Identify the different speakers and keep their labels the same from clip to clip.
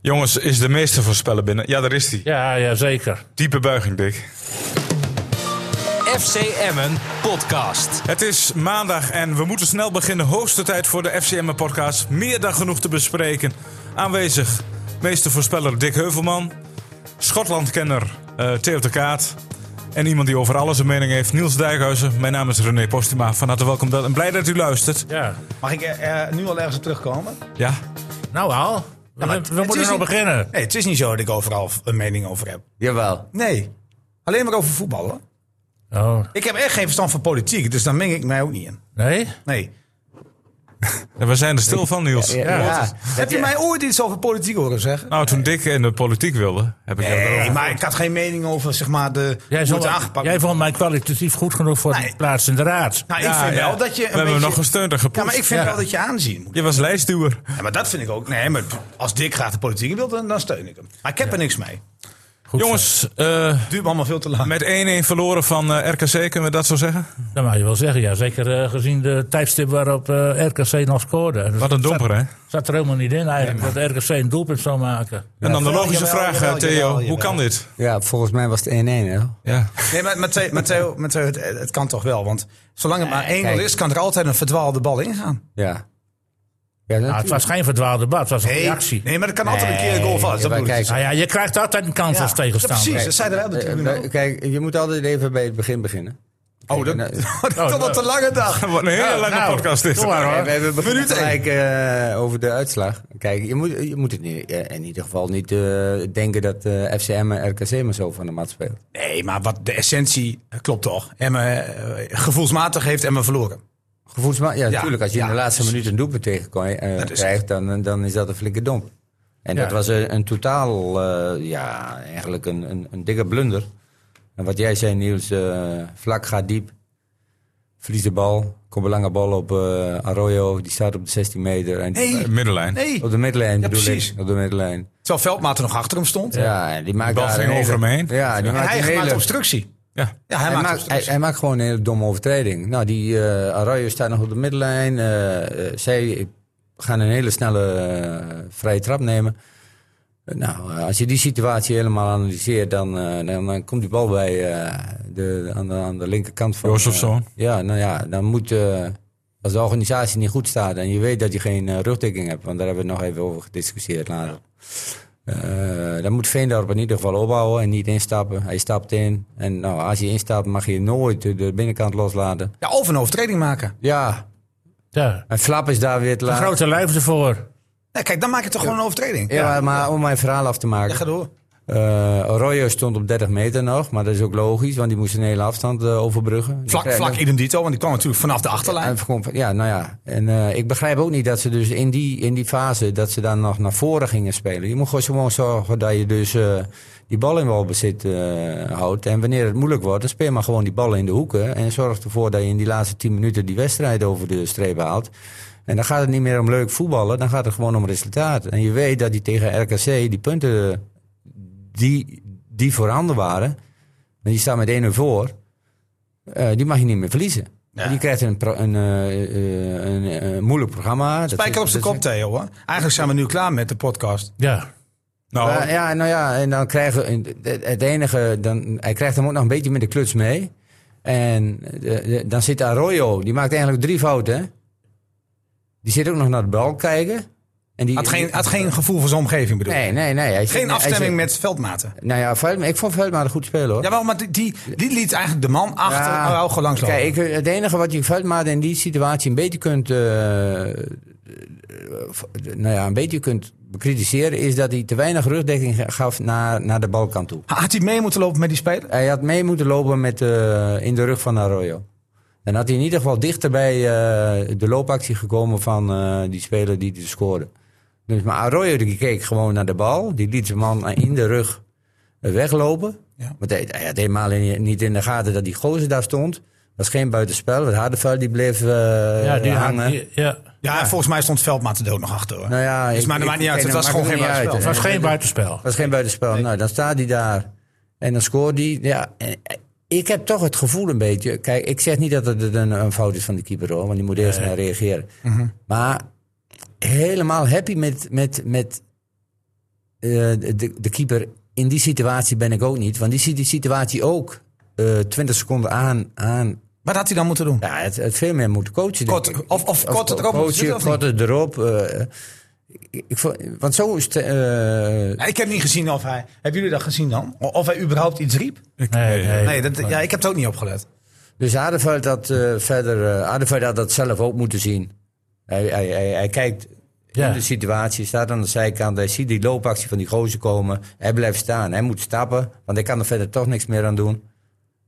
Speaker 1: Jongens, is de meester voorspellen binnen? Ja, daar is hij.
Speaker 2: Ja, ja, zeker.
Speaker 1: Diepe buiging, Dick.
Speaker 3: FC Emmen podcast.
Speaker 1: Het is maandag en we moeten snel beginnen. Hoogste tijd voor de FCM-podcast. Meer dan genoeg te bespreken. Aanwezig meester voorspeller Dick Heuvelman. Schotlandkenner eh Theo de Kaat. En iemand die over alles een mening heeft, Niels Dijkhuizen. Mijn naam is René Postuma. Van harte welkom dat, en blij dat u luistert.
Speaker 2: Ja.
Speaker 4: Mag ik eh, eh, nu al ergens op terugkomen?
Speaker 1: Ja,
Speaker 2: Nou al, we,
Speaker 4: maar
Speaker 2: we
Speaker 4: het
Speaker 2: moeten
Speaker 4: is
Speaker 2: nou
Speaker 4: niet-
Speaker 2: beginnen.
Speaker 4: Nee, het is niet zo dat ik overal v- een mening over heb.
Speaker 5: Jawel.
Speaker 4: Nee, alleen maar over voetballen.
Speaker 2: Oh,
Speaker 4: Ik heb echt geen verstand van politiek, dus daar meng ik mij ook niet in.
Speaker 2: nee?
Speaker 4: Nee.
Speaker 1: en we zijn er stil van, Niels.
Speaker 4: Heb je mij ooit iets over politiek horen zeggen?
Speaker 1: Nou, toen Dick in de politiek wilde, heb ik hem
Speaker 4: Nee,
Speaker 1: erover.
Speaker 4: maar ik had geen mening over zeg maar, de,
Speaker 2: Jij,
Speaker 4: hoe
Speaker 2: zal-
Speaker 4: het aangepakt
Speaker 2: jij vond mij kwalitatief goed genoeg voor
Speaker 4: Nee.
Speaker 2: de plaats in de raad.
Speaker 4: Nou, ik
Speaker 1: Ja,
Speaker 4: vind
Speaker 1: ja.
Speaker 4: wel dat
Speaker 1: We
Speaker 4: je een
Speaker 1: hebben hem
Speaker 4: beetje...
Speaker 1: nog gesteund en gepusht.
Speaker 4: ja, maar ik vind
Speaker 2: Ja.
Speaker 4: wel dat je aanzien moet.
Speaker 1: Je was lijstduwer.
Speaker 4: Ja, maar dat vind ik ook. Nee, maar als Dick graag de politiek wil, dan, dan steun ik hem. Maar ik heb er niks mee.
Speaker 2: Goed
Speaker 1: Jongens, eh,
Speaker 4: Het duurt me allemaal veel te lang.
Speaker 1: met 1-1 verloren van eh, RKC, kunnen we dat zo zeggen?
Speaker 2: zo. Dat mag je wel zeggen, ja. Zeker eh, gezien de tijdstip waarop eh, RKC nog scoorde. Dat
Speaker 1: Wat een domper, hè?
Speaker 2: zat er helemaal niet in eigenlijk, dat RKC een doelpunt zou maken.
Speaker 1: En dan de
Speaker 4: jawel,
Speaker 1: logische
Speaker 4: jawel,
Speaker 1: vraag, eh,
Speaker 4: jawel,
Speaker 1: Theo.
Speaker 4: jawel,
Speaker 1: Hoe
Speaker 4: jawel.
Speaker 1: kan dit?
Speaker 5: Ja, volgens mij was het 1-1. hè?
Speaker 1: Ja.
Speaker 4: Nee, maar Matteo, Matteo, Matteo het, het kan toch wel? Want zolang het maar 1-0
Speaker 5: kijk.
Speaker 4: is, kan er altijd een verdwaalde bal ingaan.
Speaker 5: Ja. ja
Speaker 2: Nou, het was geen verdwaalde bal, het was een reactie.
Speaker 4: nee maar er kan altijd een keer een goal vallen.
Speaker 5: ja,
Speaker 4: Dat
Speaker 5: maar
Speaker 4: bedoel ik.
Speaker 5: kijk,
Speaker 2: Nou ja, je krijgt altijd een kans
Speaker 4: Ja,
Speaker 2: als tegenstander.
Speaker 4: Precies, dat zeiden wij op de tribune ook.
Speaker 5: Eh, Kijk, je moet altijd even bij het begin beginnen.
Speaker 4: Oh, dat,
Speaker 5: nou,
Speaker 4: dat was een lange dag.
Speaker 1: Wat een hele
Speaker 2: Nou,
Speaker 1: lange
Speaker 2: nou,
Speaker 1: podcast dit.
Speaker 2: doe maar, hoor.
Speaker 5: Nee, we hebben begonnen
Speaker 4: Minuut één.
Speaker 5: gelijk eh, over de uitslag. Kijk, je moet, je moet het niet, eh, in ieder geval niet eh, denken dat eh FCM en RKC maar zo van de mat speelt.
Speaker 4: Nee, maar wat de essentie eh, klopt toch. Emme, eh, gevoelsmatig heeft Emma verloren.
Speaker 5: Gevoelsma ja,
Speaker 4: Ja,
Speaker 5: natuurlijk. Als je
Speaker 4: ja.
Speaker 5: in de laatste minuut een doelpunt tegenkomt, eh,
Speaker 4: Dat is-
Speaker 5: krijgt, dan, dan is dat een flinke domp. En
Speaker 2: Ja.
Speaker 5: dat was een, een totaal, eh, ja, eigenlijk een, een, een dikke blunder. En wat jij zei, Niels, eh, vlak gaat diep. Verlies de bal, komt een lange bal op eh, Arroyo, die staat op de 16 meter. En
Speaker 4: Nee,
Speaker 1: Eh, Middenlijn.
Speaker 4: nee.
Speaker 5: Op de middenlijn bedoel
Speaker 4: precies.
Speaker 5: ik. Op de middenlijn.
Speaker 4: Terwijl Veldmaat er nog achter hem stond.
Speaker 5: Ja, en die maakt
Speaker 1: bal
Speaker 5: daar
Speaker 1: ging
Speaker 5: een
Speaker 1: over
Speaker 5: hele-
Speaker 1: hem heen.
Speaker 5: Ja, die
Speaker 4: En
Speaker 5: maakt
Speaker 4: hij
Speaker 5: een
Speaker 4: maakt
Speaker 5: hele...
Speaker 4: obstructie.
Speaker 1: Ja.
Speaker 4: Ja, hij
Speaker 5: Hij,
Speaker 4: maakt dus.
Speaker 5: maakt, hij,
Speaker 4: obstructie.
Speaker 5: hij maakt gewoon een hele domme overtreding. Nou, die eh, Arroyo staat nog op de middenlijn. eh, eh, zij gaan een hele snelle eh, vrije trap nemen. Eh, nou, eh, als je die situatie helemaal analyseert, dan, eh, dan, dan komt die bal bij eh, de, aan, de, aan de linkerkant van...
Speaker 1: Josefsson.
Speaker 5: eh, ja, nou ja, dan moet... eh, als de organisatie niet goed staat en je weet dat je geen eh, rugdekking hebt... want daar hebben we het nog even over gediscussieerd later... Eh, dan moet Veendorp in ieder geval opbouwen en niet instappen. Hij stapt in. En nou, als je instapt, mag je nooit de- de binnenkant loslaten.
Speaker 4: Ja, of een overtreding maken.
Speaker 5: Ja,
Speaker 2: Ja.
Speaker 5: en Flap is daar weer te
Speaker 2: Een
Speaker 5: laat.
Speaker 2: grote lijf ervoor.
Speaker 4: Nee, kijk, dan maak je toch gewoon een overtreding.
Speaker 5: Ja, maar om mijn verhaal af te
Speaker 4: Ja, ga
Speaker 5: maken.
Speaker 4: door.
Speaker 5: Eh Arroyo stond op 30 meter nog, maar dat is ook logisch, want die moest een hele afstand eh, overbruggen.
Speaker 4: Vlak,
Speaker 5: Dus, eh,
Speaker 4: vlak idem dito, want die kwam natuurlijk vanaf de achterlijn.
Speaker 5: En gewoon- ja, nou ja. En eh, ik begrijp ook niet dat ze dus in die, in die fase dat ze dan nog naar voren gingen spelen. Je moet gewoon- gewoon zorgen dat je dus eh, die bal in balbezit eh, houdt. En wanneer het moeilijk wordt, dan speel maar gewoon die bal in de hoeken. En zorg ervoor dat je in die laatste 10 minuten die wedstrijd over de streep haalt. En dan gaat het niet meer om leuk voetballen, dan gaat het gewoon om resultaat. En je weet dat die tegen RKC die punten eh, die, die voorhanden waren, want die staan met 1-0 voor, eh, die mag je niet meer verliezen.
Speaker 4: Ja.
Speaker 5: Die krijgt een, pro- een, eh, eh, een, eh, moeilijk programma. Dat
Speaker 4: Spijker op
Speaker 5: is-
Speaker 4: zijn
Speaker 5: dat
Speaker 4: kop, Theo. Hoor. Eigenlijk zijn we nu klaar met de podcast.
Speaker 2: Ja.
Speaker 1: Nou,
Speaker 5: Ja, ja, nou ja, en dan krijgen we- het- het enige, dan, hij krijgt hem ook nog een beetje met de kluts mee. En eh, eh, dan zit Arroyo, die maakt eigenlijk drie fouten. hè. Die zit ook nog naar de bal kijken. En die,
Speaker 4: Had geen, had geen gevoel voor zijn omgeving, bedoel ik.
Speaker 5: nee, nee, nee. Hij zit-
Speaker 4: Geen
Speaker 5: hij
Speaker 4: afstemming
Speaker 5: zit-
Speaker 4: met veldmaten.
Speaker 5: Nou ja, Veldma- ik vond Veldma een goed speler hoor.
Speaker 4: Jawel, maar die, die, die liet eigenlijk de man achter
Speaker 5: Ja.
Speaker 4: ja. Araujo langs lopen.
Speaker 5: Kijk, ik, het enige wat je Veldmaat in die situatie een beetje kunt, eh, eh, nou ja, een beetje kunt bekritiseren, is dat hij te weinig rugdekking ge- gaf naar, naar de balkant toe.
Speaker 4: Had hij mee moeten lopen met die speler?
Speaker 5: Hij had mee moeten lopen met, eh, in de rug van Arroyo. Dan had hij in ieder geval dichter bij eh, de loopactie gekomen van eh, die speler die, die scoorde. Dus, maar Arroyo die keek gewoon naar de bal. Die liet zijn man in de rug eh, weglopen.
Speaker 4: Ja.
Speaker 5: Want hij, hij had helemaal in- niet in de gaten dat die gozer daar stond. Dat was geen buitenspel. Want Hardevuil die bleef eh,
Speaker 2: Ja, die
Speaker 5: hangen.
Speaker 2: die- ja.
Speaker 4: Ja, volgens mij stond Veldmaat er ook nog achter. Hoor.
Speaker 5: Nou ja,
Speaker 4: dus,
Speaker 5: ik-
Speaker 4: maar dat
Speaker 5: ik-
Speaker 4: maakt niet uit.
Speaker 5: ik-
Speaker 4: Het was
Speaker 5: maakt
Speaker 4: gewoon geen
Speaker 5: niet uit,
Speaker 4: buitenspel.
Speaker 2: Het
Speaker 5: hè.
Speaker 2: was geen buitenspel.
Speaker 5: Dat was geen buitenspel. Nou, dan staat hij daar en dan scoort hij. Ja, en, eh, ik heb toch het gevoel een beetje. Kijk, ik zeg niet dat het een, een fout is van de keeper hoor, want die moet eerst naar
Speaker 4: Mhm.
Speaker 5: reageren. Maar helemaal happy met, met, met eh, eh, de, de keeper, in die situatie ben ik ook niet. Want die ziet die situatie ook eh 20 seconden aan. aan
Speaker 4: Wat had hij dan moeten doen?
Speaker 5: ja, het, het veel meer moeten coachen. denk
Speaker 4: Kort,
Speaker 5: ik.
Speaker 4: of- of kort erop moeten
Speaker 5: coachen,
Speaker 4: zitten, of niet?
Speaker 5: korter erop. eh, ik, ik vond- want zo is het, eh,
Speaker 4: Nou, ik heb niet gezien of hij. Hebben jullie dat gezien dan? O- Of hij überhaupt iets riep?
Speaker 2: Nee, nee.
Speaker 4: Nee, dat, ja, ik heb het ook niet opgelet.
Speaker 5: Dus Aardeveld had, eh, verder, eh, Aardenveld had dat zelf ook moeten zien. Hij, hij, hij, hij kijkt
Speaker 2: Ja.
Speaker 5: in de situatie, staat aan de zijkant. Hij ziet die loopactie van die gozer komen. Hij blijft staan. Hij moet stappen, want hij kan er verder toch niks meer aan doen.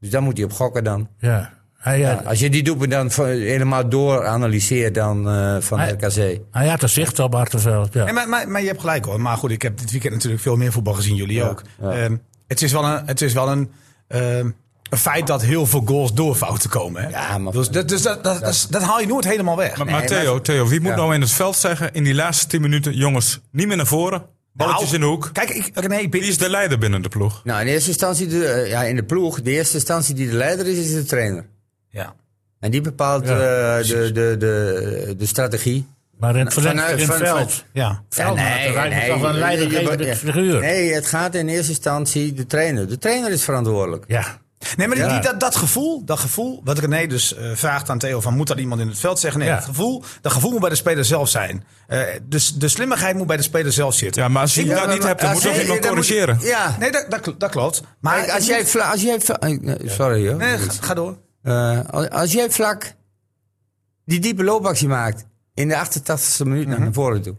Speaker 5: Dus dan moet hij op gokken dan.
Speaker 2: Ja. Hij, eh,
Speaker 5: Ja,
Speaker 2: had-
Speaker 5: als je die doelpunt dan van- helemaal door analyseert dan eh, van
Speaker 2: Hij-
Speaker 5: RKC.
Speaker 2: hij had er zicht op Hartenveld. Ja.
Speaker 4: Nee, maar, maar, maar je hebt gelijk hoor. Maar goed, ik heb dit weekend natuurlijk veel meer voetbal gezien, jullie ook. Ehm, het is wel een, het is wel een, ehm, een feit dat heel veel goals door fouten komen. Hè?
Speaker 5: Ja, maar-
Speaker 4: dus dat, dus dat, dat, dat, dat haal je nooit helemaal weg.
Speaker 1: Maar, maar Theo, Theo, wie moet nou in het veld zeggen in die laatste 10 minuten: jongens, niet meer naar voren, balletjes
Speaker 4: Nou,
Speaker 1: in de hoek.
Speaker 4: Kijk, ik, René, ik ben-
Speaker 1: Wie is de leider binnen de ploeg?
Speaker 5: Nou, in eerste instantie, de, eh, ja, in de ploeg, de eerste instantie die de leider is, is de trainer.
Speaker 4: ja.
Speaker 5: En die bepaalt
Speaker 2: Ja,
Speaker 5: eh, de, de, de, de strategie.
Speaker 2: Maar in het verlengde,
Speaker 5: Vanuit-
Speaker 2: in het
Speaker 5: van-
Speaker 2: veld.
Speaker 4: Ja.
Speaker 2: Ja, nee, nee, toch een leidinggevende
Speaker 5: je- je-
Speaker 2: figuur.
Speaker 5: Nee, het gaat in eerste instantie de trainer. De trainer is verantwoordelijk.
Speaker 2: Ja.
Speaker 4: Nee, maar die-
Speaker 2: Ja.
Speaker 4: die, dat, dat gevoel, dat gevoel, wat René dus eh, vraagt aan Theo van, moet dat iemand in het veld zeggen? Nee,
Speaker 2: Ja.
Speaker 4: dat, gevoel, dat gevoel moet bij de speler zelf zijn. Eh, dus de slimmigheid moet bij de speler zelf zitten.
Speaker 1: Ja, maar als je
Speaker 4: Ik-
Speaker 1: dat niet hebt, dan
Speaker 5: als
Speaker 1: moet je ook
Speaker 5: jij-
Speaker 1: iemand
Speaker 5: Ah, dan moet je-
Speaker 1: corrigeren.
Speaker 5: Ja.
Speaker 4: Nee, dat, dat, kl- dat klopt. Maar
Speaker 5: Kijk, als
Speaker 4: je
Speaker 5: jij,
Speaker 4: moet-
Speaker 5: vla, als jij vla- eh, nee, sorry hoor.
Speaker 4: Nee, ga, ga door.
Speaker 5: Eh, als- als jij vlak die diepe loopactie maakt in de 88ste minuut
Speaker 4: Mhm.
Speaker 5: naar voren toe.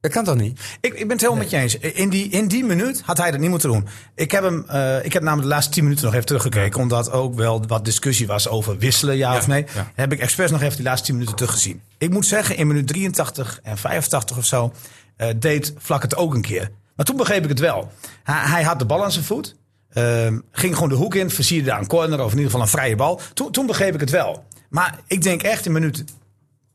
Speaker 5: Dat kan toch niet?
Speaker 4: Ik, ik ben het helemaal met je eens. In die, in die minuut had hij dat niet moeten doen. Ik heb, hem, eh, ik heb namelijk de laatste tien minuten nog even teruggekeken. Omdat ook wel wat discussie was over wisselen, ja,
Speaker 1: Ja,
Speaker 4: of nee.
Speaker 1: ja.
Speaker 4: Heb ik expres nog even die laatste tien minuten teruggezien. Ik moet zeggen, in minuut 83 en 85 of zo eh, deed Vlak het ook een keer. Maar toen begreep ik het wel. Hij, hij had de bal aan zijn voet. ehm, ging gewoon de hoek in, versierde daar een corner of in ieder geval een vrije bal. Toen, toen begreep ik het wel. Maar ik denk echt in minuut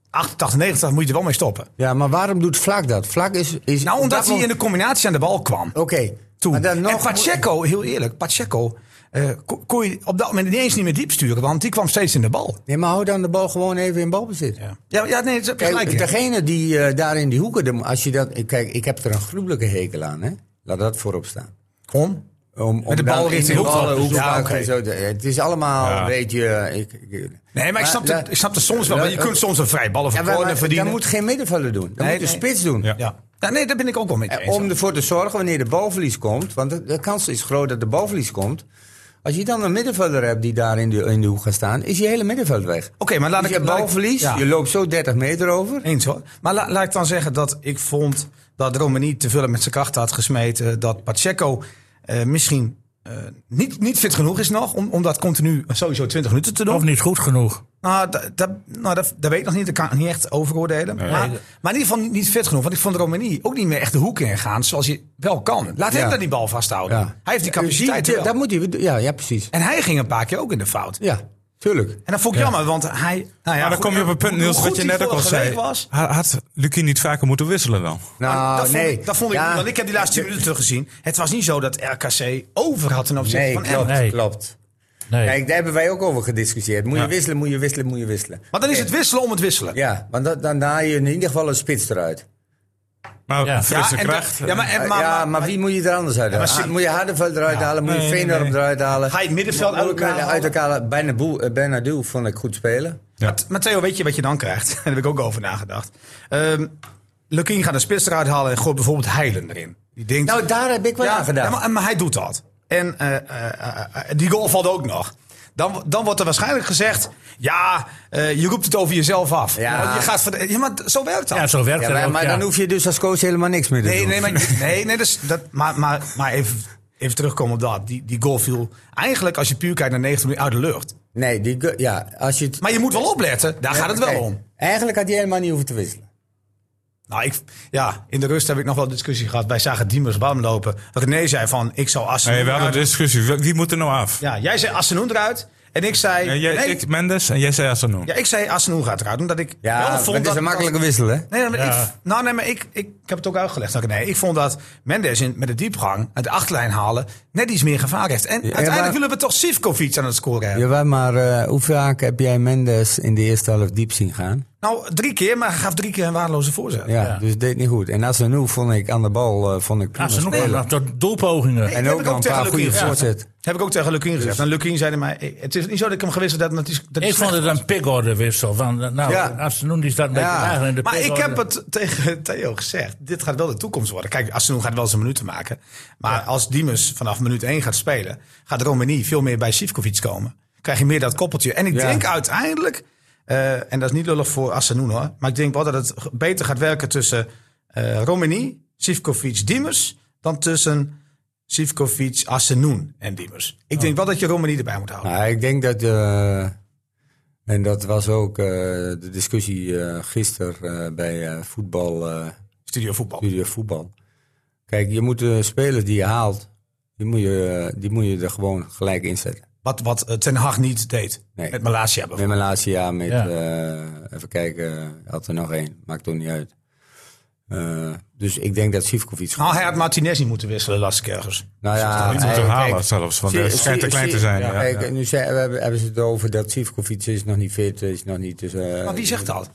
Speaker 4: 88, 90 moet je er wel mee stoppen.
Speaker 5: Ja, maar waarom doet Vlak dat? Vlak is. is
Speaker 4: Nou,
Speaker 5: op
Speaker 4: omdat
Speaker 5: dat
Speaker 4: hij in
Speaker 5: moment-
Speaker 4: de combinatie aan de bal kwam.
Speaker 5: Oké.
Speaker 4: Toen.
Speaker 5: Maar dan nog-
Speaker 4: en Pacheco, heel eerlijk, Pacheco eh, ko- kon je op dat moment ineens niet meer diep sturen, want die kwam steeds in de bal.
Speaker 5: Nee, maar hou dan de bal gewoon even in balbezit.
Speaker 4: Ja, ja, nee, dat heb je gelijk.
Speaker 5: Kijk,
Speaker 4: in.
Speaker 5: degene die eh, daar in die hoeken, de- als je dat, kijk, ik heb er een gruwelijke hekel aan, hè? Laat dat voorop staan.
Speaker 4: Kom.
Speaker 5: Om, om
Speaker 4: de bal
Speaker 5: dan in
Speaker 4: richting
Speaker 5: de
Speaker 4: hoekvlag
Speaker 5: ballen,
Speaker 4: te zoeken.
Speaker 5: hoekvlag
Speaker 4: Ja, oké.
Speaker 5: en zo. De- Het is allemaal
Speaker 1: Ja.
Speaker 5: een beetje... eh, Ik, ik-
Speaker 4: Nee, maar ik snap, het,
Speaker 5: la-
Speaker 4: ik snap het soms wel, want je
Speaker 5: la-
Speaker 4: kunt soms een vrij bal of
Speaker 5: Ja,
Speaker 4: een
Speaker 5: maar- maar
Speaker 4: corner verdienen.
Speaker 5: Dat moet geen middenvelder doen. Dat
Speaker 4: Nee,
Speaker 5: moet de
Speaker 4: nee.
Speaker 5: spits doen.
Speaker 1: Ja.
Speaker 4: ja. ja, nee, daar ben ik ook wel mee
Speaker 5: Eh,
Speaker 4: eens.
Speaker 5: Om ervoor te zorgen wanneer de balverlies komt, want de, de kans is groot dat de balverlies komt. Als je dan een middenvelder hebt die daar in de, in de hoek gaat staan, is je hele middenveld weg.
Speaker 4: Oké, maar laat
Speaker 5: Dus
Speaker 4: ik
Speaker 5: je
Speaker 4: laat ik-
Speaker 5: balverlies,
Speaker 4: ja.
Speaker 5: je loopt zo 30 meter over.
Speaker 4: Eens hoor. Maar la- laat ik dan zeggen dat ik vond dat Romani te veel met zijn krachten had gesmeten. Dat Pacheco eh, misschien eh, niet, niet fit genoeg is nog om, om dat continu sowieso 20 minuten te doen.
Speaker 2: Of niet goed genoeg.
Speaker 4: Nou, dat, dat, nou, dat, dat weet ik nog niet. Dat kan ik niet echt overoordelen. Maar, maar in ieder geval niet, niet fit genoeg. Want ik vond Romani ook niet meer echt de hoek in gaan zoals je wel kan. Laat hem
Speaker 5: Ja.
Speaker 4: dan die bal vasthouden.
Speaker 5: Ja.
Speaker 4: Hij heeft die capaciteit
Speaker 5: Die-
Speaker 4: wel.
Speaker 5: dat moet hij, ja, ja, precies.
Speaker 4: En hij ging een paar keer ook in de fout.
Speaker 5: Ja, tuurlijk.
Speaker 4: En dat vond ik jammer, want hij... Nou
Speaker 1: maar
Speaker 4: ja,
Speaker 1: dan
Speaker 4: goed,
Speaker 1: kom je op het punt,
Speaker 4: hoe
Speaker 1: Niels,
Speaker 4: goed
Speaker 1: wat je
Speaker 4: die
Speaker 1: net ook al
Speaker 4: vorige
Speaker 1: zei.
Speaker 4: week Was,
Speaker 1: Ha- Had Lucie niet vaker moeten wisselen dan?
Speaker 5: Nou,
Speaker 4: dat vond
Speaker 5: nee.
Speaker 4: ik, dat vond ik
Speaker 5: Ja.
Speaker 4: niet, want ik heb die laatste 10 minuten teruggezien. Het was niet zo dat RKC over had ten opzichte
Speaker 5: Nee,
Speaker 4: van
Speaker 5: klopt,
Speaker 4: Emmen.
Speaker 2: Nee.
Speaker 5: klopt.
Speaker 2: Nee.
Speaker 5: Kijk, daar hebben wij ook over gediscussieerd. Moet je wisselen, moet je wisselen, moet je wisselen.
Speaker 4: Maar dan is het wisselen om het wisselen.
Speaker 5: Ja, want dat- dan haal je in ieder geval een spits eruit.
Speaker 1: Maar
Speaker 2: Ja.
Speaker 1: frisse
Speaker 4: en
Speaker 1: kracht. eh,
Speaker 4: dan- ja, maar, en-
Speaker 5: Ja,
Speaker 4: maar,
Speaker 5: maar, wie moet je er anders uit halen? Ah,
Speaker 4: maar zie-
Speaker 5: moet je Hardenveld eruit halen? Moet je
Speaker 1: nee,
Speaker 5: Veendorp
Speaker 1: nee.
Speaker 5: eruit halen?
Speaker 4: Ga je het middenveld uit elkaar halen?
Speaker 5: Uit elkaar halen. Bijna Boe- eh, Bijna Doe vond ik goed spelen.
Speaker 1: Ja.
Speaker 4: Maar Theo, weet je wat je dan krijgt? Daar heb ik ook over nagedacht. Ehm Lukien gaat een spits eruit halen en gooit bijvoorbeeld Heilen erin. Die denkt,
Speaker 5: Nou, daar heb ik wel aan gedaan.
Speaker 4: ja, maar, maar hij doet dat. En eh, eh, eh, eh, die goal valt ook nog. Dan, dan wordt er waarschijnlijk gezegd: ja, eh, je roept het over jezelf af.
Speaker 5: Ja.
Speaker 4: Want Je gaat voor de- ja, maar zo werkt dat.
Speaker 2: Ja, zo werkt
Speaker 5: Ja,
Speaker 2: het
Speaker 5: maar
Speaker 2: ook,
Speaker 5: maar
Speaker 2: ja.
Speaker 5: dan hoef je dus als coach helemaal niks meer te
Speaker 4: Nee,
Speaker 5: doen.
Speaker 4: nee, maar, nee, nee dus dat, maar, maar, maar even, even terugkomen op dat. Die, die goal viel eigenlijk, als je puur kijkt naar 90 minuten, uit de lucht.
Speaker 5: Nee, die, gu- ja, als je het,
Speaker 4: Maar je moet wel opletten, daar gaat het wel
Speaker 5: Kijk,
Speaker 4: om.
Speaker 5: Eigenlijk had hij helemaal niet hoeven te wisselen.
Speaker 4: Nou, ik, ja, in de rust heb ik nog wel discussie gehad. Wij zagen Diemers warm lopen. René zei van, ik zou Assenoen
Speaker 1: Nee, we hadden
Speaker 4: eruit-
Speaker 1: een discussie. Wie- Wie moet er nou af?
Speaker 4: Ja, jij zei Assenoen eruit. En ik zei...
Speaker 1: En jij,
Speaker 4: nee,
Speaker 1: ik Mendes en jij zei Asanoen.
Speaker 4: ja, ik zei Assenoen gaat eruit. Omdat ik
Speaker 5: Ja,
Speaker 4: wel
Speaker 5: maar
Speaker 4: vond
Speaker 5: het is
Speaker 4: dat...
Speaker 5: een makkelijke wissel, hè?
Speaker 4: Nee, maar
Speaker 2: Ja.
Speaker 4: ik, nou, nee, maar ik, ik, ik heb het ook uitgelegd aan René. Ik vond dat Mendes in, met de diepgang uit de achterlijn halen... net iets meer gevaar heeft. En uiteindelijk
Speaker 5: maar-
Speaker 4: willen we toch Sivkovic aan het scoren hebben.
Speaker 5: Jawel, maar eh, hoe vaak heb jij Mendes in de eerste helft diep zien gaan?
Speaker 4: Nou, drie keer, maar hij gaf drie keer een waardeloze voorzet.
Speaker 5: Ja,
Speaker 2: Ja.
Speaker 5: dus het deed niet goed. En Asenu vond ik aan de bal eh, vond ik prima
Speaker 2: Ze
Speaker 5: spelen.
Speaker 2: nog tot doelpogingen.
Speaker 4: Heb
Speaker 5: En
Speaker 4: ik
Speaker 5: ook
Speaker 4: ook
Speaker 5: nog een
Speaker 4: tegen
Speaker 5: paar goede
Speaker 4: Lukien, ja.
Speaker 5: voorzet.
Speaker 4: Heb ik ook tegen Lukien
Speaker 5: Dus-
Speaker 4: gezegd. En Lukien zei mij, "Hey, het is niet zo dat ik hem gewisseld heb. Dat is, dat hij
Speaker 2: Ik vond het
Speaker 4: slecht was."
Speaker 2: een pickorderwissel. Van, nou,
Speaker 5: Ja.
Speaker 2: Asenoen die staat een beetje
Speaker 5: Ja.
Speaker 2: lager in de
Speaker 4: Maar ik
Speaker 2: pickorder.
Speaker 4: heb het tegen Theo gezegd. Dit gaat wel de toekomst worden. Kijk, Asenoen gaat wel zijn minuten maken. Maar als Diemers vanaf minuut 1 gaat spelen... gaat Romani veel meer bij Sivkovic komen. Krijg je meer dat koppeltje. En ik
Speaker 5: Ja.
Speaker 4: denk uiteindelijk... eh, en dat is niet lullig voor Asenoen hoor. Maar ik denk wel dat het g- beter gaat werken tussen eh Romani, Sivkovic, Diemers... dan tussen Sivkovic, Asenoen en Diemers. Ik denk wel dat je Romani erbij moet houden.
Speaker 5: Nou, ik denk dat, eh, en dat was ook eh, de discussie eh, gisteren eh, bij eh, voetbal, eh,
Speaker 4: Studio voetbal.
Speaker 5: Studio Voetbal. Kijk, je moet de spelers die je haalt, die moet je, eh, die moet je er gewoon gelijk inzetten.
Speaker 4: Wat, wat eh, Ten Hag niet deed.
Speaker 5: Nee.
Speaker 4: Met Malasia bijvoorbeeld.
Speaker 5: Met mijn laatste jaar met,
Speaker 2: Ja.
Speaker 5: eh, even kijken, had er nog één, maakt toch niet uit. Eh, dus ik denk dat Sivkovic...
Speaker 4: Nou, hij had Martinez niet moeten wisselen, las ik ergens.
Speaker 5: Nou ja,
Speaker 1: Ah, Niet
Speaker 5: hij-
Speaker 1: moeten halen
Speaker 5: kijk,
Speaker 1: zelfs, want
Speaker 5: Zie-
Speaker 1: hij schijnt te
Speaker 5: zie-
Speaker 1: klein te
Speaker 5: zie-
Speaker 1: zijn.
Speaker 5: ja,
Speaker 1: Ja,
Speaker 5: kijk,
Speaker 1: ja.
Speaker 5: Nu zei, we hebben, hebben ze het over dat Sivkovic is nog niet fit, is nog niet... Dus, eh,
Speaker 4: Maar wie zegt dat?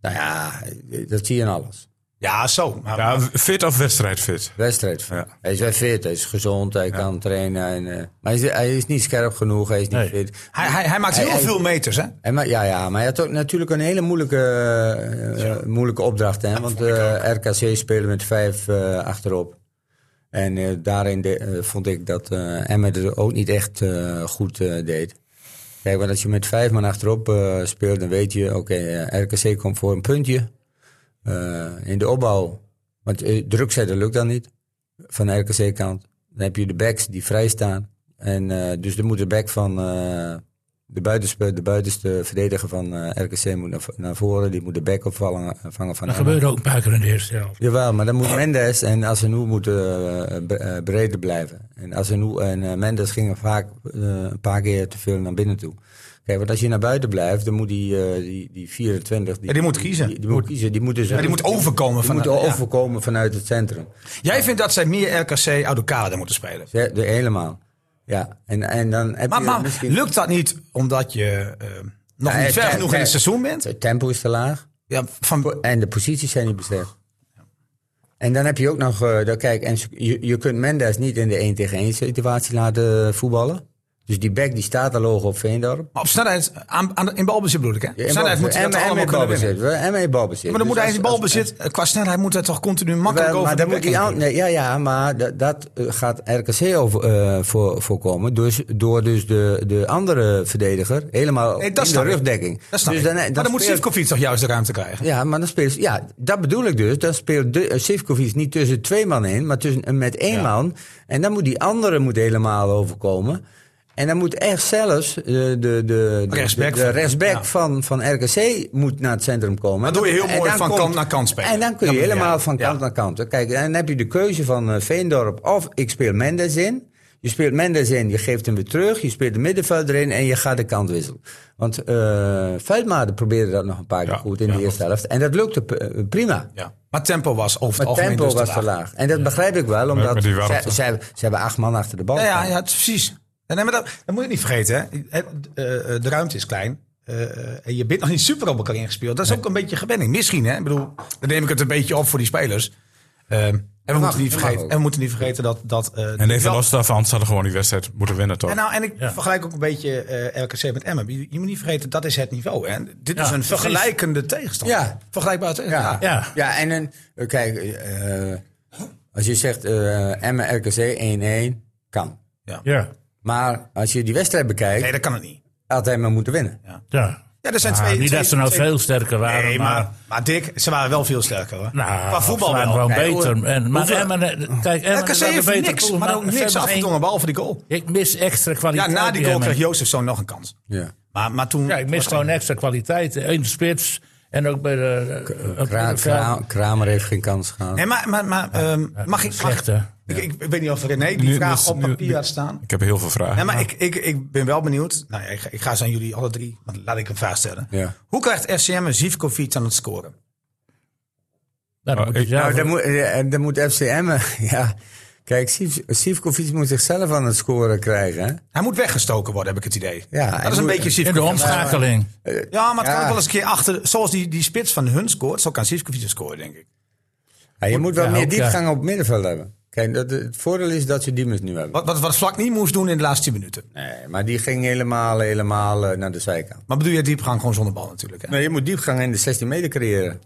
Speaker 5: Nou ja, dat zie je in alles.
Speaker 4: Ja, zo. Maar,
Speaker 1: Ja, fit of wedstrijdfit?
Speaker 5: Wedstrijd.
Speaker 1: Ja.
Speaker 5: Hij is wel fit, hij is gezond, hij kan trainen. En, eh, maar hij is, hij is niet scherp genoeg, hij is niet
Speaker 2: Nee.
Speaker 5: fit.
Speaker 4: hij, hij, hij maakt
Speaker 5: Hij-
Speaker 4: heel
Speaker 5: hij-
Speaker 4: veel meters, hè?
Speaker 5: En maar, ja, ja, maar hij had ook natuurlijk een hele moeilijke, eh, eh, moeilijke opdracht. Hè? Want eh, RKC speelde met vijf eh, achterop. En eh, daarin de- eh, vond ik dat eh Emmet het ook niet echt eh, goed eh, deed. Kijk, want als je met vijf man achterop eh, speelt, dan weet je, oké, eh, RKC komt voor een puntje. Eh, in de opbouw, want eh, druk zetten lukt dan niet van de RKC-kant. Dan heb je de backs die vrij staan. En, eh, dus dan moet de back van eh, de, buitenspe, de buitenste verdediger van eh, RKC moet naar, naar voren. Die moet de back opvangen vangen van
Speaker 2: Dat
Speaker 5: Emmen.
Speaker 2: gebeurde ook een paar keer in de eerste helft.
Speaker 5: Jawel, maar dan moet Mendes en Asenu moeten eh, bre- eh, breder blijven. En Asenu en eh, Mendes gingen vaak eh, een paar keer te veel naar binnen toe. Kijk, want als je naar buiten blijft, dan moet die, eh, die, die 24...
Speaker 4: Ja, die moet kiezen.
Speaker 5: Die, die moet kiezen. Die moet, dus,
Speaker 4: Maar die moet overkomen.
Speaker 5: die
Speaker 4: Van,
Speaker 5: moet
Speaker 4: ja.
Speaker 5: overkomen vanuit het centrum.
Speaker 4: Jij vindt dat zij meer RKC oude kader moeten spelen.
Speaker 5: Ja, de, helemaal. Ja, en, en dan heb
Speaker 4: Maar,
Speaker 5: je
Speaker 4: maar
Speaker 5: misschien...
Speaker 4: lukt dat niet omdat je eh, nog
Speaker 5: Ja,
Speaker 4: niet
Speaker 5: eh,
Speaker 4: ver
Speaker 5: eh,
Speaker 4: genoeg in het
Speaker 5: eh,
Speaker 4: seizoen bent?
Speaker 5: Het tempo is te laag.
Speaker 4: Ja, van,
Speaker 5: En de posities zijn niet bestemd. En dan heb je ook nog, eh, dat, kijk, en je, je kunt Mendes niet in de 1 tegen 1 situatie laten voetballen. Dus die back die staat al hoog op Veendorp.
Speaker 4: maar op snelheid, aan, aan, in balbezit bedoel ik, hè? Op snelheid moet je dat
Speaker 5: en,
Speaker 4: allemaal
Speaker 5: en
Speaker 4: kunnen winnen.
Speaker 5: balbezit. En mee balbezit.
Speaker 4: Maar dan moet
Speaker 5: Dus
Speaker 4: hij
Speaker 5: als-
Speaker 4: in
Speaker 5: als-
Speaker 4: balbezit, eh, qua snelheid moet hij toch continu makkelijk
Speaker 5: Wel,
Speaker 4: over
Speaker 5: maar
Speaker 4: de
Speaker 5: dan moet
Speaker 4: bek
Speaker 5: die
Speaker 4: heen
Speaker 5: aan- nee, ja, ja, maar da- dat eh, gaat RKC over, eh, voor, voorkomen. Dus, door dus de, de andere verdediger helemaal
Speaker 4: Nee, dat
Speaker 5: in de
Speaker 4: snap ik.
Speaker 5: rugdekking.
Speaker 4: Dat snap
Speaker 5: dus
Speaker 4: ik. maar dan moet
Speaker 5: speelt-
Speaker 4: Sivkovic toch juist de ruimte krijgen?
Speaker 5: Ja, maar dan speelt, ja, dat bedoel ik dus. Dan speelt de, eh, Sivkovic niet tussen twee man in, maar tussen, eh, met één man. En dan moet die andere moet helemaal overkomen. En dan moet echt zelfs eh, de, de, de,
Speaker 4: Rechtsback
Speaker 5: de, de
Speaker 4: van-
Speaker 5: rechtsback
Speaker 4: ja.
Speaker 5: van, van RKC moet naar het centrum komen.
Speaker 4: Dat doe je heel
Speaker 5: En
Speaker 4: mooi
Speaker 5: dan
Speaker 4: van
Speaker 5: komt-
Speaker 4: kant naar kant spelen.
Speaker 5: En dan kun je
Speaker 4: Dat bedoel
Speaker 5: helemaal
Speaker 4: je.
Speaker 5: van
Speaker 4: Ja.
Speaker 5: kant naar kant. Kijk, en dan heb je de keuze van eh, Veendorp of ik speel Mendes in. Je speelt Mendes in, je geeft hem weer terug. Je speelt de middenvelder in en je gaat de kant wisselen. Want eh Veldmaden probeerde dat nog een paar keer
Speaker 4: Ja,
Speaker 5: goed in
Speaker 4: ja,
Speaker 5: de eerste helft. En dat lukte p- eh, prima.
Speaker 4: Ja. Maar tempo was over het
Speaker 5: Maar
Speaker 4: algemeen
Speaker 5: tempo
Speaker 4: dus
Speaker 5: was te laag. En dat begrijp ik wel,
Speaker 1: met
Speaker 5: omdat
Speaker 1: die
Speaker 5: ze,
Speaker 1: warmte.
Speaker 5: ze, hebben- ze hebben acht man achter de
Speaker 2: Oh,
Speaker 5: bal.
Speaker 4: Ja, ja,
Speaker 5: staan.
Speaker 4: ja het- precies. Ja, Nee, maar dat, dat moet je niet vergeten. Hè. Eh, eh, eh, De ruimte is klein. Eh, eh, en je bent nog niet super op elkaar ingespeeld. Dat is ook een beetje gewenning. Misschien, hè? Ik bedoel, dan neem ik het een beetje op voor die spelers. Ehm, en, we
Speaker 5: mag,
Speaker 4: moeten niet
Speaker 5: dat mag
Speaker 4: vergeten,
Speaker 5: ook.
Speaker 4: en we moeten niet vergeten dat... dat eh,
Speaker 1: En even
Speaker 4: wel-
Speaker 1: los daarvan, ze hadden gewoon die wedstrijd moeten winnen, toch?
Speaker 4: en, nou, en ik vergelijk ook een beetje eh, RKC met Emmen. Je, je moet niet vergeten, dat is het niveau. Hè? Dit
Speaker 2: Ja,
Speaker 4: is een
Speaker 2: precies.
Speaker 4: vergelijkende tegenstander.
Speaker 5: Ja.
Speaker 4: Vergelijkbaar tegenstander.
Speaker 5: Ja,
Speaker 4: Ja.
Speaker 5: ja.
Speaker 2: Ja.
Speaker 5: en een, eh, kijk, eh, als je zegt eh Emmen RKC 1-1, kan.
Speaker 2: Ja,
Speaker 5: Maar als je die wedstrijd bekijkt,
Speaker 4: Nee, dat kan het niet.
Speaker 5: had Emmen moeten winnen.
Speaker 2: ja.
Speaker 4: Ja, er zijn
Speaker 2: Ah,
Speaker 4: twee,
Speaker 2: niet
Speaker 4: twee-
Speaker 2: dat ze nou
Speaker 4: twee-
Speaker 2: veel sterker waren,
Speaker 4: Nee,
Speaker 2: maar...
Speaker 4: maar, maar Dick, ze waren wel veel sterker. Hoor.
Speaker 2: Nou,
Speaker 4: Qua voetbal
Speaker 2: ze waren
Speaker 4: wel.
Speaker 2: gewoon
Speaker 5: Nee,
Speaker 2: beter.
Speaker 5: hoe-
Speaker 2: En, maar
Speaker 5: hoeveel-
Speaker 2: Emmen, eh, kijk, Emmen
Speaker 4: RKC
Speaker 2: is wel een
Speaker 4: heeft
Speaker 2: betere
Speaker 4: niks,
Speaker 2: ploeg,
Speaker 4: maar ook
Speaker 2: ze
Speaker 4: niks
Speaker 2: hebben geen-
Speaker 4: afgedwongen, behalve die goal.
Speaker 2: Ik mis extra
Speaker 4: Ja,
Speaker 2: kwaliteit.
Speaker 4: na die
Speaker 2: bij
Speaker 4: goal
Speaker 2: Emmen.
Speaker 4: kreeg Jozefzoon nog een kans.
Speaker 5: Ja.
Speaker 4: Maar, maar toen...
Speaker 2: Ja, ik mis gewoon extra kwaliteit. Eén spits en ook bij de... eh,
Speaker 5: Kra-
Speaker 2: op het veld.
Speaker 5: Kra- Kramer heeft geen kans gehad.
Speaker 4: Nee, maar, maar, maar ehm, mag ik... Mag,
Speaker 2: slecht, hè?
Speaker 4: ik, ik, ik weet niet of René die
Speaker 1: Nu-
Speaker 4: vraag
Speaker 1: nu-
Speaker 4: op
Speaker 1: nu-
Speaker 4: papier had staan.
Speaker 1: Ik heb heel veel vragen.
Speaker 4: Nee, maar ik, ik, ik ben wel benieuwd. Nou ja, ik, ga- ik ga ze aan jullie alle drie... want laat ik een vraag stellen.
Speaker 5: Ja.
Speaker 4: Hoe krijgt FCM een Zivkovic aan het scoren?
Speaker 2: Nou, dat
Speaker 1: Nou,
Speaker 2: moet je zelf
Speaker 5: Nou,
Speaker 2: ook.
Speaker 5: dan moet, eh, dan moet FCM, eh, ja. Kijk, Sif- Sivkovic moet zichzelf aan het scoren krijgen. Hè?
Speaker 4: Hij moet weggestoken worden, heb ik het idee.
Speaker 5: Ja,
Speaker 4: dat
Speaker 5: hij
Speaker 4: is een
Speaker 5: moet-
Speaker 4: beetje
Speaker 2: In de
Speaker 4: Sivkovic.
Speaker 2: omschakeling.
Speaker 4: Ja, maar het kan
Speaker 5: Ja.
Speaker 4: ook wel eens een keer achter. Zoals die, die spits van hun scoort, zo kan Sivkovic scoren, denk ik.
Speaker 5: Ja, je moet wel
Speaker 2: ja,
Speaker 5: meer
Speaker 2: ook, ja.
Speaker 5: diepgang op het middenveld hebben. Kijk, dat, het voordeel is dat ze Diemers nu hebben.
Speaker 4: Wat, wat, wat Vlak niet moest doen in de laatste 10 minuten.
Speaker 5: Nee, maar die ging helemaal, helemaal eh, naar de zijkant.
Speaker 4: Maar bedoel je diepgang gewoon zonder bal natuurlijk. Hè?
Speaker 5: Nee, je moet diepgang in de 16 meter creëren.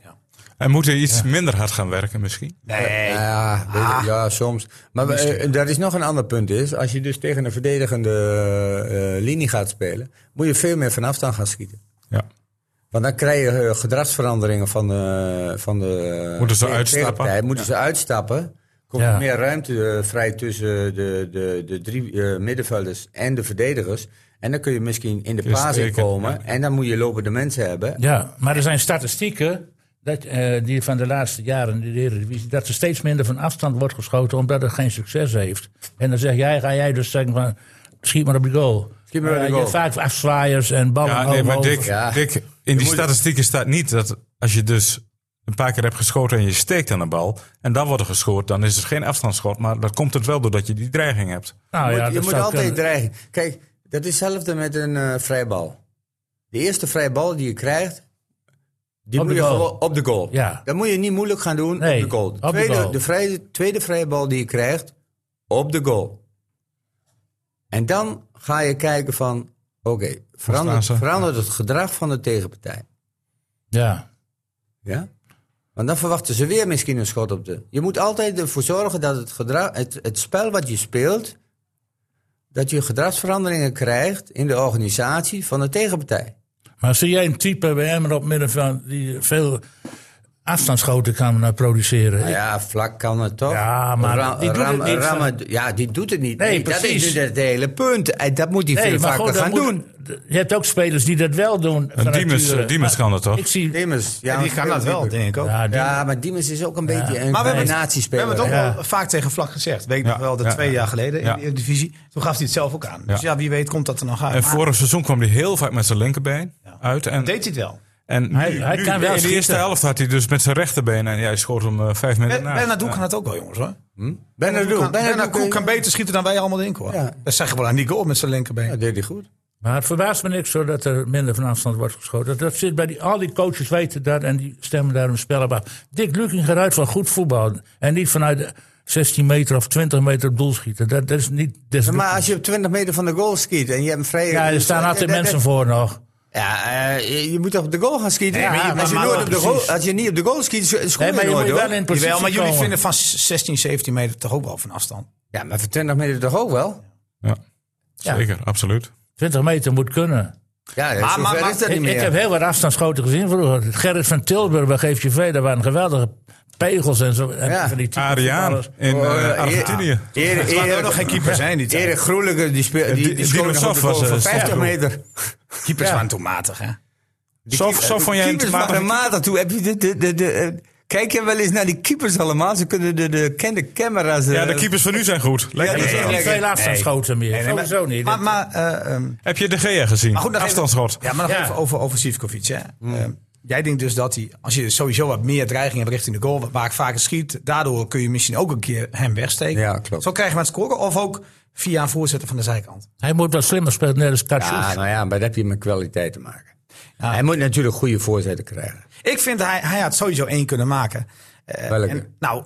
Speaker 1: En moet hij iets minder hard gaan werken misschien?
Speaker 4: Nee.
Speaker 5: Ja, weet ik, ja, soms. Maar eh, daar is nog een ander punt. Is, als je dus tegen een verdedigende eh, linie gaat spelen, moet je veel meer van afstand gaan schieten.
Speaker 1: Ja.
Speaker 5: Want dan krijg je eh, gedragsveranderingen van de, van de
Speaker 1: Moeten ze
Speaker 5: tegen-
Speaker 1: uitstappen?
Speaker 5: tegenpartij. Moeten ze uitstappen. Komt
Speaker 2: Ja.
Speaker 5: er meer ruimte eh, vrij tussen de, de, de drie eh, middenvelders en de verdedigers. En dan kun je misschien in de
Speaker 1: Dus
Speaker 5: paas
Speaker 1: zeker,
Speaker 5: komen.
Speaker 1: ja.
Speaker 5: En dan moet je lopende mensen hebben.
Speaker 2: Ja, maar er zijn statistieken dat, eh, die van de laatste jaren in de Eredivisie... dat er steeds minder van afstand wordt geschoten omdat het geen succes heeft. En dan zeg jij, ga jij dus zeggen van, schiet maar op de goal.
Speaker 5: Schiet maar op de
Speaker 2: Eh, je
Speaker 5: goal.
Speaker 2: hebt vaak afzwaaiers en ballen
Speaker 1: Ja, nee, maar
Speaker 2: over.
Speaker 1: Dick,
Speaker 5: Ja.
Speaker 1: Dick in die
Speaker 5: moet-
Speaker 1: statistieken staat niet dat als je dus een paar keer hebt geschoten en je steekt aan een bal en dan wordt er gescoord, dan is het geen afstandsschot, maar dat komt het wel doordat je die dreiging hebt.
Speaker 2: Nou
Speaker 5: je
Speaker 2: ja,
Speaker 5: moet, je
Speaker 2: dat
Speaker 5: moet
Speaker 2: zou
Speaker 5: altijd
Speaker 2: kunnen.
Speaker 5: dreigen. Kijk, dat is hetzelfde met een eh vrijbal. De eerste vrijbal die je krijgt, die
Speaker 2: Op
Speaker 5: moet
Speaker 2: de
Speaker 5: je
Speaker 2: goal.
Speaker 5: gewoon op de goal.
Speaker 2: Ja.
Speaker 5: Dat moet je niet moeilijk gaan doen
Speaker 2: Nee,
Speaker 5: op de goal.
Speaker 2: op
Speaker 5: De
Speaker 2: de
Speaker 5: tweede,
Speaker 2: goal.
Speaker 5: de vrije, tweede vrijbal die je krijgt, op de goal. En dan ga je kijken van, oké,
Speaker 1: staan
Speaker 5: verandert,
Speaker 1: ze?
Speaker 5: verandert het gedrag van de tegenpartij.
Speaker 2: Ja.
Speaker 5: Ja? Want dan verwachten ze weer misschien een schot op de. Je moet altijd ervoor zorgen dat het, gedrag, het, het spel wat je speelt. dat je gedragsveranderingen krijgt in de organisatie van de tegenpartij.
Speaker 2: Maar zie jij een type bij hem op middenveld die veel afstandsschoten kan eh, produceren?
Speaker 5: Nou ja, vlak kan het toch?
Speaker 2: Ja, maar die doet het niet
Speaker 5: Rammen- ja, die doet het niet.
Speaker 2: Nee,
Speaker 5: dat
Speaker 2: precies.
Speaker 5: is nu het hele punt. En dat moet hij veel vaker
Speaker 2: dat
Speaker 5: gaan
Speaker 2: moet-
Speaker 5: doen.
Speaker 2: Je hebt ook spelers die dat wel doen. van
Speaker 1: Diemers-
Speaker 2: nature.
Speaker 1: Diemers
Speaker 2: Maar
Speaker 1: kan dat toch?
Speaker 2: Ik zie,
Speaker 5: Diemers, ja,
Speaker 4: Ja, die gaan dat wel, denk ik ook.
Speaker 2: ja, die-
Speaker 5: Ja, maar Diemers is ook een beetje een
Speaker 4: Maar we hebben, het, we
Speaker 5: combinatiespeler.
Speaker 4: hebben het ook
Speaker 2: Ja.
Speaker 4: wel vaak tegen Vlak gezegd. Weet ik
Speaker 1: Ja,
Speaker 4: nog wel, dat
Speaker 1: ja,
Speaker 4: twee
Speaker 1: ja.
Speaker 4: jaar geleden
Speaker 1: Ja.
Speaker 4: in de divisie. Toen gaf hij het zelf ook aan. Dus
Speaker 1: Ja.
Speaker 4: ja, wie weet komt dat er nog aan.
Speaker 1: En
Speaker 4: Maar
Speaker 1: vorig seizoen kwam hij heel vaak met zijn linkerbeen uit. En,
Speaker 4: deed hij het wel.
Speaker 1: en
Speaker 2: Hij-
Speaker 1: nu-
Speaker 2: hij
Speaker 1: nu, in
Speaker 2: kan wel
Speaker 1: de eerste
Speaker 2: schieten.
Speaker 1: helft had hij dus met zijn rechterbeen en jij schoot hem eh, vijf minuten naast.
Speaker 4: Bijna Doe kan het ook wel, jongens hoor.
Speaker 5: Benadou,
Speaker 4: Kan-
Speaker 5: Benadou
Speaker 4: Bernard
Speaker 5: kun je-
Speaker 4: Koek kan beter schieten dan wij allemaal denken hoor.
Speaker 5: Ja.
Speaker 4: Dat zeggen we wel aan die goal met zijn
Speaker 5: Ja,
Speaker 4: linkerbeen.
Speaker 5: deed hij goed.
Speaker 2: Maar het verbaast me niks hoor, dat er minder van afstand wordt geschoten. Dat, dat zit bij die, al die coaches weten dat en die stemmen daar een spel op af. Dick Luking gaat uit van goed voetbal. En niet vanuit de 16 meter of 20 meter op doel schieten. Dat, dat is niet... dat is-
Speaker 5: Ja, Maar als je op 20 meter van de goal schiet en je hebt een vrije... eh,
Speaker 2: ja, er staan altijd
Speaker 5: Dat- dat-
Speaker 2: mensen voor nog.
Speaker 5: Ja, eh, je- je moet toch op de goal gaan schieten?
Speaker 2: Nee, maar je-
Speaker 5: als, je
Speaker 2: maar-
Speaker 5: nooit
Speaker 2: maar-
Speaker 5: op de goal,
Speaker 2: precies.
Speaker 5: als je niet op de goal schiet, scho- scoor
Speaker 2: Nee,
Speaker 5: je
Speaker 2: maar je
Speaker 5: nooit,
Speaker 2: moet
Speaker 5: hoor.
Speaker 2: wel in positie
Speaker 4: Jawel, maar jullie
Speaker 2: komen.
Speaker 4: vinden van 16, 17 meter toch ook wel van afstand.
Speaker 5: Ja, maar van 20 meter toch ook wel?
Speaker 1: Ja. Zeker, absoluut.
Speaker 2: 20 meter moet kunnen.
Speaker 5: Ja, maar,
Speaker 4: maar- maar-
Speaker 5: is dat
Speaker 2: Ik,
Speaker 5: niet meer.
Speaker 2: ik heb heel wat afstandsschoten gezien vroeger. Gerrit van Tilburg bij GVV, daar waren geweldige pegels en zo. En
Speaker 5: Ja.
Speaker 2: van die type
Speaker 1: Ariaan
Speaker 2: voetballers.
Speaker 1: in
Speaker 5: Oh,
Speaker 1: eh,
Speaker 5: ja,
Speaker 1: Argentinië.
Speaker 5: Eer-
Speaker 4: Het waren
Speaker 5: Erik-
Speaker 4: ook nog geen keepers zijn die tijd.
Speaker 5: Erik Groenlijke, die, speel, die,
Speaker 1: Die-
Speaker 5: die,
Speaker 1: die
Speaker 5: scoorde nog op
Speaker 1: Sof
Speaker 5: de
Speaker 1: was,
Speaker 5: goal van
Speaker 1: eh,
Speaker 5: 50
Speaker 1: Sof.
Speaker 5: meter.
Speaker 4: Keepers waren toen matig hè.
Speaker 1: Zo zo vond jij een
Speaker 5: Keepers waren
Speaker 1: tomatige-
Speaker 5: matig toe. Heb je de, de, de, de, eh, kijk je wel eens naar die keepers allemaal? Ze kunnen de, de kende camera's... eh,
Speaker 1: Ja, de keepers van nu zijn goed. Lijkt
Speaker 5: Ja,
Speaker 1: me
Speaker 5: die-
Speaker 1: zo.
Speaker 2: En
Speaker 5: Nee.
Speaker 2: niet veel afstandsschoten meer.
Speaker 4: Nee, nee, maar-
Speaker 2: Sowieso niet.
Speaker 4: Maar, maar, eh, ehm,
Speaker 1: Heb je de Gea gezien?
Speaker 4: maar goed, nog even-
Speaker 1: Afstandsschot.
Speaker 4: Ja, maar nog
Speaker 2: Ja.
Speaker 4: even over, over Sivkovic. Hè.
Speaker 5: Hmm.
Speaker 4: Ehm, jij denkt dus dat hij, als je sowieso wat meer dreiging hebt richting de goal, wat- waar ik vaker schiet, daardoor kun je misschien ook een keer hem wegsteken.
Speaker 5: Ja, klopt.
Speaker 4: Zo krijgen we het scoren. Of ook via een voorzetten van de zijkant.
Speaker 2: Hij moet wat slimmer spelen, net als Katsjoes.
Speaker 5: Ja, nou ja, maar dat heb je met kwaliteit te maken. Hij moet natuurlijk goede voorzetten krijgen.
Speaker 4: Ik vind hij, hij had sowieso één kunnen maken. Eh,
Speaker 5: Welke?
Speaker 4: en, nou,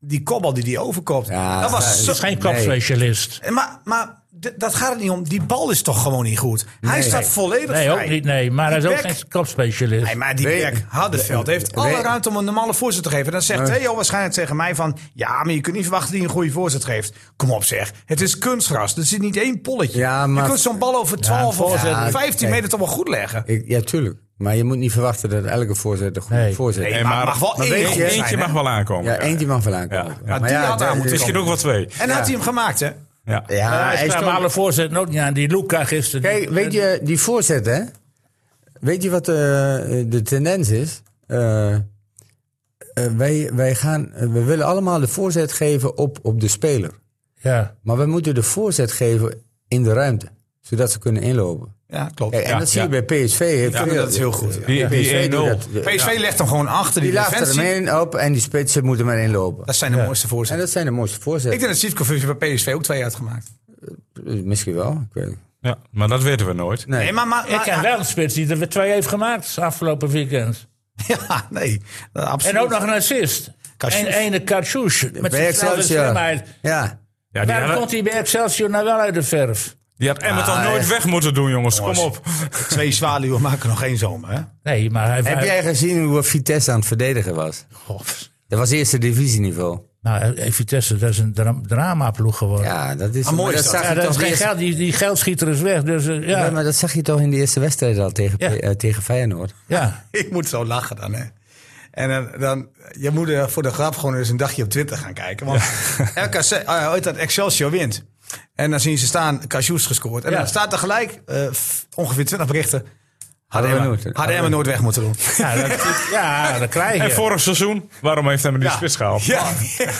Speaker 4: die kopbal die hij overkoopt.
Speaker 5: Ja,
Speaker 4: dat
Speaker 5: hij
Speaker 4: was zo,
Speaker 2: is geen kopspecialist.
Speaker 4: Maar, maar d- dat gaat het niet om. Die bal is toch gewoon niet goed. Hij staat volledig
Speaker 2: Nee,
Speaker 4: vrij.
Speaker 2: ook niet. Nee, maar hij is ook
Speaker 4: Die
Speaker 2: geen kopspecialist.
Speaker 4: Nee, maar die
Speaker 5: Weet-
Speaker 4: Dirk Hardenveld heeft
Speaker 5: Weet-
Speaker 4: alle ruimte om een normale voorzet te geven. Dan zegt Theo waarschijnlijk tegen mij van... Ja, maar je kunt niet verwachten dat hij een goede voorzet geeft. Kom op zeg, het is kunstgras. Er zit niet één polletje.
Speaker 5: Ja,
Speaker 4: Je
Speaker 5: maar-
Speaker 4: kunt zo'n bal over 12 of
Speaker 5: voorzet-
Speaker 4: 15
Speaker 5: kijk.
Speaker 4: meter toch wel goed leggen.
Speaker 5: Ik, ja, tuurlijk. Maar je moet niet verwachten dat elke voorzet een goede
Speaker 2: Nee.
Speaker 5: voorzet
Speaker 4: Nee,
Speaker 5: is.
Speaker 1: Nee,
Speaker 4: maar mag wel één
Speaker 1: weet
Speaker 4: goed
Speaker 1: je,
Speaker 4: zijn,
Speaker 1: eentje
Speaker 4: hè?
Speaker 1: mag wel aankomen.
Speaker 5: Ja, eentje mag wel aankomen.
Speaker 1: Ja, ja.
Speaker 4: Maar die had
Speaker 5: dat-
Speaker 4: aan moeten
Speaker 5: dat-
Speaker 1: Misschien ook wel twee.
Speaker 4: En had hij hem gemaakt, hè?
Speaker 1: Ja.
Speaker 5: Ja,
Speaker 2: Maar hij
Speaker 5: hij
Speaker 2: staat
Speaker 5: stond-
Speaker 2: alle voorzetten ook niet aan. Die Luca gisteren.
Speaker 5: Kijk,
Speaker 2: die-
Speaker 5: weet je, die voorzet, hè? Weet je wat eh, de tendens is? Eh, eh, wij, wij, gaan, eh, we willen allemaal de voorzet geven op, op de speler.
Speaker 2: Ja,
Speaker 5: Maar we moeten de voorzet geven in de ruimte, zodat ze kunnen inlopen.
Speaker 4: Ja, klopt.
Speaker 6: Kijk, en
Speaker 1: Ja,
Speaker 6: dat zie je
Speaker 1: ja.
Speaker 6: bij PSV. heeft
Speaker 4: Ja,
Speaker 6: veel-
Speaker 4: dat is heel goed, ja.
Speaker 1: Die- die
Speaker 6: PSV doet
Speaker 1: 1-0.
Speaker 6: dat- de-
Speaker 4: PSV legt hem gewoon achter die,
Speaker 6: Die laagt er
Speaker 4: defensie.
Speaker 6: hem in op en die spitsen moeten maar inlopen.
Speaker 4: Dat zijn de mooiste
Speaker 6: En
Speaker 4: voorzetten.
Speaker 6: dat zijn de mooiste
Speaker 4: Ik
Speaker 6: voorzetten.
Speaker 4: denk dat Sivkovic bij PSV ook twee had gemaakt.
Speaker 6: Eh, Misschien wel. Ik weet het.
Speaker 1: Ja, maar dat weten we nooit.
Speaker 6: Nee.
Speaker 4: Nee, maar... maar,
Speaker 2: Ik
Speaker 4: maar-
Speaker 2: ken wel een spits die er weer twee heeft gemaakt afgelopen weekend.
Speaker 4: Ja, nee. eh, Absoluut.
Speaker 2: En ook nog een assist.
Speaker 4: Katsjoes.
Speaker 2: En ene Katsjoes. Met
Speaker 6: bij
Speaker 2: zijn snelle
Speaker 6: Excelsior.
Speaker 2: slimheid.
Speaker 6: Ja.
Speaker 1: Ja, die,
Speaker 2: Waarom
Speaker 1: had,
Speaker 2: komt hij bij Excelsior nou wel uit de verf?
Speaker 1: die had Emmer toch
Speaker 6: Ah,
Speaker 1: nooit
Speaker 6: ja.
Speaker 1: weg moeten doen, jongens. Kom
Speaker 4: Jongens.
Speaker 1: op.
Speaker 4: Twee zwaluwen maken nog geen zomer, hè?
Speaker 2: Nee, maar hij...
Speaker 6: Heb
Speaker 2: hij-
Speaker 6: jij gezien hoe Vitesse aan het verdedigen was?
Speaker 2: God.
Speaker 6: Dat was eerste divisieniveau.
Speaker 2: Nou, eh, Vitesse, dat is een dra dramaploeg geworden.
Speaker 6: Ja, dat is...
Speaker 4: Ah, mooi
Speaker 6: maar
Speaker 4: is
Speaker 6: dat
Speaker 4: dat.
Speaker 6: zag
Speaker 2: Ja,
Speaker 6: je
Speaker 2: dat
Speaker 6: toch
Speaker 2: is
Speaker 6: de
Speaker 2: geen
Speaker 6: eerste-
Speaker 2: geld. Die, die geldschieter is weg. Dus eh,
Speaker 6: Ja,
Speaker 2: ja,
Speaker 6: maar dat zag je toch in de eerste wedstrijd al tegen,
Speaker 2: Ja.
Speaker 6: eh, tegen Feyenoord.
Speaker 2: ja.
Speaker 4: Ik moet zo lachen dan, hè. En dan, dan, je moet eh, voor de grap gewoon eens een dagje op Twitter gaan kijken. Want RKC, eh, ooit dat Excelsior wint. En dan zien ze staan, Cajous gescoord. En
Speaker 2: Ja.
Speaker 4: dan staat er gelijk eh, f- ongeveer 20 berichten. Hadden
Speaker 6: we
Speaker 4: Emma-
Speaker 6: nooit-
Speaker 4: Hadden Emma nooit weg moeten doen.
Speaker 2: Ja, dat, ja, dat krijg je.
Speaker 1: En vorig seizoen, waarom heeft hij me die spits gehaald?
Speaker 4: Ja,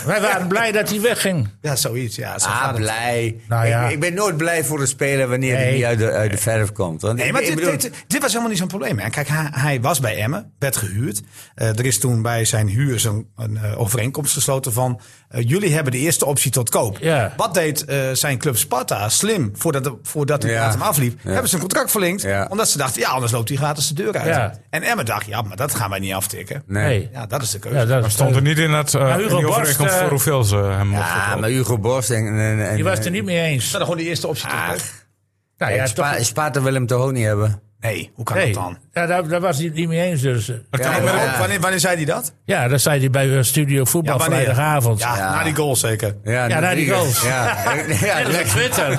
Speaker 2: Wij waren blij dat hij wegging.
Speaker 4: ja zoiets. Ja, zo gaat
Speaker 6: Ah,
Speaker 4: het.
Speaker 6: blij.
Speaker 2: Nou ja.
Speaker 6: ik, ik ben nooit blij voor een speler wanneer hij
Speaker 2: Nee.
Speaker 6: niet uit de, uit de verf komt. Want
Speaker 4: Nee,
Speaker 6: ik-
Speaker 4: maar
Speaker 6: ik
Speaker 4: dit,
Speaker 6: bedoel-
Speaker 4: dit, dit was helemaal niet zo'n probleem. Hè. Kijk, hij, hij was bij Emmen, werd gehuurd. Eh, er is toen bij zijn huur zo'n een, eh, overeenkomst gesloten van... eh, jullie hebben de eerste optie tot koop.
Speaker 2: Ja.
Speaker 4: Wat deed eh, zijn club Sparta slim voordat, de- voordat de
Speaker 6: Ja.
Speaker 4: datum afliep?
Speaker 6: Ja.
Speaker 4: Hebben ze een contract verlengd,
Speaker 6: Ja.
Speaker 4: omdat ze dachten... ja, anders loopt hij gratis de deur uit.
Speaker 2: Ja.
Speaker 4: En Emmen dacht, ja, maar dat gaan wij niet aftikken.
Speaker 6: nee.
Speaker 2: Nee.
Speaker 4: Ja, dat is de keuze.
Speaker 2: Ja, dat
Speaker 1: Maar
Speaker 2: is-
Speaker 1: stond er niet in dat eh
Speaker 2: Hugo
Speaker 1: in die
Speaker 2: Borst,
Speaker 1: overeenkomst
Speaker 2: eh,
Speaker 1: voor hoeveel ze hem mochten
Speaker 6: Ja,
Speaker 1: kopen.
Speaker 6: maar Hugo Borst en... en, en
Speaker 2: Je was er niet mee eens.
Speaker 4: Ze hadden gewoon de eerste optie tot koop.
Speaker 2: Nou, ja,
Speaker 6: Spa-
Speaker 2: toch-
Speaker 6: Sparta wil hem toch ook niet hebben?
Speaker 4: Nee, hoe kan
Speaker 2: nee,
Speaker 4: dat dan?
Speaker 2: ja, daar, daar was hij het niet mee eens. Dus. eh.
Speaker 1: kan
Speaker 4: En
Speaker 1: ook
Speaker 4: wanneer-
Speaker 1: wel.
Speaker 6: ja.
Speaker 4: Wanneer, wanneer zei hij dat?
Speaker 2: Ja, dat zei hij bij eh, Studio Voetbal
Speaker 4: Ja, wanneer?
Speaker 2: vrijdagavond.
Speaker 4: Ja,
Speaker 6: Ja.
Speaker 4: na die goal zeker.
Speaker 2: Ja, na die
Speaker 6: drie-
Speaker 2: goals.
Speaker 6: Ja, ja,
Speaker 2: En op
Speaker 6: dat-
Speaker 2: Twitter.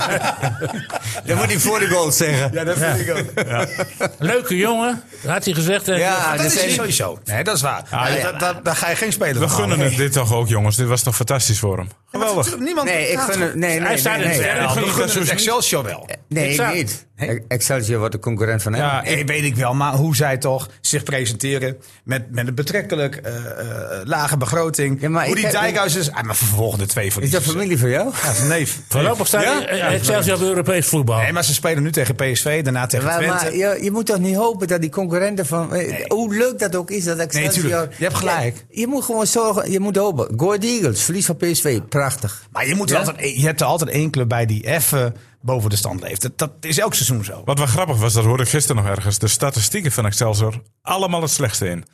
Speaker 6: dat moet hij voor de goals zeggen.
Speaker 4: Ja, dat vind ik ook.
Speaker 2: Leuke jongen, had hij gezegd. eh,
Speaker 6: Ja,
Speaker 4: Ah, dat,
Speaker 6: dat
Speaker 4: is
Speaker 6: zei
Speaker 4: niet
Speaker 6: hij.
Speaker 4: sowieso. Nee, dat is waar.
Speaker 6: ja.
Speaker 4: Nee, dat- dat- Daar ga je geen speler
Speaker 1: We
Speaker 4: van
Speaker 1: gunnen
Speaker 4: halen.
Speaker 1: het dit toch ook, jongens. Dit was toch fantastisch voor hem.
Speaker 4: Ja, maar
Speaker 1: Geweldig.
Speaker 4: natuurlijk, Niemand
Speaker 6: Nee, ik
Speaker 4: gaat
Speaker 6: gun
Speaker 4: het.
Speaker 6: hem... Nee, nee,
Speaker 2: Hij staat
Speaker 6: nee,
Speaker 2: in het
Speaker 6: nee.
Speaker 2: derde.
Speaker 4: Ja,
Speaker 1: ik gun
Speaker 4: we
Speaker 1: het
Speaker 4: gunnen het
Speaker 1: Excelsior
Speaker 4: Excelsior wel.
Speaker 6: Nee, ik
Speaker 2: Exact.
Speaker 6: niet. Excelsior wordt de concurrent van hem.
Speaker 1: Ja,
Speaker 4: Nee, weet ik wel, maar hoe zij toch zich presenteren met, met een betrekkelijk eh, eh, lage begroting.
Speaker 6: Ja, maar
Speaker 4: hoe
Speaker 6: ik
Speaker 4: die
Speaker 6: heb-
Speaker 4: Dijkhuis is. Ah, maar voor de volgende twee van
Speaker 6: Is
Speaker 4: die.
Speaker 6: dat familie voor jou?
Speaker 4: Ja, neef.
Speaker 2: Voorlopig staat
Speaker 4: Ja?
Speaker 2: hij eh, Excelsior op Europees voetbal.
Speaker 4: Nee, maar ze spelen nu tegen PSV, daarna tegen
Speaker 6: Maar,
Speaker 4: Twente.
Speaker 6: maar je, je moet toch niet hopen dat die concurrenten van... eh, Hoe leuk dat ook is, dat Excelsior...
Speaker 4: tuurlijk. Je hebt gelijk.
Speaker 6: Je, je moet gewoon zorgen, je moet hopen. Go Ahead Eagles, verlies van PSV, prachtig.
Speaker 4: Maar je, moet
Speaker 6: Ja?
Speaker 4: altijd, je hebt er altijd één club bij die even boven de stand leeft. Dat, dat is elk seizoen zo.
Speaker 1: Wat wel grappig was, dat hoorde ik gisteren nog ergens. De statistieken van Excelsior, allemaal het slechtste in.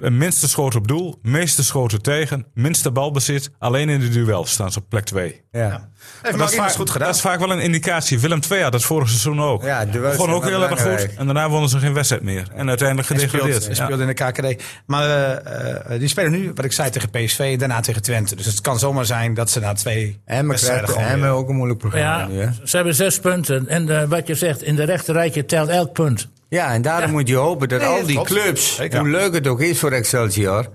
Speaker 1: Eh, Minste schoten op doel, meeste schoten tegen, minste balbezit. Alleen in de duel staan ze op plek 2.
Speaker 6: Ja,
Speaker 4: Heeft
Speaker 1: dat, is
Speaker 4: Mark Immers
Speaker 1: vaak-
Speaker 4: goed gedaan.
Speaker 1: dat is vaak wel een indicatie. Willem II had dat vorig seizoen ook.
Speaker 6: Ja, duels
Speaker 1: Begon ook
Speaker 6: zijn wel
Speaker 1: heel erg goed.
Speaker 6: belangrijk.
Speaker 1: En daarna wonnen ze geen wedstrijd meer. En uiteindelijk
Speaker 4: Speelt,
Speaker 1: gedegradeerd. Ja.
Speaker 4: speelt in de KKD. Maar eh, eh, die spelen nu, wat ik zei, tegen PSV, daarna tegen Twente. Dus het kan zomaar zijn dat ze na twee
Speaker 6: en we
Speaker 4: wedstrijden
Speaker 6: krijgen
Speaker 4: gewoon
Speaker 6: Emmen
Speaker 4: weer-
Speaker 6: ook een moeilijk programma
Speaker 2: ja,
Speaker 6: nu, hè?
Speaker 2: ze hebben zes punten. En eh, wat je zegt, in de rechterrijtje telt elk punt.
Speaker 6: Ja, en daarom moet je hopen dat
Speaker 4: Nee,
Speaker 6: al
Speaker 4: dat
Speaker 6: die
Speaker 4: klopt.
Speaker 6: clubs,
Speaker 4: Zeker.
Speaker 6: hoe leuk het ook is voor Excelsior...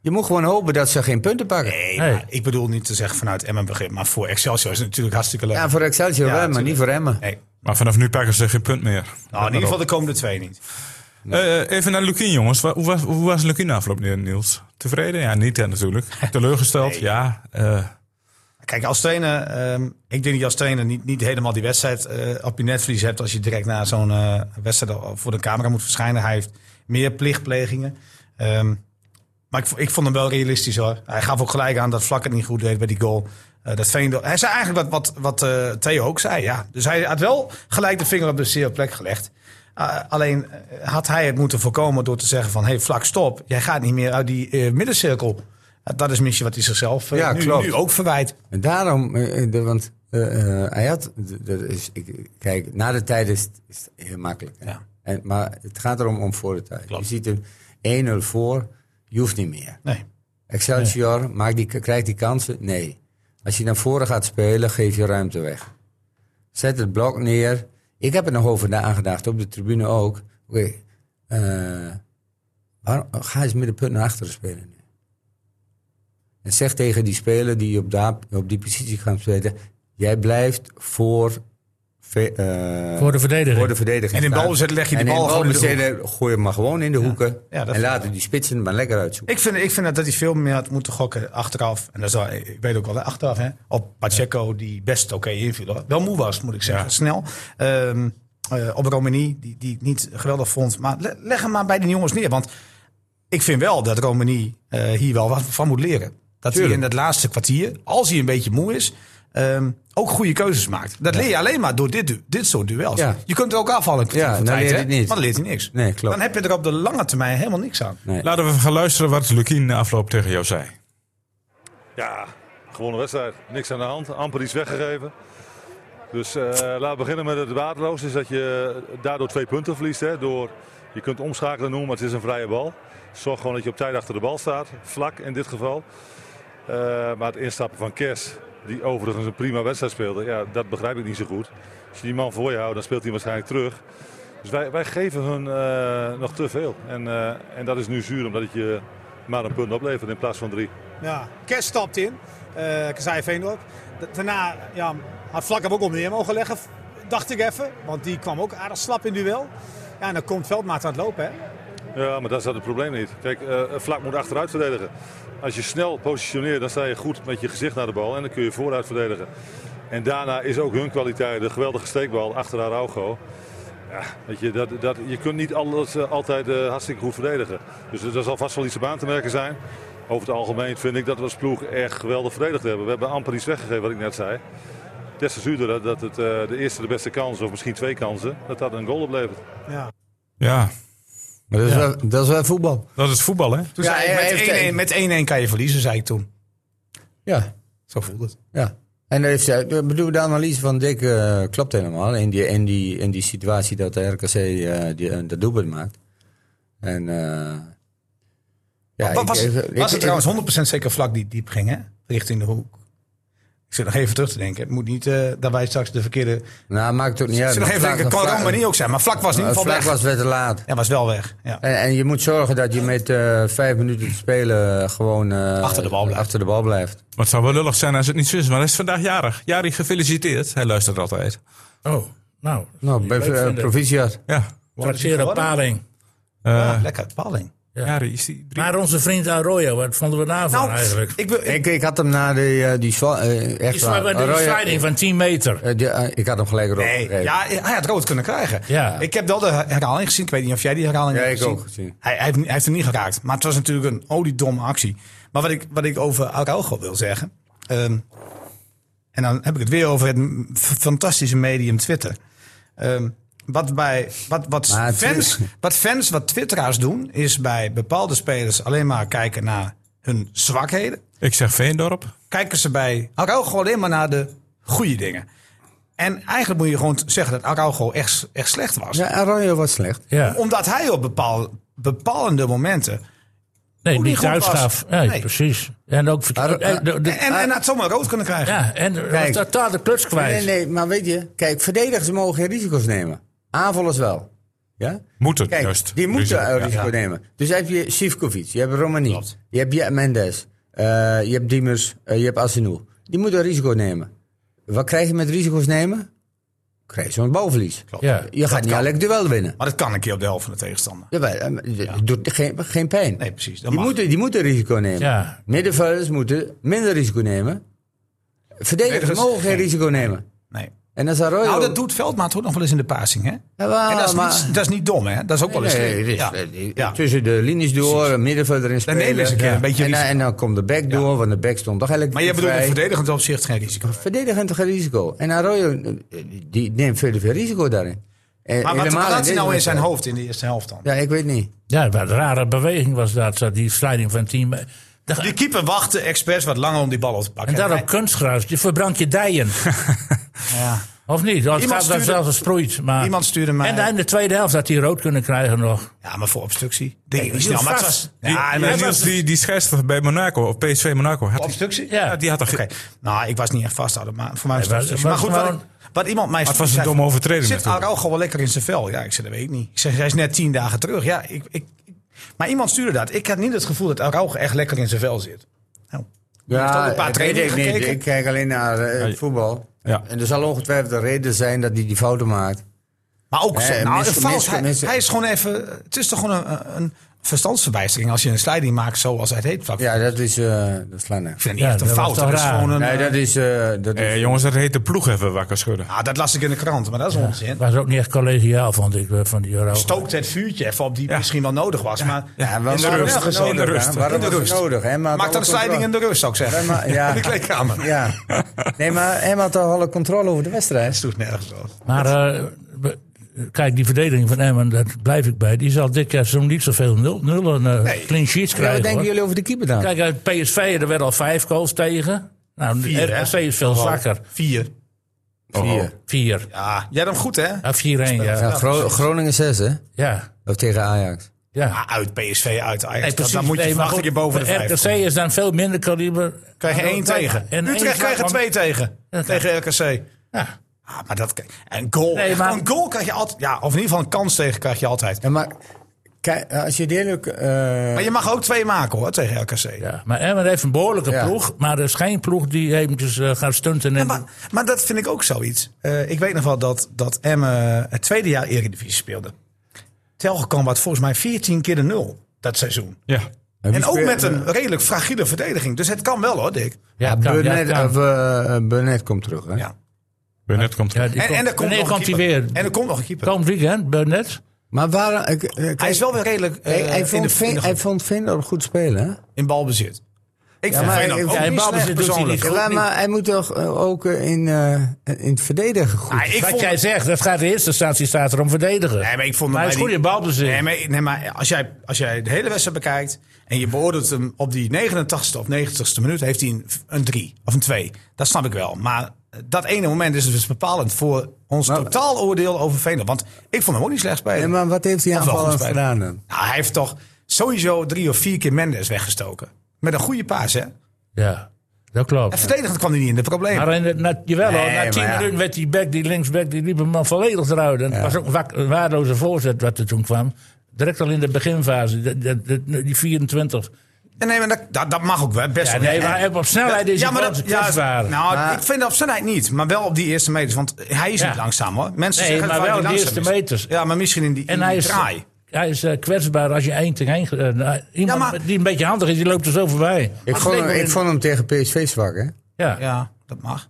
Speaker 6: Je moet gewoon hopen dat ze geen punten pakken.
Speaker 4: Nee,
Speaker 2: Nee.
Speaker 4: maar ik bedoel niet te zeggen vanuit Emmen begrip, maar voor Excelsior is het natuurlijk hartstikke leuk.
Speaker 6: Ja, voor Excelsior
Speaker 4: Ja,
Speaker 6: wel, maar
Speaker 4: tuurlijk.
Speaker 6: niet voor Emmen.
Speaker 4: Nee.
Speaker 1: Maar vanaf nu pakken ze geen punt meer.
Speaker 4: Nou, in ieder geval de komende twee niet.
Speaker 1: Eh, eh, even naar Lukien, jongens. Wa- Hoe was, hoe was Lukien de afgelopen jaar, Niels? Tevreden? Ja, niet hè, natuurlijk. Teleurgesteld? Ja. eh,
Speaker 4: Kijk, als trainer, ehm, ik denk dat je als trainer niet, niet helemaal die wedstrijd eh, op je netvlies hebt als je direct na zo'n eh, wedstrijd al voor de camera moet verschijnen. Hij heeft meer plichtplegingen. Ehm, maar ik, vo- ik vond hem wel realistisch hoor. Hij gaf ook gelijk aan dat Vlak het niet goed deed bij die goal. Eh, dat Veendorp, hij zei eigenlijk wat, wat, wat eh, Theo ook zei. Ja. Dus hij had wel gelijk de vinger op de zere plek gelegd. Ah, alleen eh, had hij het moeten voorkomen door te zeggen van... hey, Vlak, stop. Jij gaat niet meer uit die eh, middencirkel. Eh, dat is misschien wat hij zichzelf eh,
Speaker 6: Ja,
Speaker 4: nu,
Speaker 6: klopt.
Speaker 4: nu ook verwijt.
Speaker 6: En daarom, eh, eh, de- want eh, eh, hij had, d- dat is, ik, kijk, na de tijd is het, is het heel makkelijk. hè.
Speaker 4: Ja.
Speaker 6: En, maar het gaat erom om voor de tijd.
Speaker 4: Klopt.
Speaker 6: Je ziet hem 1-0 voor, je hoeft niet meer.
Speaker 4: Nee.
Speaker 6: Excelsior, maakt die, krijgt die kansen? Nee. Als je naar voren gaat spelen, geef je ruimte weg. Zet het blok neer. Ik heb er nog over nagedacht, op de tribune ook. Oké, eh, waarom- oh, ga eens middenpunt naar achteren spelen nu. En zeg tegen die speler die op, daar, op die positie gaan spelen... jij blijft voor, ve- eh,
Speaker 2: Voor de verdediging.
Speaker 6: voor de verdediging
Speaker 4: En in
Speaker 6: staan.
Speaker 4: balbezit leg je die
Speaker 6: En in
Speaker 4: bal gewoon in de
Speaker 6: balbezit eh, gooi hem maar gewoon in de hoeken.
Speaker 4: Ja, dat
Speaker 6: en
Speaker 4: vind ik
Speaker 6: laten die spitsen maar lekker uitzoeken.
Speaker 4: Ik vind, ik vind dat, dat hij veel meer had moeten gokken achteraf. En dat is wel, ik weet ook wel, hè, achteraf hè. Op Pacheco, die best oké inviel. hoor. Wel moe was, moet ik zeggen. Snel. Ehm, eh, op Romani, die, die ik niet geweldig vond. Maar le- leg hem maar bij de jongens neer. Want ik vind wel dat Romani eh, hier wel wat van moet leren. Dat hij in dat laatste kwartier, als hij een beetje moe is, ehm, ook goede keuzes maakt. Dat leer je alleen maar door dit, du- dit soort duels.
Speaker 6: Ja.
Speaker 4: Je kunt er ook afvallen.
Speaker 6: Ja, nou, dan leert hij het niet.
Speaker 4: Maar dan leert hij niks.
Speaker 6: Nee, klopt.
Speaker 4: Dan heb je er op de lange termijn helemaal niks aan.
Speaker 6: Nee.
Speaker 1: Laten we even gaan luisteren wat Lukien na afloop tegen jou zei.
Speaker 7: Ja, gewonnen wedstrijd. Niks aan de hand. Amper iets weggegeven. Dus eh, laten we beginnen met het waardeloos. Is dat je daardoor twee punten verliest. Hè? Door, je kunt omschakelen noemen, maar het is een vrije bal. Zorg gewoon dat je op tijd achter de bal staat. Vlak in dit geval. Eh, maar het instappen van Kers, die overigens een prima wedstrijd speelde. Ja, dat begrijp ik niet zo goed. Als je die man voor je houdt, dan speelt hij waarschijnlijk terug. Dus wij, wij geven hun eh, nog te veel. En, eh, en dat is nu zuur, omdat het je maar een punt oplevert in plaats van drie.
Speaker 8: Ja, Kerst stapt in. eh Kazai Veendorp. Da- Daarna ja, had Vlak hem ook op neer mogen leggen, v- dacht ik even. Want die kwam ook aardig slap in duel. Ja, en dan komt Veldmaat aan het lopen, hè?
Speaker 7: Ja, maar dat is dat het probleem niet. Kijk, eh, Vlak moet achteruit verdedigen. Als je snel positioneert, dan sta je goed met je gezicht naar de bal. En dan kun je vooruit verdedigen. En daarna is ook hun kwaliteit de geweldige steekbal achter Araujo. Ja, weet je, dat, dat, je kunt niet alles, eh, altijd eh, hartstikke goed verdedigen. Dus er zal vast wel iets op aan te merken zijn. Over het algemeen vind ik dat we als ploeg echt geweldig verdedigd hebben. We hebben amper iets weggegeven, wat ik net zei. Des te zuurder dat- dat het eh, de eerste de beste kans, of misschien twee kansen, dat dat een goal oplevert.
Speaker 8: Ja.
Speaker 1: Ja,
Speaker 6: Maar dat, is wel, dat is wel voetbal.
Speaker 1: dat is voetbal hè?
Speaker 4: Toen
Speaker 6: Ja,
Speaker 4: zei
Speaker 6: hij heeft-
Speaker 4: ik, met 1-1 met 1-1 kan je verliezen, zei ik toen.
Speaker 6: Ja.
Speaker 4: Zo voelde het.
Speaker 6: Ja. En dat heeft, zij- ik bedoel, de analyse van Dick eh, klopt helemaal. In die, in, die, in die situatie dat de RKC eh die, eh, dat doelpunt maakt. En, eh, ja,
Speaker 4: Wa- was,
Speaker 6: ik-
Speaker 4: was
Speaker 6: ik-
Speaker 4: het
Speaker 6: ik-
Speaker 4: trouwens 100% zeker vlak die diep ging, hè? Richting de hoek. Ik zit nog even terug te denken. Het moet niet eh, dat wij straks de verkeerde... Ik
Speaker 6: Nou, maakt het ook niet uit.
Speaker 4: zit nog even te
Speaker 6: Vlak-
Speaker 4: denken, kan
Speaker 6: vlak-
Speaker 4: Romani ook zijn. Maar vlak was in ieder geval
Speaker 6: Vlak
Speaker 4: weg.
Speaker 6: was weer te laat.
Speaker 4: Ja, was wel weg. Ja.
Speaker 6: En, en je moet zorgen dat je met eh, vijf minuten te spelen gewoon eh,
Speaker 4: Achter de bal blijft.
Speaker 6: achter de bal blijft.
Speaker 1: Maar het zou wel lullig zijn als het niet zo is. Maar hij is vandaag jarig. Jari, gefeliciteerd. Hij luistert altijd.
Speaker 2: Oh, nou.
Speaker 6: Nou, bij, eh, proficiat.
Speaker 1: Ja.
Speaker 2: Traceren op paling.
Speaker 1: Eh,
Speaker 4: Ja, lekker, paling.
Speaker 1: Jari, is die drie?
Speaker 2: Maar onze vriend Arroyo, wat vonden we daarvan
Speaker 4: Nou,
Speaker 2: eigenlijk?
Speaker 4: ik, wil- ik,
Speaker 6: Ik, ik had hem na de, eh, die zwa- eh, echt
Speaker 2: Die is maar
Speaker 6: waar.
Speaker 2: bij de
Speaker 6: Arroyo-
Speaker 2: strijding van 10 meter.
Speaker 6: eh, die- eh, ik had hem gelijk erop
Speaker 4: nee,
Speaker 6: gegeven.
Speaker 4: ja, hij had rood kunnen krijgen.
Speaker 2: Ja.
Speaker 4: Ik heb wel de herhaling gezien. Ik weet niet of jij die herhaling
Speaker 6: Ja,
Speaker 4: hebt
Speaker 6: ik
Speaker 4: gezien.
Speaker 6: ook gezien.
Speaker 4: Hij, hij, heeft, hij heeft hem niet geraakt. Maar het was natuurlijk een oliedomme actie. Maar wat ik, wat ik over Araujo wil zeggen... ehm, en dan heb ik het weer over het m- f- fantastische medium Twitter. Ehm, wat, bij, wat, wat,
Speaker 6: Maar
Speaker 4: fans,
Speaker 6: Twitter-
Speaker 4: wat fans, wat twitteraars doen... is bij bepaalde spelers alleen maar kijken naar hun zwakheden
Speaker 1: Ik zeg Veendorp.
Speaker 4: kijken ze bij Araujo alleen maar naar de goede dingen. En eigenlijk moet je gewoon t- zeggen dat Araujo echt, echt slecht was.
Speaker 6: Ja, Arroyo was slecht.
Speaker 2: Ja.
Speaker 4: Omdat hij op bepaal, bepalende momenten...
Speaker 2: Nee,
Speaker 4: Hoe die
Speaker 2: niet
Speaker 4: goed
Speaker 2: uitgaf.
Speaker 4: was.
Speaker 2: Nee,
Speaker 4: Nee.
Speaker 2: precies. En ook verkeerd.
Speaker 6: Arro-
Speaker 2: eh, de- de-
Speaker 4: En, en had zomaar rood kunnen krijgen.
Speaker 2: Ja, en er was
Speaker 6: Kijk.
Speaker 2: totaal de kluts kwijt.
Speaker 6: Nee, nee, maar weet je, kijk, verdedigers mogen geen risico's nemen. Aanvallers wel. Ja?
Speaker 1: Moeten
Speaker 6: Kijk,
Speaker 1: juist.
Speaker 6: die moeten
Speaker 1: Risico.
Speaker 6: eh, risico nemen. Dus heb je Sivkovic, je hebt Romani, je hebt Je- Mendes, eh, je hebt Diemers, eh, je hebt Asinou. Die moeten risico nemen. Wat krijg je met risico's nemen? Krijg je zo'n balverlies.
Speaker 2: Ja.
Speaker 6: Je gaat niet elk duel winnen.
Speaker 4: Maar dat kan een keer op de helft van de tegenstander.
Speaker 6: Jawel, eh, maar het doet geen, geen pijn.
Speaker 4: Nee, precies. Dat
Speaker 6: die,
Speaker 4: mag.
Speaker 6: moeten, die moeten risico nemen.
Speaker 2: Ja.
Speaker 6: Middenvelders moeten minder risico nemen. Verdedigers
Speaker 4: Verdedigers-
Speaker 6: mogen geen
Speaker 4: geen-
Speaker 6: risico nemen.
Speaker 4: Nee.
Speaker 6: En als Arroyo...
Speaker 4: Nou, dat doet Veldmaat ook nog wel eens in de passing, hè?
Speaker 6: Ja, maar-
Speaker 4: en dat is,
Speaker 6: maar-
Speaker 4: niet, dat is niet dom, hè? Dat is ook wel eens
Speaker 6: Nee,
Speaker 4: slim.
Speaker 6: nee,
Speaker 4: ja.
Speaker 6: het is, eh,
Speaker 4: Ja.
Speaker 6: Tussen de linies door, een middenvelder in spelen.
Speaker 4: nemen ze een keer een beetje
Speaker 6: en, dan-
Speaker 4: risico.
Speaker 6: en dan komt de back door, want de back stond toch eigenlijk
Speaker 4: Maar je bedoelt in
Speaker 6: vrij.
Speaker 4: verdedigend opzicht geen risico.
Speaker 6: Verdedigend toch geen risico. En Arroyo, eh, die neemt veel te veel risico daarin. En
Speaker 4: Maar wat
Speaker 6: helemaal
Speaker 4: had hij
Speaker 6: deze
Speaker 4: nou in
Speaker 6: wedstrijd.
Speaker 4: zijn hoofd in de eerste helft dan?
Speaker 6: Ja, ik weet niet.
Speaker 2: Ja, wat een rare beweging was dat, zo, die slijding van 10 meter. Da-
Speaker 4: Die keeper wachtte expres wat langer om die bal op te
Speaker 2: en
Speaker 4: pakken.
Speaker 2: daarop kunstgras, je verbrandt je dijen.
Speaker 4: Ja.
Speaker 2: Of niet? Als het
Speaker 4: Iemand
Speaker 2: gaat dat
Speaker 4: stuurde-
Speaker 2: zelfs gesproeid. Maar...
Speaker 4: Iemand stuurde mij-
Speaker 2: En dan in de tweede helft had hij rood kunnen krijgen nog.
Speaker 4: ja, maar voor obstructie. Denk ik
Speaker 2: die
Speaker 4: niet snel.
Speaker 2: hield
Speaker 4: Maar het
Speaker 2: vast.
Speaker 4: was...
Speaker 1: Die,
Speaker 4: Ja, en
Speaker 1: die,
Speaker 4: dat-
Speaker 1: Niels, die, die scheidsrechter bij Monaco, of PSV Monaco, had die,
Speaker 4: Obstructie?
Speaker 2: Ja.
Speaker 1: ja, die had toch
Speaker 4: Oké, nou, ik was niet echt vasthouden, maar voor mij was het
Speaker 2: Nee,
Speaker 4: obstructie.
Speaker 2: maar-
Speaker 4: Maar
Speaker 2: maar
Speaker 4: goed, wat,
Speaker 2: gewoon-
Speaker 4: ik- wat iemand mij
Speaker 1: het was een
Speaker 4: zei,
Speaker 1: domme overtreding
Speaker 4: Zit
Speaker 1: natuurlijk.
Speaker 4: Araujo wel lekker in zijn vel? Ja, ik zei, dat weet ik niet. Ik zeg, hij is net tien dagen terug. Ja, ik, ik, ik- maar iemand stuurde dat. Ik had niet het gevoel dat Araujo echt lekker in zijn vel zit. Nou, heeft ook een paar
Speaker 6: dat weet
Speaker 4: trainingen
Speaker 6: ik niet.
Speaker 4: gekeken.
Speaker 6: Ik kijk alleen naar eh, het voetbal.
Speaker 1: Ja.
Speaker 6: En er zal ongetwijfeld een reden zijn dat hij die fouten maakt.
Speaker 4: maar ook
Speaker 6: Eh,
Speaker 4: zo, nou,
Speaker 6: mis-
Speaker 4: een fout.
Speaker 6: mis-
Speaker 4: hij,
Speaker 6: mis-
Speaker 4: hij is gewoon even... Het is toch gewoon een, een, verstandsverbijstering als je een sliding maakt zoals het heet. Vlak.
Speaker 6: Ja, dat is... eh dat is lang, hè.
Speaker 4: Ik vind het
Speaker 2: Ja,
Speaker 4: niet echt een
Speaker 2: dat was
Speaker 4: fout.
Speaker 2: toch
Speaker 4: Dat, is
Speaker 2: raar?
Speaker 4: gewoon een,
Speaker 6: Nee,
Speaker 4: eh,
Speaker 6: dat is... eh, dat is
Speaker 1: Eh, jongens, dat heet de ploeg even wakker schudden.
Speaker 4: ah, dat las ik in de krant, maar dat is onzin.
Speaker 2: Was ook niet echt collegiaal, vond ik, eh, van die Euro.
Speaker 4: Stookt het vuurtje even op die misschien wel nodig was. Maar
Speaker 6: ja, waarom
Speaker 4: in de
Speaker 6: was het
Speaker 4: rust.
Speaker 6: nodig,
Speaker 4: In de
Speaker 6: hè?
Speaker 1: rust.
Speaker 6: Waarom
Speaker 4: In de
Speaker 6: was het
Speaker 4: rust.
Speaker 6: nodig? hè? Maar
Speaker 4: Maak dan
Speaker 6: alle
Speaker 4: een sliding in
Speaker 6: controle-
Speaker 4: de rust, zou ik zeggen.
Speaker 6: Wij ma- ja.
Speaker 4: In de kleedkamer.
Speaker 6: Ja. Nee, maar Emma had toch alle controle over de wedstrijd.
Speaker 4: Dat doet nergens op.
Speaker 2: Maar eh, we- kijk, die verdediging van Emmen, daar blijf ik bij. Die zal dit jaar zo'n niet zoveel nul, nullen eh, clean sheets
Speaker 6: Ja, wat
Speaker 2: krijgen.
Speaker 6: denken
Speaker 2: hoor.
Speaker 6: jullie over de keeper dan?
Speaker 2: Kijk, uit PSV, er werden al vijf goals tegen. Nou,
Speaker 4: Vier,
Speaker 2: de
Speaker 4: hè?
Speaker 2: RFC is veel zwakker. Oh,
Speaker 4: Vier.
Speaker 6: Vier.
Speaker 2: Vier.
Speaker 4: Ja, jij hebt hem goed, hè?
Speaker 2: Ja, 4-1, ja.
Speaker 6: Ja, Gro- Groningen 6, hè?
Speaker 2: Ja,
Speaker 6: Of tegen Ajax.
Speaker 2: ja.
Speaker 4: Maar uit PSV, uit Ajax.
Speaker 2: Nee,
Speaker 4: Ah, dat-
Speaker 2: precies.
Speaker 4: dan moet je
Speaker 2: Nee, maar
Speaker 4: verwachten
Speaker 2: goed,
Speaker 4: dat je boven de vijf
Speaker 2: RKC
Speaker 4: komt.
Speaker 2: is dan veel minder kaliber.
Speaker 4: Krijg je
Speaker 2: dan
Speaker 4: één
Speaker 2: wij.
Speaker 4: tegen.
Speaker 2: En één
Speaker 4: Utrecht krijg je
Speaker 2: van-
Speaker 4: twee tegen.
Speaker 2: Ja,
Speaker 4: Tegen RKC.
Speaker 2: Ja.
Speaker 4: Ah, maar dat, een goal.
Speaker 2: Nee, maar-
Speaker 4: Een goal krijg je altijd. Ja, of in ieder geval een kans tegen krijg je altijd.
Speaker 6: Ja, maar kijk, als je het eerlijk... eh,
Speaker 4: Maar je mag ook twee maken hoor, tegen RKC.
Speaker 2: Ja, maar Emmen heeft een behoorlijke
Speaker 6: Ja.
Speaker 2: ploeg. Maar er is geen ploeg die eventjes eh, gaat stunten. En
Speaker 4: Ja, maar, maar dat vind ik ook zoiets. Eh, ik weet nog wel dat, dat Emmen eh, het tweede jaar Eredivisie speelde. Telgekamp had volgens mij 14 keer de nul dat seizoen.
Speaker 1: Ja.
Speaker 6: wie
Speaker 4: en ook
Speaker 6: speelt-
Speaker 4: met een redelijk fragiele verdediging. Dus het kan wel hoor, Dick.
Speaker 6: Ja,
Speaker 2: het kan,
Speaker 6: Burnett,
Speaker 2: het kan.
Speaker 6: of, eh, eh, Burnett komt terug, hè?
Speaker 4: Ja.
Speaker 1: Burnett komt
Speaker 2: Ja, die
Speaker 4: En, en er komt
Speaker 2: wanneer
Speaker 4: nog
Speaker 2: komt
Speaker 4: een
Speaker 2: hij
Speaker 4: keeper.
Speaker 2: weer?
Speaker 4: En er komt nog een keeper.
Speaker 2: Komend weekend, Burnett.
Speaker 6: Maar waar... eh, eh, kijk,
Speaker 4: Hij is wel weer redelijk eh,
Speaker 6: hij, hij,
Speaker 4: in,
Speaker 6: vond
Speaker 4: de, in, de
Speaker 6: Veen- hij
Speaker 4: groep,
Speaker 6: vond Vindorp goed spelen, hè?
Speaker 4: in balbezit. Ik vind
Speaker 6: maar-
Speaker 4: Feyenoord
Speaker 6: ik-
Speaker 4: ook
Speaker 6: ja, in
Speaker 4: niet
Speaker 2: balbezit
Speaker 4: slecht
Speaker 2: doet hij niet
Speaker 4: persoonlijk.
Speaker 2: goed.
Speaker 6: Ja, maar hij moet toch eh, ook eh, in, eh, in het verdedigen goed.
Speaker 4: Maar ik
Speaker 2: Wat
Speaker 4: vond
Speaker 2: jij zegt, dat gaat in eerste instantie staat er om verdedigen.
Speaker 4: Nee, maar ik vond
Speaker 2: hij
Speaker 4: hem
Speaker 2: is
Speaker 4: bij
Speaker 2: goed
Speaker 4: die-
Speaker 2: in balbezit.
Speaker 4: Nee, maar, nee, maar als, jij, als jij de hele wedstrijd bekijkt en je beoordeelt hem op die 89ste of 90ste minuut, heeft hij een- een 3 of een 2. Dat snap ik wel. Maar dat ene moment is dus bepalend voor ons totaal oordeel over Veenland. Want ik vond hem ook niet slecht spelen.
Speaker 6: Ja, maar wat heeft die
Speaker 4: Of wel
Speaker 6: aanvaller
Speaker 4: goed spelen.
Speaker 6: gedaan dan?
Speaker 4: Nou, hij heeft toch sowieso drie of vier keer Mendes weggestoken. Met een goede paas, hè? En
Speaker 2: Ja, dat klopt.
Speaker 4: verdedigend kwam hij niet in de problemen.
Speaker 2: Maar in de, na, jawel, hoor,
Speaker 6: Nee,
Speaker 2: na tien
Speaker 6: maar ja.
Speaker 2: minuten werd die back, die linksback, die liep hem man volledig eruit. En Het was ook een, wak- een waardeloze voorzet wat er toen kwam. Direct al in de beginfase, de- de- de- die 24.
Speaker 4: En nee, maar dat, dat, dat mag ook wel, best
Speaker 2: Ja,
Speaker 4: wel.
Speaker 2: nee,
Speaker 4: En-
Speaker 2: maar op snelheid is hij wel kwetsbaar.
Speaker 4: Nou,
Speaker 6: Maar-
Speaker 4: ik vind dat op snelheid niet. Maar wel op die eerste meters. Want hij is
Speaker 2: Ja.
Speaker 4: niet langzaam hoor. Mensen
Speaker 2: Nee,
Speaker 4: zeggen
Speaker 2: maar
Speaker 4: vaak
Speaker 2: wel
Speaker 4: dat hij
Speaker 2: op de
Speaker 4: langzaam
Speaker 2: eerste
Speaker 4: is.
Speaker 2: meters.
Speaker 4: Ja, maar misschien in die, in
Speaker 2: En hij
Speaker 4: die
Speaker 2: is,
Speaker 4: draai.
Speaker 2: hij is eh, kwetsbaar als je één tegen één... ge- eh, nou, iemand
Speaker 4: Ja, maar-
Speaker 2: die een beetje handig is, die loopt er zo voorbij.
Speaker 6: Ik vond, hem, ik vond hem tegen PSV zwak, hè?
Speaker 2: Ja,
Speaker 4: Ja, dat mag.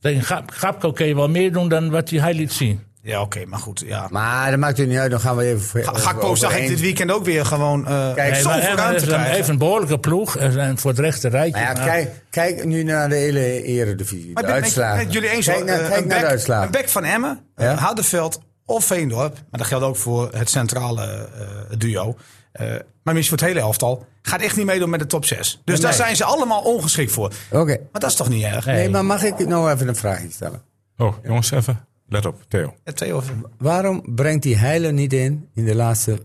Speaker 2: tegen Gap- Gapko kun je wel meer doen dan wat hij liet zien.
Speaker 4: Ja, oké, maar goed. Ja.
Speaker 6: Maar dat maakt het niet uit, dan gaan we Nou, even... voor-
Speaker 4: Ga-
Speaker 6: over-
Speaker 4: Gakpo
Speaker 6: over
Speaker 4: zag ik
Speaker 6: één-
Speaker 4: dit weekend ook weer gewoon eh
Speaker 6: Kijk,
Speaker 4: Kijk,
Speaker 2: Nee,
Speaker 4: zoveel
Speaker 2: maar Emmen
Speaker 4: ruimte
Speaker 2: heeft een,
Speaker 4: krijgen.
Speaker 2: heeft een behoorlijke ploeg en en voor het rechte rijtje.
Speaker 6: Maar
Speaker 4: Nou
Speaker 6: ja,
Speaker 2: maar-
Speaker 6: kijk, kijk nu naar de hele eredivisie.
Speaker 4: Maar
Speaker 6: de
Speaker 4: ik ben-
Speaker 6: uitslagen.
Speaker 4: Ik ben jullie eens
Speaker 6: kijk
Speaker 4: hoor.
Speaker 6: naar,
Speaker 4: Eh,
Speaker 6: kijk
Speaker 4: een
Speaker 6: naar de
Speaker 4: back-
Speaker 6: uitslagen.
Speaker 4: Een back van Emmen,
Speaker 6: Ja.
Speaker 4: eh, Houdenveld of Veendorp. Maar dat geldt ook voor het centrale eh, duo. Eh, maar misschien voor het hele elftal. Gaat echt niet meedoen met de top 6. Dus daar
Speaker 6: nee.
Speaker 4: zijn ze allemaal ongeschikt voor.
Speaker 6: Oké.
Speaker 4: Maar dat is toch niet erg?
Speaker 6: Nee, maar mag ik nou even een vraagje stellen?
Speaker 1: Oh, jongens, even. Let op, Theo.
Speaker 4: Ja, Theo, of-
Speaker 6: Waarom brengt die Heiler niet in in de laatste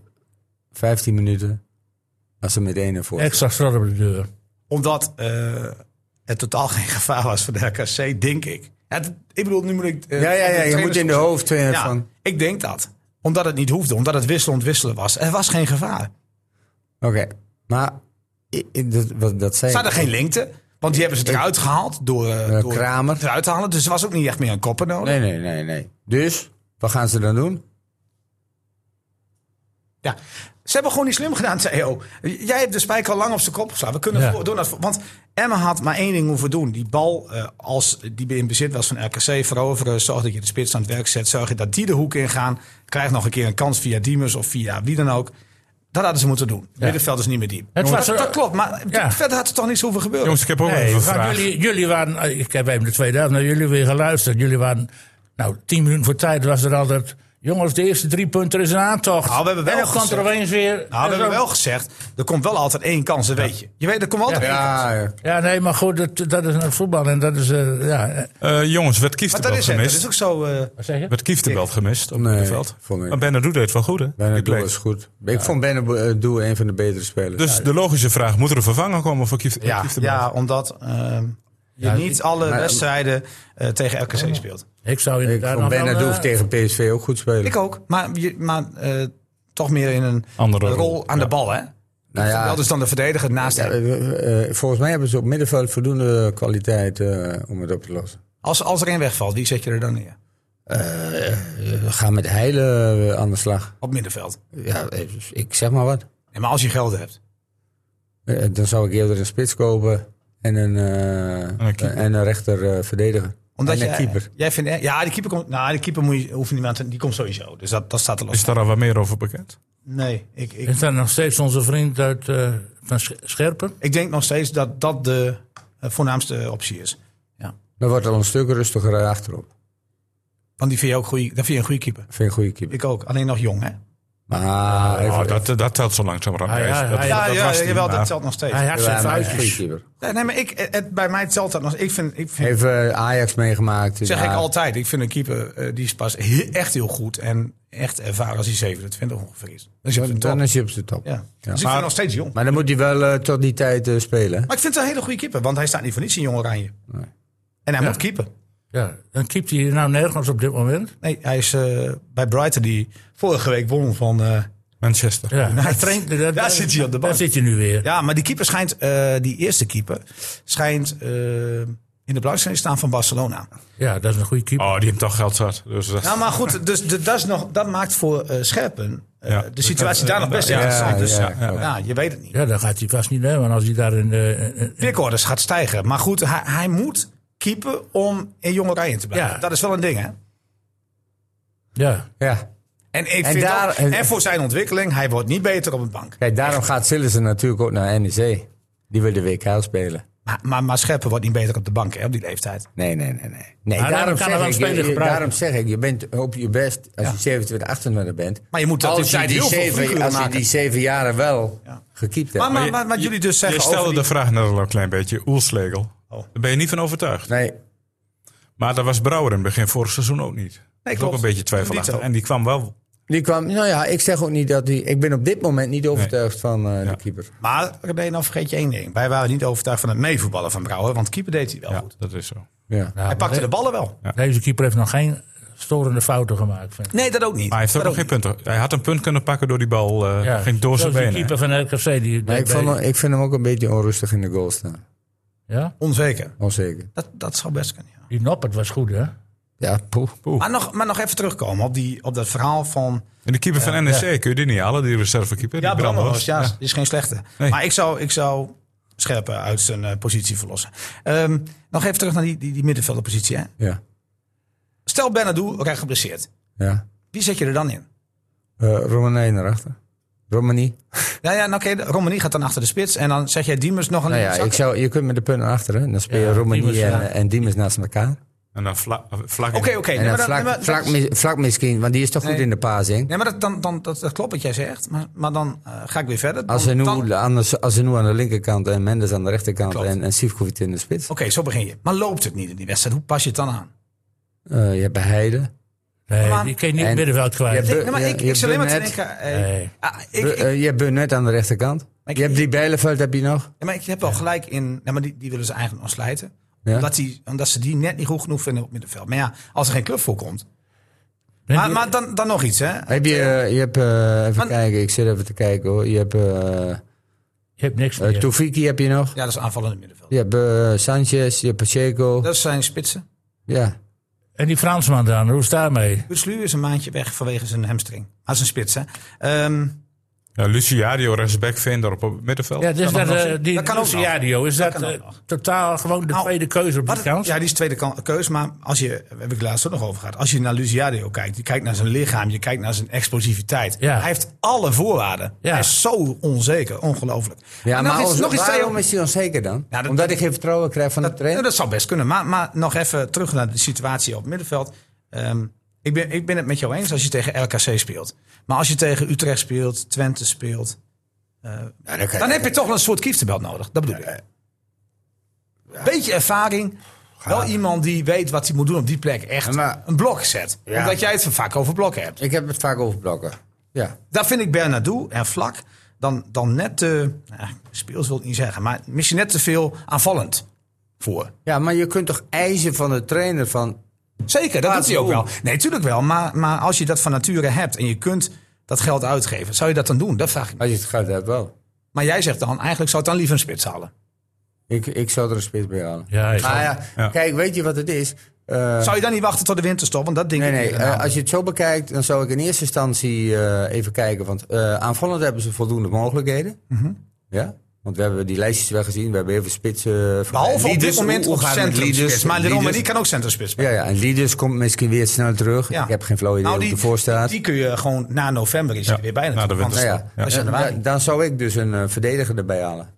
Speaker 6: 15 minuten als ze met 1 ervoor
Speaker 2: Extra strot op de deur.
Speaker 4: Omdat eh, het totaal geen gevaar was voor de RKC, denk ik. Het, ik bedoel, nu moet ik... eh,
Speaker 6: Ja, ja, ja, je
Speaker 4: trainers-
Speaker 6: moet in de hoofd eh,
Speaker 4: Ja,
Speaker 6: van...
Speaker 4: ik denk dat. Omdat het niet hoefde, omdat het wisselend wisselen was. Er was geen gevaar.
Speaker 6: Oké, maar i- i- dat, wat, dat zei
Speaker 4: Er er
Speaker 6: ik.
Speaker 4: geen lengte, want die hebben ze eruit gehaald door, eh,
Speaker 6: Eh,
Speaker 4: door
Speaker 6: Kramer.
Speaker 4: eruit te halen. Dus er was ook niet echt meer een koppen nodig.
Speaker 6: Nee, nee, nee, nee. Dus, wat gaan ze dan doen?
Speaker 4: Ja. Ze hebben gewoon niet slim gedaan, Theo. Jij hebt de spijker al lang op zijn kop geslagen. We kunnen
Speaker 2: Ja.
Speaker 4: voor- doen dat. voor- Want Emma had maar één ding hoeven doen. Die bal, eh, als die in bezit was van RKC, veroveren. Zorg dat je de spits aan het werk zet. Zorg dat die de hoek ingaan. Krijg nog een keer een kans via Diemers of via wie dan ook. Dat hadden ze moeten doen. Middenveld is niet meer diep.
Speaker 2: Het
Speaker 4: Jongens,
Speaker 2: was-
Speaker 4: dat, dat klopt, maar
Speaker 2: Ja.
Speaker 4: verder had er toch niets hoeven gebeuren.
Speaker 1: Jongens, ik heb ook
Speaker 2: Nee,
Speaker 1: even een
Speaker 2: want
Speaker 1: vraag.
Speaker 2: jullie, jullie waren, eh, ik heb even de tweede helft naar jullie weer geluisterd. Jullie waren, nou, tien minuten voor tijd was er altijd. Jongens, de eerste drie punten is een aantocht.
Speaker 4: Nou, we hebben wel
Speaker 2: en dan kwam er
Speaker 4: gezegd-
Speaker 2: opeens weer.
Speaker 4: nou, we
Speaker 2: en
Speaker 4: hebben
Speaker 2: zo-
Speaker 4: wel gezegd, er komt wel altijd één kans, dat weet je. Je weet, er komt altijd één kans.
Speaker 6: Ja, ja.
Speaker 2: Ja, nee, maar goed, dat, dat is een voetbal en dat is, eh, ja, eh,
Speaker 1: Eh, jongens, werd
Speaker 4: Maar dat
Speaker 1: Kieftenbelt
Speaker 4: is, het, dat is
Speaker 1: gemist?
Speaker 4: ook zo. eh,
Speaker 2: wat zeg je?
Speaker 1: Werd Kieftenbelt gemist op
Speaker 6: Nee,
Speaker 1: het veld?
Speaker 6: vond ik-
Speaker 1: Maar Benadou deed het wel goed, hè? Die
Speaker 6: Benadou
Speaker 1: bleek.
Speaker 6: is goed. Ik vond Benadou een van de betere spelers.
Speaker 1: Dus de logische vraag, moet er een vervanger komen voor Kieft,
Speaker 4: Ja,
Speaker 1: Kieftenbelt?
Speaker 4: ja omdat ehm, je
Speaker 2: Ja,
Speaker 4: niet alle
Speaker 6: maar-
Speaker 4: wedstrijden eh, tegen RKC speelt.
Speaker 2: Ik zou
Speaker 6: ik
Speaker 2: inderdaad
Speaker 6: vond
Speaker 2: nog wel,
Speaker 6: Benadou
Speaker 2: eh,
Speaker 6: tegen PSV ook goed spelen.
Speaker 4: Ik ook, maar, je- maar eh, toch meer in een
Speaker 1: Andere
Speaker 4: rol,
Speaker 1: rol,
Speaker 4: aan de bal, hè?
Speaker 6: Nou ja.
Speaker 4: dat is dan de verdediger naast
Speaker 6: Ja,
Speaker 4: hem.
Speaker 6: eh, eh, volgens mij hebben ze op middenveld voldoende kwaliteit eh, om het op te lossen.
Speaker 4: Als, als er een wegvalt, wie zet je er dan neer?
Speaker 6: We gaan met Heilen eh, aan de slag.
Speaker 4: Op middenveld.
Speaker 6: Ja, eh, ik zeg maar wat.
Speaker 4: Nee, maar als je geld hebt.
Speaker 6: Eh, Dan zou ik eerder een spits kopen en een, eh,
Speaker 1: een keeper.
Speaker 6: en een rechter eh, verdediger.
Speaker 4: Omdat
Speaker 6: en
Speaker 4: je,
Speaker 6: een keeper.
Speaker 4: Jij vindt, ja, die keeper, komt, nou, die keeper moet je, hoeft niet meer aan te- die komt sowieso. Dus dat, dat staat er los.
Speaker 1: Is daar al wat meer over bekend?
Speaker 4: Nee, ik, ik,
Speaker 2: Is dat nog steeds onze vriend uit eh, van Sch- Scherpen?
Speaker 4: ik denk nog steeds dat dat de eh, voornaamste optie is.
Speaker 6: Dan wordt het al een stuk rustiger achterop.
Speaker 4: Want die vind je ook goeie, dat vind je een goede keeper.
Speaker 6: Vind ik een goede keeper.
Speaker 4: Ik ook, alleen nog jong, hè?
Speaker 6: Maar
Speaker 1: Oh,
Speaker 6: even-
Speaker 1: dat, dat telt zo langzamerhand.
Speaker 2: Ah, ja,
Speaker 1: Hij is- dat-
Speaker 2: hij-
Speaker 1: dat was die,
Speaker 4: jawel,
Speaker 1: maar-
Speaker 4: dat telt nog steeds.
Speaker 2: Hij had zijn
Speaker 6: Ja, maar hij is een goede
Speaker 2: vuistjes.
Speaker 6: keeper.
Speaker 4: Nee, nee, maar ik, het, bij mij telt dat nog. Ik vind, ik vind
Speaker 6: Even eh, Ajax meegemaakt.
Speaker 4: zeg
Speaker 6: Ja,
Speaker 4: ik altijd, ik vind een keeper eh, die is pas he- echt heel goed en echt ervaren als hij 27 ongeveer is. Dan zit hij op de
Speaker 6: Dan
Speaker 4: top.
Speaker 6: is hij op de top.
Speaker 4: Ja. Dus ik vind hem nog steeds jong.
Speaker 6: Maar dan moet hij wel eh, tot die tijd eh, spelen.
Speaker 4: Maar ik vind het een hele goede keeper, want hij staat niet voor niets in Jong Oranje. En hij moet keeper.
Speaker 2: Ja, dan keept hij nou nergens op dit moment.
Speaker 4: Nee, hij is eh, bij Brighton die vorige week won van... eh,
Speaker 1: Manchester.
Speaker 2: Ja,
Speaker 4: Hij
Speaker 2: traint-
Speaker 4: daar zit hij op de bank.
Speaker 2: Daar zit hij nu weer.
Speaker 4: ja, maar die keeper schijnt, eh, die eerste keeper, schijnt eh, in de belangstelling te staan van Barcelona.
Speaker 2: Ja, dat is een goede keeper.
Speaker 1: Oh, die heeft toch geld zat. Dus dat,
Speaker 4: Nou, maar goed, dus de, dat, is nog, dat maakt voor eh, Scherpen eh,
Speaker 1: Ja.
Speaker 4: de situatie daar nog best
Speaker 1: Ja,
Speaker 4: interessant.
Speaker 6: ja,
Speaker 4: Dus ja,
Speaker 6: ja, klopt.
Speaker 4: je weet het niet.
Speaker 2: Ja, dan gaat hij vast niet nemen. Als hij daar eh, in de... in- in-
Speaker 4: Pickorders gaat stijgen. Maar goed, hij, hij moet keepen om in jonge rijen te blijven.
Speaker 2: Ja.
Speaker 4: Dat is wel een ding, hè?
Speaker 2: ja.
Speaker 6: Ja.
Speaker 4: En, ik
Speaker 6: En
Speaker 4: vind
Speaker 6: daar-
Speaker 4: ook- en voor zijn ontwikkeling, hij wordt niet beter op een bank.
Speaker 6: Kijk, daarom gaat Sillissen natuurlijk ook naar NEC. Die wil de WK spelen.
Speaker 4: Maar, maar, maar Scherpen wordt niet beter op de bank hè, op die leeftijd.
Speaker 6: Nee, nee, nee. nee. nee
Speaker 2: Maar daarom
Speaker 6: daarom,
Speaker 2: kan er wel
Speaker 6: zeg
Speaker 2: een speler
Speaker 6: ik, je- je,
Speaker 2: gebruiken.
Speaker 6: daarom zeg ik, je bent op je best als je 27, 28 bent.
Speaker 4: Maar je moet dat in
Speaker 6: als je,
Speaker 4: tijd
Speaker 6: die
Speaker 4: heel veel
Speaker 6: zeven,
Speaker 4: figuren
Speaker 6: als je
Speaker 4: maken.
Speaker 6: die zeven jaren wel gekiept hebt.
Speaker 4: Maar, maar, maar, maar
Speaker 1: Je-
Speaker 4: jullie dus
Speaker 1: Je
Speaker 4: zeggen
Speaker 1: stelde
Speaker 4: over
Speaker 1: de
Speaker 4: die-
Speaker 1: vraag net al een klein beetje. Oelslegel.
Speaker 4: Oh.
Speaker 1: Daar ben je niet van overtuigd.
Speaker 6: nee,
Speaker 1: Maar dat was Brouwer in het begin vorig seizoen ook niet. Dat is ook
Speaker 4: klopt.
Speaker 1: een beetje twijfelachtig.
Speaker 4: Dito.
Speaker 1: En die kwam wel.
Speaker 6: die kwam, nou ja, ik zeg ook niet dat die... Ik ben op dit moment niet overtuigd van eh,
Speaker 1: Ja.
Speaker 6: de keeper.
Speaker 4: Maar René, dan vergeet je één ding. Wij waren niet overtuigd van het meevoetballen van Brouwer, want keeper deed hij wel
Speaker 1: Ja,
Speaker 4: goed.
Speaker 1: dat is zo.
Speaker 6: Ja.
Speaker 2: Nou,
Speaker 4: Hij pakte de ballen wel.
Speaker 2: Deze keeper heeft nog geen storende fouten gemaakt. Vind ik.
Speaker 4: Nee, dat ook niet.
Speaker 1: Maar hij heeft ook
Speaker 4: Dat
Speaker 1: nog geen punten. Hij had een punt kunnen pakken door die bal. eh
Speaker 2: Ja,
Speaker 1: ging door zijn
Speaker 2: zoals die
Speaker 1: benen.
Speaker 2: keeper van RKC. Die,
Speaker 6: Maar ik, vond hem- ik vind hem ook een beetje onrustig in de goal staan.
Speaker 2: ja?
Speaker 4: Onzeker.
Speaker 6: Onzeker.
Speaker 4: Dat, dat zou best kunnen, ja.
Speaker 2: die Noppert was goed, hè?
Speaker 6: Ja, poeh.
Speaker 4: Maar nog, maar nog even terugkomen op, die, op dat verhaal van...
Speaker 1: En de keeper van NEC kun je die niet halen, die reservekeeper.
Speaker 4: Ja,
Speaker 1: die
Speaker 4: Brammerhorst,
Speaker 1: Brandhorst.
Speaker 4: ja, is geen slechte.
Speaker 1: Nee.
Speaker 4: Maar ik zou, ik zou Scherpen uit zijn eh, positie verlossen. Ehm, nog even terug naar die, die, die middenvelderpositie. Hè?
Speaker 6: Ja,
Speaker 4: Stel Benadou raakt geblesseerd.
Speaker 6: ja.
Speaker 4: Wie zet je er dan in?
Speaker 6: Eh Romanijn erachter. Romani.
Speaker 4: Ja, ja, nou, oké, Romani gaat dan achter de spits. En dan zeg jij Diemers nog een
Speaker 6: Nou ja,
Speaker 4: zak.
Speaker 6: ik zou, je kunt met de punten achter. Hè? Dan speel je
Speaker 2: Ja,
Speaker 6: Romani
Speaker 2: Diemers,
Speaker 6: en,
Speaker 2: ja.
Speaker 6: en Diemers naast elkaar.
Speaker 1: En dan vla- eh, vlak. in.
Speaker 4: Oké, oké.
Speaker 6: En
Speaker 4: nee, maar
Speaker 6: dan
Speaker 4: dan- nee,
Speaker 6: vlak,
Speaker 4: maar-
Speaker 6: vlak, mis- vlak misschien, want die is toch goed
Speaker 4: Nee.
Speaker 6: in de passing.
Speaker 4: Nee, maar dat, dan, dan, dat, dat klopt wat jij zegt. Maar, maar dan eh, ga ik weer verder. Dan-
Speaker 6: Als ze nu
Speaker 4: dan- Oké,
Speaker 6: aan de, als ze nu aan de linkerkant en Mendes aan de rechterkant
Speaker 4: Klopt.
Speaker 6: en, en Sivkovic in de spits.
Speaker 4: zo begin je. Maar loopt het niet in die wedstrijd? Hoe pas je het dan aan?
Speaker 6: Eh, je hebt Heide.
Speaker 2: Nee,
Speaker 4: Maar-
Speaker 2: die kun je niet
Speaker 6: En-
Speaker 2: het middenveld kwijt.
Speaker 6: Ja,
Speaker 4: Ik,
Speaker 6: Bu-
Speaker 4: nee, maar ik,
Speaker 6: je
Speaker 4: ik zit alleen maar te
Speaker 6: Burnett.
Speaker 4: denken... eh,
Speaker 2: Nee.
Speaker 4: ah, ik-
Speaker 6: Bu-
Speaker 4: ik-
Speaker 6: eh, je hebt Burnett aan de rechterkant.
Speaker 4: ik-
Speaker 6: je hebt die Bijleveld heb je nog.
Speaker 4: Ja, maar ik heb wel gelijk in. Nee, maar die, die willen ze eigenlijk nog slijten.
Speaker 6: Ja.
Speaker 4: Omdat, die, omdat ze die net niet goed genoeg vinden op middenveld. Maar ja, als er geen club voor komt.
Speaker 2: Nee,
Speaker 4: Maar,
Speaker 2: die-
Speaker 4: maar dan, dan nog iets, hè?
Speaker 6: Heb je, eh, je hebt, eh, even
Speaker 4: Maar-
Speaker 6: kijken, ik zit even te kijken hoor. Je hebt eh eh,
Speaker 2: je hebt
Speaker 4: Eh,
Speaker 2: niks meer.
Speaker 6: Tofiki heb je nog.
Speaker 4: Ja, dat is aanvallende middenveld.
Speaker 6: Je hebt eh, Sanchez, je hebt Pacheco.
Speaker 4: Dat zijn spitsen.
Speaker 6: Ja.
Speaker 2: en die Fransman dan, hoe is het daarmee?
Speaker 4: Utslu is een maandje weg vanwege zijn hamstring. Hij is een spits, hè? Ehm,
Speaker 1: Ja, Luciadio, rechtsback, Veendorp op het middenveld.
Speaker 2: Ja, dus
Speaker 4: ook
Speaker 2: dat,
Speaker 4: nog.
Speaker 2: eh, die
Speaker 4: Dat kan ook nog.
Speaker 2: Luciadio, is dat,
Speaker 4: kan ook
Speaker 2: eh,
Speaker 4: nog.
Speaker 2: totaal gewoon de
Speaker 4: Nou,
Speaker 2: tweede keuze op die
Speaker 4: maar-
Speaker 2: kant?
Speaker 4: ja, die is tweede kan- keus. Maar als je, daar heb ik laatst ook nog over gehad. Als je naar Luciadio kijkt, je kijkt naar zijn lichaam, je kijkt naar zijn explosiviteit.
Speaker 2: Ja.
Speaker 4: Hij heeft alle voorwaarden.
Speaker 2: Ja.
Speaker 4: Hij is zo onzeker, ongelooflijk.
Speaker 6: Ja,
Speaker 4: En
Speaker 6: maar
Speaker 4: nog
Speaker 6: als,
Speaker 4: iets, nog iets zei je
Speaker 6: waarom
Speaker 4: ook-
Speaker 6: is hij onzeker dan?
Speaker 4: Ja, dat-
Speaker 6: Omdat ik geen vertrouwen krijg van de
Speaker 4: Dat,
Speaker 6: trainer?
Speaker 4: ja, dat zou best kunnen. Maar, maar nog even terug naar de situatie op het middenveld. Ehm, ik, ben, ik ben het met jou eens als je tegen RKC speelt. Maar als je tegen Utrecht speelt, Twente speelt.
Speaker 6: Ja, dan kan-
Speaker 4: dan heb je toch wel een soort kieftenbelt nodig. Dat bedoel ik. Beetje ervaring. Wel iemand die weet wat hij moet doen op die plek. Echt
Speaker 6: Maar-
Speaker 4: een blok zet.
Speaker 6: Ja.
Speaker 4: Omdat jij het van vaak over blokken hebt.
Speaker 6: Ik heb het vaak over blokken. Ja.
Speaker 4: Daar vind ik Bernardo en Vlak dan, dan net te... Nou, speels wil ik niet zeggen. Maar misschien net te veel aanvallend voor.
Speaker 6: ja, maar je kunt toch eisen van de trainer van...
Speaker 4: Zeker, dat
Speaker 6: Laat
Speaker 4: doet hij ook
Speaker 6: doen.
Speaker 4: wel. Nee, natuurlijk wel. Maar, maar als je dat van nature hebt en je kunt dat geld uitgeven, zou je dat dan doen? Dat vraag ik me.
Speaker 6: Als je het gaat hebben, wel.
Speaker 4: Maar jij zegt dan, eigenlijk zou het dan liever een spits halen.
Speaker 6: Ik, ik zou er een spits bij halen.
Speaker 2: Ja, ik
Speaker 6: maar
Speaker 2: zou-
Speaker 6: ja, kijk, weet je wat het is? Eh,
Speaker 4: Zou je dan niet wachten tot de winterstop? Want dat ding
Speaker 6: Nee,
Speaker 4: ik
Speaker 6: nee.
Speaker 4: niet inderdaad.
Speaker 6: eh, als je het zo bekijkt, dan zou ik in eerste instantie eh, even kijken. Want eh, aanvallend hebben ze voldoende mogelijkheden.
Speaker 2: Mhm.
Speaker 6: Ja? Want we hebben die lijstjes wel gezien. We hebben even spitsen. eh,
Speaker 4: Behalve op dit
Speaker 6: Lieders,
Speaker 4: moment
Speaker 6: hoe-
Speaker 4: op
Speaker 6: hoe gaat het met
Speaker 4: centrumspits.
Speaker 6: Lieders?
Speaker 4: Maar Leroy
Speaker 6: Lieders-
Speaker 4: Mendy kan ook centrumspits.
Speaker 6: Ja, ja, en Lieders komt misschien weer snel terug.
Speaker 4: Ja. Nou,
Speaker 6: Ik heb geen flauw idee hoe
Speaker 4: die,
Speaker 6: het ervoor staat.
Speaker 4: die kun je gewoon na november is hij
Speaker 1: Ja,
Speaker 4: er weer bij.
Speaker 1: na
Speaker 4: natuurlijk.
Speaker 1: de
Speaker 4: Want-
Speaker 6: nou
Speaker 1: winterstop. Ja.
Speaker 6: ja, eh,
Speaker 4: Januari.
Speaker 6: dan- dan zou ik dus een eh, verdediger erbij halen.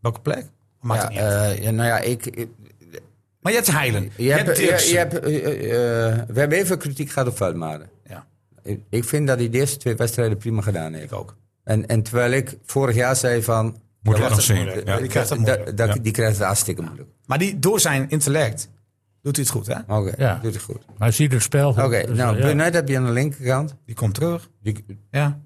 Speaker 4: Welke plek? Maakt
Speaker 6: ja,
Speaker 4: het niet uit.
Speaker 6: eh, ja, nou ja, ik, ik-
Speaker 4: Maar je hebt Heilen.
Speaker 6: je hebt, je,
Speaker 4: Dirksen.
Speaker 6: je hebt, eh, eh, eh, we hebben even kritiek gehad op Veldmaden.
Speaker 4: Ja,
Speaker 6: Ik, ik vind dat hij de eerste twee wedstrijden prima gedaan heeft.
Speaker 4: ik ook.
Speaker 6: En, en terwijl ik vorig jaar zei van...
Speaker 1: Moet
Speaker 6: dat
Speaker 1: ik nog
Speaker 6: was het
Speaker 1: zien.
Speaker 6: moeilijk.
Speaker 1: Ja.
Speaker 4: Die krijgt het
Speaker 6: Da-
Speaker 4: moeilijk.
Speaker 6: da-
Speaker 1: Ja.
Speaker 6: Die krijgt het hartstikke moeilijk.
Speaker 4: Maar die, door zijn intellect doet hij het goed, hè?
Speaker 6: Oké,
Speaker 2: Ja.
Speaker 6: doet het goed. Oké,
Speaker 2: Hij ziet het spel goed. Dus,
Speaker 6: nou,
Speaker 2: eh, ja.
Speaker 6: Brunet heb je aan de linkerkant.
Speaker 4: Die komt terug.
Speaker 6: Die,
Speaker 4: Ja.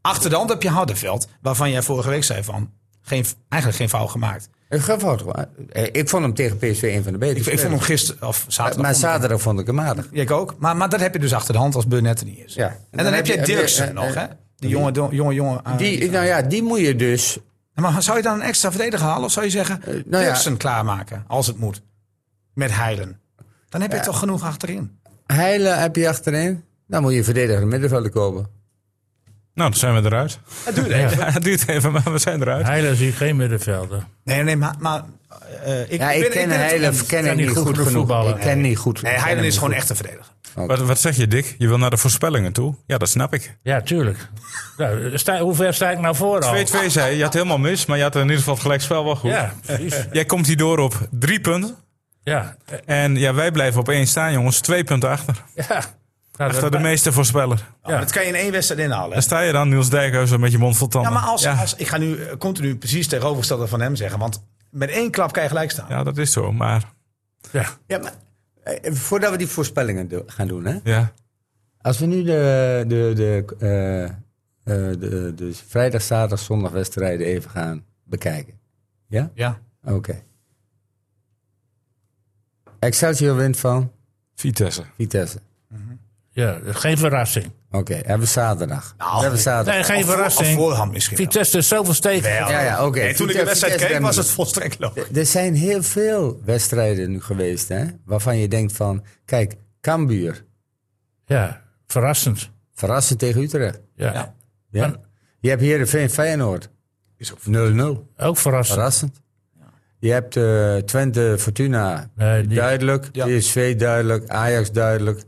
Speaker 4: Achter de hand heb je Hardenveld, waarvan jij vorige week zei van... Geen, eigenlijk geen fout gemaakt.
Speaker 6: een geval, hoor. Eh, ik vond hem tegen PSV een van de betere.
Speaker 4: Ik, ik vond hem
Speaker 6: spelers.
Speaker 4: gisteren of zaterdag...
Speaker 6: maar
Speaker 4: vond ik hem-
Speaker 6: zaterdag vond ik hem aardig.
Speaker 4: Ja, Ik ook. Maar, maar dat heb je dus achter de hand als Burnett er niet is.
Speaker 6: Ja.
Speaker 4: En dan, heb je Dirksen nog, hè? Die jonge, do- jonge, jonge... ah,
Speaker 6: Die, nou ja, die moet je dus...
Speaker 4: Maar zou je dan een extra verdediger halen? Of zou je zeggen,
Speaker 6: nou ja.
Speaker 4: Dirksen klaarmaken, als het moet. Met Heilen. Dan heb je toch genoeg achterin.
Speaker 6: Heilen heb je achterin. Dan moet je een verdediger middenvelder kopen.
Speaker 1: Nou, dan zijn we eruit.
Speaker 4: Dat duurt even.
Speaker 1: Ja, het duurt even, maar we zijn eruit.
Speaker 2: Heiler zie ik geen middenvelder.
Speaker 4: Nee, nee, maar... maar eh, ik,
Speaker 6: Ja,
Speaker 4: ik
Speaker 6: ik
Speaker 4: ben-
Speaker 6: ken
Speaker 4: ben het
Speaker 6: Heilen
Speaker 4: eens.
Speaker 6: ken ik
Speaker 2: kan
Speaker 6: niet goed genoeg.
Speaker 2: voetballen.
Speaker 6: Ik ken niet goed.
Speaker 4: Nee, Heilen is gewoon echt een verdediger.
Speaker 1: Wat, wat zeg je, Dick? Je wil naar de voorspellingen toe? Ja, dat snap ik.
Speaker 2: Ja, tuurlijk. nou, sta, hoe ver sta ik nou voor al?
Speaker 1: 2-2 zei je, je had helemaal mis, maar je had in ieder geval het gelijkspel wel goed.
Speaker 2: Ja, precies.
Speaker 1: Jij komt hier door op drie punten.
Speaker 2: Ja, eh,
Speaker 1: En ja, wij blijven op één staan, jongens. Twee punten achter.
Speaker 2: ja. Nou,
Speaker 1: Achter de
Speaker 2: dat-
Speaker 1: meeste voorspeller.
Speaker 2: Ja.
Speaker 4: Dat kan je in één wedstrijd inhalen. hè?
Speaker 1: Daar sta je dan, Niels Dijkhuizen, met je mond vol
Speaker 4: Ja,
Speaker 1: tanden.
Speaker 4: maar als, als, ik ga nu eh, continu precies tegenovergestelde van hem zeggen. Want met één klap kan je gelijk staan.
Speaker 1: Ja, dat is zo, maar...
Speaker 2: ja.
Speaker 6: Ja, maar, eh, voordat we die voorspellingen do- gaan doen, hè?
Speaker 1: Ja,
Speaker 6: Als we nu de, de, de, eh, eh, de, de vrijdag, zaterdag, zondag wedstrijden even gaan bekijken. Ja?
Speaker 4: Ja.
Speaker 6: Oké. Excelsior wint van
Speaker 1: Vitesse.
Speaker 6: Vitesse.
Speaker 2: ja, geen verrassing.
Speaker 6: Oké, hebben we zaterdag.
Speaker 4: Nou,
Speaker 6: hebben we zaterdag.
Speaker 2: Nee, geen
Speaker 4: Of voor-
Speaker 2: verrassing.
Speaker 4: Of voorhand misschien. wel.
Speaker 2: Vitesse is zoveel steken.
Speaker 4: Wel.
Speaker 6: Ja, ja, oké.
Speaker 4: Nee, toen ik de
Speaker 6: Vitesse-
Speaker 4: wedstrijd
Speaker 6: Vitesse
Speaker 4: keek was het
Speaker 6: Denver.
Speaker 4: volstrekt logisch.
Speaker 6: Eh, Er zijn heel veel wedstrijden nu geweest, hè? Waarvan je denkt van, kijk, Cambuur,
Speaker 2: Ja, verrassend.
Speaker 6: verrassend tegen Utrecht.
Speaker 2: Ja.
Speaker 4: Ja.
Speaker 6: Ja?
Speaker 2: En-
Speaker 6: Je hebt Heerenveen Feyenoord,
Speaker 4: Is ook
Speaker 6: 0-0.
Speaker 2: Ook verrassend.
Speaker 6: Verrassend. Je hebt eh, Twente, Fortuna,
Speaker 2: Nee, die-
Speaker 6: duidelijk.
Speaker 4: Ja.
Speaker 6: PSV duidelijk. Ajax duidelijk.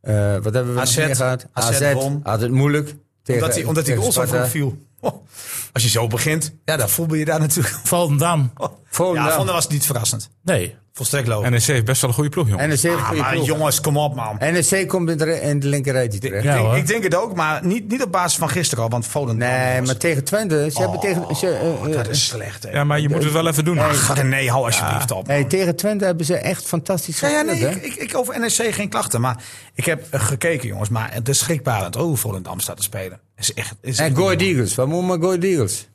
Speaker 6: Eh, wat hebben we
Speaker 4: AZ
Speaker 6: nog meer gehad?
Speaker 4: AZ won.
Speaker 6: had het moeilijk. Tegen,
Speaker 4: Omdat hij, omdat hij goal
Speaker 6: tegen
Speaker 4: zo
Speaker 6: Sparta.
Speaker 4: vroeg viel. Oh, als je zo begint, ja, dan voel je daar natuurlijk.
Speaker 2: Volendam.
Speaker 6: Volendam.
Speaker 4: Ja, Vonder was het niet verrassend.
Speaker 2: Nee.
Speaker 4: Volstrekt logisch.
Speaker 1: NEC heeft E best wel een goede ploeg, jongen.
Speaker 6: NEC heeft
Speaker 4: Ah,
Speaker 6: goede
Speaker 4: maar
Speaker 6: ploeg.
Speaker 4: jongens, kom op man.
Speaker 6: NEC komt in de, re- in de linkerrijtje terecht.
Speaker 2: Ja,
Speaker 4: ik, denk-
Speaker 2: hoor.
Speaker 4: ik denk het ook, maar niet, niet op basis van gisteren al. Want Volendam
Speaker 6: Nee,
Speaker 4: was-
Speaker 6: maar tegen Twente. Ze hebben tegen, ze, eh, eh,
Speaker 4: Oh, dat is slecht. Hè.
Speaker 1: Ja, maar je moet het wel even doen.
Speaker 4: Ach, nee, hou alsjeblieft op.
Speaker 6: nee, tegen Twente hebben ze echt fantastisch
Speaker 4: Ja, ja,
Speaker 6: gespeeld.
Speaker 4: nee,
Speaker 6: hè?
Speaker 4: ik, ik, ik over NEC geen klachten. Maar ik heb eh, gekeken, jongens. Maar het is schrikbarend. Oh, Volendam staat te spelen. Is echt, is echt
Speaker 6: en
Speaker 4: niet
Speaker 6: Go Ahead
Speaker 4: normaal.
Speaker 6: Eagles. Wat moet maar Go Ahead Eagles?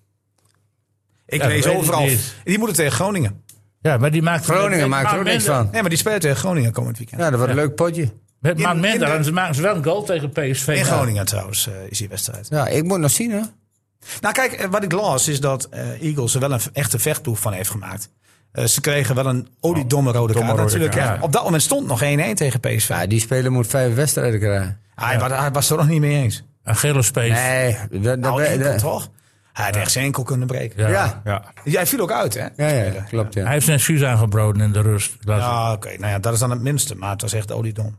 Speaker 4: Ik
Speaker 2: Ja,
Speaker 4: lees
Speaker 2: dat weet ik
Speaker 4: overal.
Speaker 2: niet.
Speaker 4: Die moeten tegen Groningen.
Speaker 2: Ja, maar die maakt...
Speaker 6: Groningen
Speaker 2: met-
Speaker 6: maakt er ook
Speaker 2: met
Speaker 6: niks
Speaker 2: minder-
Speaker 6: van.
Speaker 4: Nee, maar die spelen tegen Groningen komend weekend.
Speaker 6: Ja, dat wordt een leuk potje.
Speaker 2: Met
Speaker 4: In-
Speaker 2: maakt
Speaker 4: in
Speaker 2: minder.
Speaker 4: de-
Speaker 2: En ze maken ze wel een goal tegen PSV.
Speaker 4: In
Speaker 2: Ja.
Speaker 4: Groningen trouwens eh, is die wedstrijd.
Speaker 6: Ja, ik moet nog zien, hoor.
Speaker 4: Nou kijk, eh, wat ik las is dat eh, Eagles er wel een v- echte vechtploeg van heeft gemaakt. Eh, ze kregen wel een oliedomme rode kaart
Speaker 1: rode
Speaker 4: natuurlijk.
Speaker 1: kaart.
Speaker 4: hè. Op dat moment stond nog 1-1 tegen PSV.
Speaker 6: Ja, die speler moet vijf wedstrijden krijgen.
Speaker 4: Ah, Hij, wa- hij was er nog niet mee eens.
Speaker 2: Achillespees.
Speaker 6: Nee, dat, dat,
Speaker 4: Nou,
Speaker 6: dat-
Speaker 4: enkel toch? Hij had echt zijn enkel kunnen breken.
Speaker 2: Ja.
Speaker 6: ja.
Speaker 1: Ja,
Speaker 4: Jij viel ook uit, hè?
Speaker 6: Ja, ja, klopt. Ja.
Speaker 2: Hij heeft zijn excuus aangeboden in de rust. Dat-
Speaker 4: Ja, oké. Nou ja, dat is dan het minste. Maar het was echt oliedom.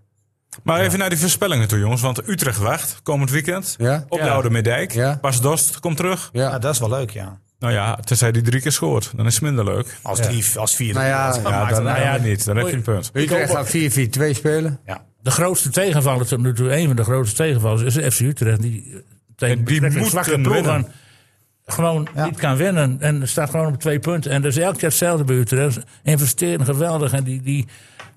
Speaker 1: maar even naar die voorspellingen toe, jongens. Want Utrecht wacht komend weekend
Speaker 6: Ja.
Speaker 1: op de Oude Middijk.
Speaker 6: Ja.
Speaker 1: Bas Dost komt terug.
Speaker 6: Ja.
Speaker 4: Ja, dat is wel leuk, ja.
Speaker 1: Nou ja, tenzij die drie keer scoort. Dan is het minder leuk.
Speaker 4: Als drie, als vier.
Speaker 6: Nou ja,
Speaker 4: dat
Speaker 6: ja,
Speaker 4: maakt
Speaker 1: dan,
Speaker 4: het
Speaker 1: nou
Speaker 4: uit.
Speaker 1: ja, niet. Dan heb je
Speaker 2: Oei.
Speaker 1: een punt.
Speaker 6: Utrecht gaat 4-4-2 spelen.
Speaker 4: Ja.
Speaker 2: De grootste tegenvaller tot nu toe, een van de grootste tegenvallers, is FC Utrecht. Die eh, tegen
Speaker 1: En die
Speaker 2: betrekkelijk
Speaker 1: moeten
Speaker 2: zwakke ploegen
Speaker 1: winnen.
Speaker 2: gewoon niet kan winnen. En staat gewoon op twee punten. En dat is elk jaar hetzelfde bij Utrecht. Investeren geweldig. En die, die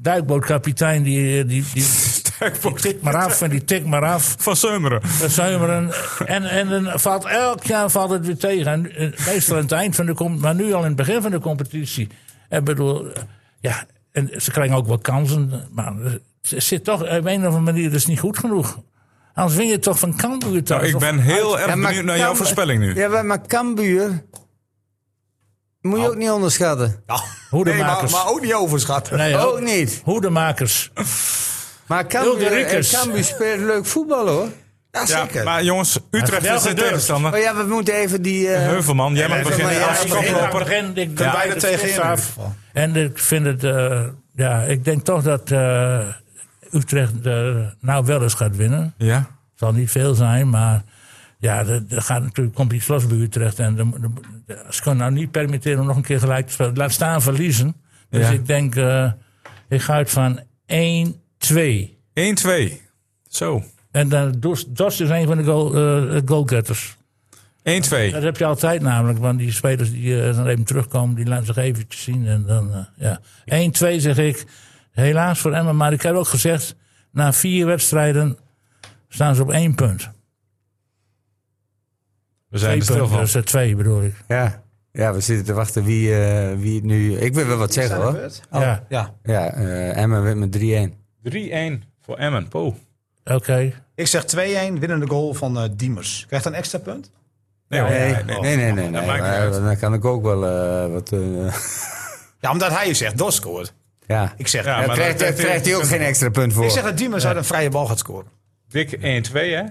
Speaker 2: duikbootkapitein, die, eh, die, die, die
Speaker 1: Duikboot.
Speaker 2: tikt maar af en die tikt maar af.
Speaker 1: Van Seumeren.
Speaker 2: Dat zuimeren. En, en dan valt elk jaar valt het weer tegen. En, eh, meestal aan het eind van de competitie, maar nu al in het begin van de competitie. Ik bedoel, eh, ja, en ze krijgen ook wel kansen. Maar het zit toch op een of andere manier dus niet goed genoeg. Anders win je toch van Cambuur thuis.
Speaker 1: Nou, ik
Speaker 2: Of-
Speaker 1: ben heel erg
Speaker 6: maar
Speaker 1: benieuwd naar jouw
Speaker 6: Cambuur-
Speaker 1: voorspelling nu.
Speaker 6: Ja, maar- maar Cambuur Moet je ook niet onderschatten.
Speaker 2: Hoedemakers.
Speaker 4: maar, maar ook niet overschatten.
Speaker 2: Nee,
Speaker 6: Ook niet.
Speaker 2: Hoedemakers.
Speaker 6: Maar Cambuur en
Speaker 2: Ulderikers.
Speaker 6: Cambuur speelt leuk voetbal hoor.
Speaker 4: Ja,
Speaker 1: Ja,
Speaker 4: zeker.
Speaker 1: maar jongens, Utrecht
Speaker 2: wel
Speaker 1: is de
Speaker 2: gedurfd.
Speaker 1: tegenstander.
Speaker 6: Oh ja, we moeten even die... eh,
Speaker 1: Heuvelman, jij mag
Speaker 6: maar
Speaker 1: beginnen
Speaker 6: ja,
Speaker 1: als
Speaker 6: ik-
Speaker 1: koploper.
Speaker 2: begin, ik
Speaker 4: Kunnen
Speaker 2: draai
Speaker 4: wij er
Speaker 2: de
Speaker 4: tegenin
Speaker 2: spits
Speaker 4: in
Speaker 2: af.
Speaker 4: ieder geval.
Speaker 2: En ik vind het, eh, ja, ik denk toch dat eh, Utrecht eh, nou wel eens gaat winnen.
Speaker 1: Ja.
Speaker 2: Het zal niet veel zijn, maar ja, er, er gaat natuurlijk, komt iets los bij Utrecht. En de, de- ze kunnen nou niet permitteren om nog een keer gelijk te spelen. Laat staan verliezen. Dus
Speaker 1: Ja.
Speaker 2: ik denk, eh, ik ga uit van 1-2.
Speaker 1: 1-2. Zo. 1-2.
Speaker 2: En dan Dos, Dos is een van de goal, eh, goalgetters. Dat heb je altijd namelijk, want die spelers die eh, dan even terugkomen, die laten zich eventjes zien. En dan, eh, ja. 1-2 zeg ik, helaas voor Emmen. Maar ik heb ook gezegd, na vier wedstrijden staan ze op één punt.
Speaker 1: We zijn er stil
Speaker 2: Twee punten,
Speaker 1: van.
Speaker 2: dat is er eh, twee bedoel ik.
Speaker 6: Ja. ja, we zitten te wachten wie, eh, wie het nu... Ik wil wel wat zeggen hoor. Oh.
Speaker 2: Ja,
Speaker 4: Ja.
Speaker 6: Ja, eh Emmen wint met 3-1.
Speaker 1: 3-1 voor Emmen. Po.
Speaker 2: oké.
Speaker 4: Ik zeg 2-1, winnende goal van eh, Diemers. Krijgt hij een extra punt?
Speaker 1: Nee, hoor.
Speaker 6: Nee, nee, nee. nee, nee,
Speaker 1: maakt niet
Speaker 6: maar
Speaker 1: uit.
Speaker 6: dan kan ik ook wel eh, wat... eh,
Speaker 4: Ja, omdat hij zegt, Dos scoort.
Speaker 6: ja.
Speaker 4: Ik zeg,
Speaker 1: Ja,
Speaker 6: Daar
Speaker 1: maar
Speaker 6: krijgt,
Speaker 1: dat-
Speaker 6: daar krijgt hij ook geen extra punt voor.
Speaker 4: ik zeg dat Diemers uit een vrije bal gaat scoren.
Speaker 1: Dik 1-2, hè?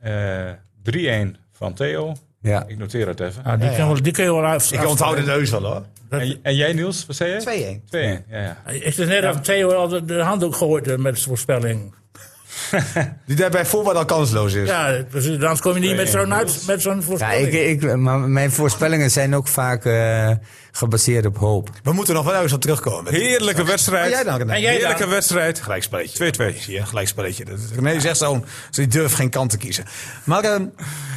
Speaker 1: Eh, 3-1 van Theo.
Speaker 6: ja.
Speaker 1: Ik noteer het even.
Speaker 2: Ah, die, kan wel, die kun je wel uit.
Speaker 4: Ik onthoud het neus wel hoor.
Speaker 1: En, en jij, Niels, wat zei je?
Speaker 4: 2-1.
Speaker 1: 2-1. Ja, ja.
Speaker 2: Is het net of Theo al de, de handdoek gooit eh, met zijn voorspelling?
Speaker 4: Die daar bij voorbaat al kansloos is.
Speaker 2: Ja, precies. Anders kom je niet met zo'n, uit, met zo'n
Speaker 6: Dus- Ja,
Speaker 2: voorspelling.
Speaker 6: ik, ik, maar mijn voorspellingen zijn ook vaak eh, gebaseerd op hoop.
Speaker 4: We moeten nog wel eens op terugkomen.
Speaker 1: Heerlijke
Speaker 4: Kan jij
Speaker 1: wedstrijd.
Speaker 4: dan?
Speaker 2: En jij
Speaker 1: Heerlijke
Speaker 2: dan?
Speaker 1: wedstrijd.
Speaker 4: Gelijkspelletje.
Speaker 1: 2-2.
Speaker 4: Zie je, gelijkspelletje. Dat- Nee, zegt zo'n, die durft geen kant te kiezen. Maar ehm,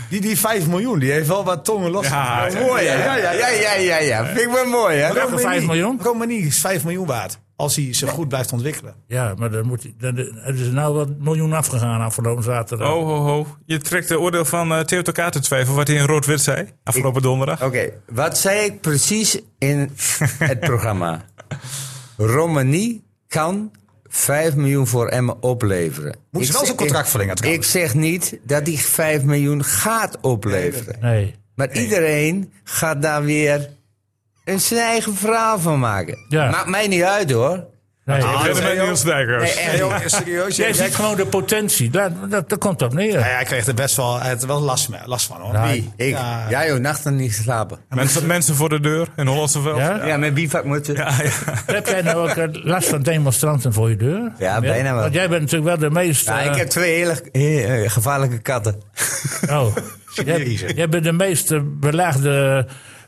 Speaker 4: die, die 5 miljoen, die heeft wel wat tongen los.
Speaker 1: Ja, ja,
Speaker 4: mooi hè?
Speaker 6: Ja, ja, ja, ja, ja. ja. Vind ik wel mooi, hè?
Speaker 2: Voor 5 miljoen?
Speaker 4: Romani is 5 miljoen waard. Als hij zich goed blijft ontwikkelen.
Speaker 2: Ja, maar dan moet, hij- dan, dan- er is nou wat miljoen afgegaan afgelopen zaterdag.
Speaker 1: Oh, ho, ho. Je trekt de oordeel van eh, Theo Tokaat in twijfel, wat hij in rood-wit zei afgelopen donderdag.
Speaker 6: Oké, wat zei ik precies in het programma? Romani kan 5 miljoen voor Emmen opleveren.
Speaker 4: Moet ze
Speaker 6: Ik
Speaker 4: wel
Speaker 6: zeg-
Speaker 4: zijn contract verlengen,
Speaker 6: Ik,
Speaker 4: trouwens.
Speaker 6: ik zeg niet dat die 5 miljoen gaat opleveren.
Speaker 2: Nee.
Speaker 6: Maar iedereen gaat daar weer een zijn eigen verhaal van maken.
Speaker 2: Ja.
Speaker 6: Maakt mij niet uit hoor.
Speaker 2: nee.
Speaker 6: Ah.
Speaker 1: Ik ben er met Niels Dijkhuis.
Speaker 6: Nee,
Speaker 4: Hey,
Speaker 6: echt
Speaker 4: joh, serieus?
Speaker 2: Jij
Speaker 4: jij- jij-
Speaker 2: ziet gewoon de potentie. Daar, dat, daar komt op neer.
Speaker 4: Nou Ja, hij kreeg er best wel, hij had er wel last, mee- last van hoor.
Speaker 2: Nou,
Speaker 6: Wie? Ik?
Speaker 4: Ja.
Speaker 6: Ja joh, nachten niet geslapen.
Speaker 1: mensen, mensen voor de deur in Hollandseveld.
Speaker 2: Ja?
Speaker 6: Ja, met bivakmutsen.
Speaker 1: Ja, ja.
Speaker 2: Heb jij nou ook eh, last van demonstranten voor je deur?
Speaker 6: Ja, bijna wel.
Speaker 2: Want jij bent natuurlijk wel de meest...
Speaker 6: Ja,
Speaker 2: eh,
Speaker 6: ik heb twee hele eh, eh, gevaarlijke katten.
Speaker 2: Oh, jij, jij bent de meest eh, belaagde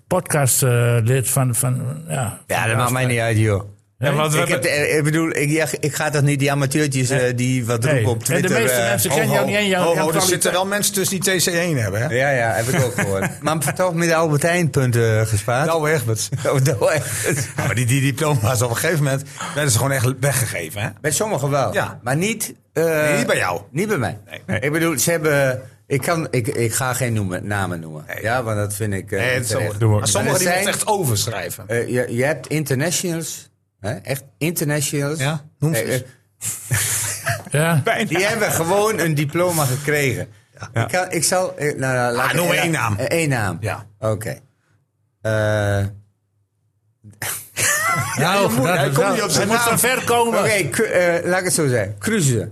Speaker 2: podcastlid van, van... Ja,
Speaker 6: Ja, dat maakt mij niet uit, joh.
Speaker 1: Ja, want we
Speaker 6: Ik, heb,
Speaker 1: hebben-
Speaker 6: de- ik bedoel, ik, ja, ik ga toch niet die amateurtjes eh, die wat
Speaker 2: Nee.
Speaker 6: roepen op
Speaker 2: En de
Speaker 6: Twitter.
Speaker 2: meeste
Speaker 6: eh,
Speaker 2: mensen
Speaker 4: Ho,
Speaker 2: kennen
Speaker 4: ho,
Speaker 2: jou niet en jou,
Speaker 4: ho,
Speaker 2: jouw
Speaker 4: ho, Oh, er
Speaker 2: kwaliteit-
Speaker 4: zitten wel mensen tussen die TC1 hebben. Hè?
Speaker 6: Ja, ja, heb ik ook gehoord. maar toch met de Albert Heijn punten eh, gespaard.
Speaker 4: Nou, Egberts.
Speaker 6: Oh, nou, echt.
Speaker 4: Ja, maar die, die diploma's op een gegeven moment werden ze gewoon echt weggegeven. Hè?
Speaker 6: Bij sommigen wel,
Speaker 4: Ja.
Speaker 6: maar niet... eh,
Speaker 4: Nee, niet bij jou.
Speaker 6: Niet bij mij. Ik bedoel, ze hebben... eh, Ik, kan, ik, ik ga geen noemen, namen noemen. Ja, want dat vind ik... eh,
Speaker 4: Nee, het
Speaker 6: terecht.
Speaker 4: zal-
Speaker 1: Doe maar.
Speaker 4: maar sommigen die
Speaker 6: Er
Speaker 4: moeten
Speaker 6: zijn-
Speaker 4: echt overschrijven.
Speaker 6: Eh, je, je hebt internationals, hè? echt internationals.
Speaker 4: Ja, noem ze
Speaker 6: Eh,
Speaker 4: eens.
Speaker 6: eh,
Speaker 2: Ja.
Speaker 6: Die hebben gewoon een diploma gekregen. Ik, kan, ik zal. eh, Nou, nou, laat
Speaker 4: Ah,
Speaker 6: ik-
Speaker 4: noem
Speaker 6: eh,
Speaker 4: één naam.
Speaker 6: eh, één naam.
Speaker 4: Ja.
Speaker 6: Oké. Eh,
Speaker 2: Ja,
Speaker 4: je moet-
Speaker 2: dat
Speaker 4: hij
Speaker 2: is
Speaker 4: komt
Speaker 2: wel-
Speaker 4: niet op
Speaker 2: Hij
Speaker 4: zijn
Speaker 2: moet
Speaker 4: naam.
Speaker 2: van ver komen.
Speaker 6: Oké, ku- eh, laat ik het zo zeggen. Cruze.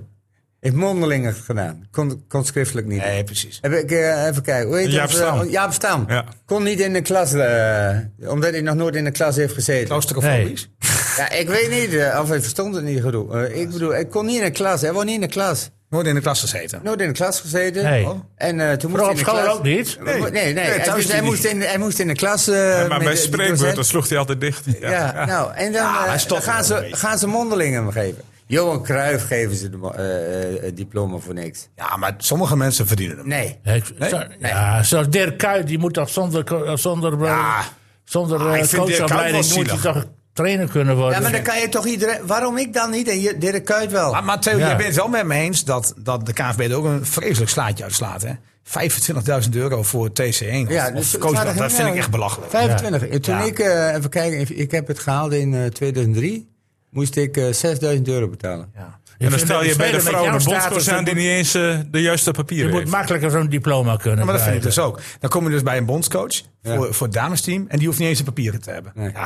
Speaker 6: Heeft mondelingen gedaan. Kon, kon schriftelijk niet.
Speaker 4: Nee, precies.
Speaker 6: Heb ik, eh, even kijken. Hoe heet
Speaker 1: Jaap
Speaker 6: dat?
Speaker 1: Stam.
Speaker 6: Eh, Jaap Stam.
Speaker 1: Ja.
Speaker 6: Kon niet in de klas, eh, omdat hij nog nooit in de klas heeft gezeten.
Speaker 4: Claustrofobisch?
Speaker 6: Ja, ik weet niet, eh, of hij verstond het niet genoeg. Eh, ik bedoel, ik kon niet in de klas, hij woont niet in de klas.
Speaker 4: Nooit in de klas gezeten.
Speaker 6: Nooit in de klas gezeten.
Speaker 2: Nee.
Speaker 6: En eh, toen moest
Speaker 2: Vooral
Speaker 6: hij
Speaker 2: op
Speaker 6: in de
Speaker 2: school
Speaker 6: klas... Eh,
Speaker 2: ook niet.
Speaker 6: Nee, nee, nee, Hij,
Speaker 4: thuis
Speaker 6: moest, hij,
Speaker 4: niet.
Speaker 6: moest in, hij moest in de klas. eh,
Speaker 1: maar
Speaker 6: met
Speaker 1: bij
Speaker 6: de- die
Speaker 1: spreekbeurten
Speaker 6: docent.
Speaker 1: sloeg hij altijd dicht.
Speaker 6: Ja, nou, en dan, eh,
Speaker 4: hij
Speaker 6: dan
Speaker 4: stopt
Speaker 6: gaan,
Speaker 4: wel een
Speaker 6: ze,
Speaker 4: beetje.
Speaker 6: gaan ze mondelingen hem geven. Johan Cruijff geven ze de, mo- eh, eh, het diploma voor niks.
Speaker 4: Ja, maar sommige mensen verdienen hem.
Speaker 6: Nee.
Speaker 2: Ja, ik-
Speaker 4: Nee?
Speaker 2: zo- Ja, zoals Dirk Kuyt, die moet toch zonder, ko- zonder, eh,
Speaker 4: Ja.
Speaker 2: zonder eh,
Speaker 4: Ah, ik vind Dirk Kuyt
Speaker 2: coachopleiding
Speaker 4: wel
Speaker 2: moet hij
Speaker 4: zielig.
Speaker 2: toch trainer kunnen worden.
Speaker 6: Ja, maar dan kan je toch iedereen... Waarom ik dan niet en je- Dirk Kuyt wel?
Speaker 4: Maar, maar Theo,
Speaker 2: Ja.
Speaker 4: jij bent het wel met me eens dat, dat de KNVB er ook een vreselijk slaatje uitslaat. Hè? 25.000 euro voor TC1.
Speaker 6: Ja,
Speaker 4: of-
Speaker 6: dus
Speaker 4: of
Speaker 6: het
Speaker 4: coachblad.
Speaker 6: waren er
Speaker 4: dat vind
Speaker 6: geen-
Speaker 4: ik echt belachelijk.
Speaker 6: 25. Toen
Speaker 4: Ja.
Speaker 6: ik, eh, even kijken, ik- ik heb het gehaald in eh, 2003. moest ik eh, 6000 euro betalen.
Speaker 2: Ja.
Speaker 1: En dan stel je bij de vrouw
Speaker 2: de
Speaker 1: de bondscoach aan die niet eens eh, de juiste
Speaker 2: Je
Speaker 1: papieren
Speaker 2: moet
Speaker 1: heeft.
Speaker 2: makkelijker zo'n diploma kunnen
Speaker 4: maar dat vind ik
Speaker 2: krijgen.
Speaker 4: dus ook. Dan kom je dus bij een bondscoach
Speaker 6: Ja.
Speaker 4: voor, voor het damesteam. En die hoeft niet eens de papieren te hebben.
Speaker 6: Nee.
Speaker 4: Ja.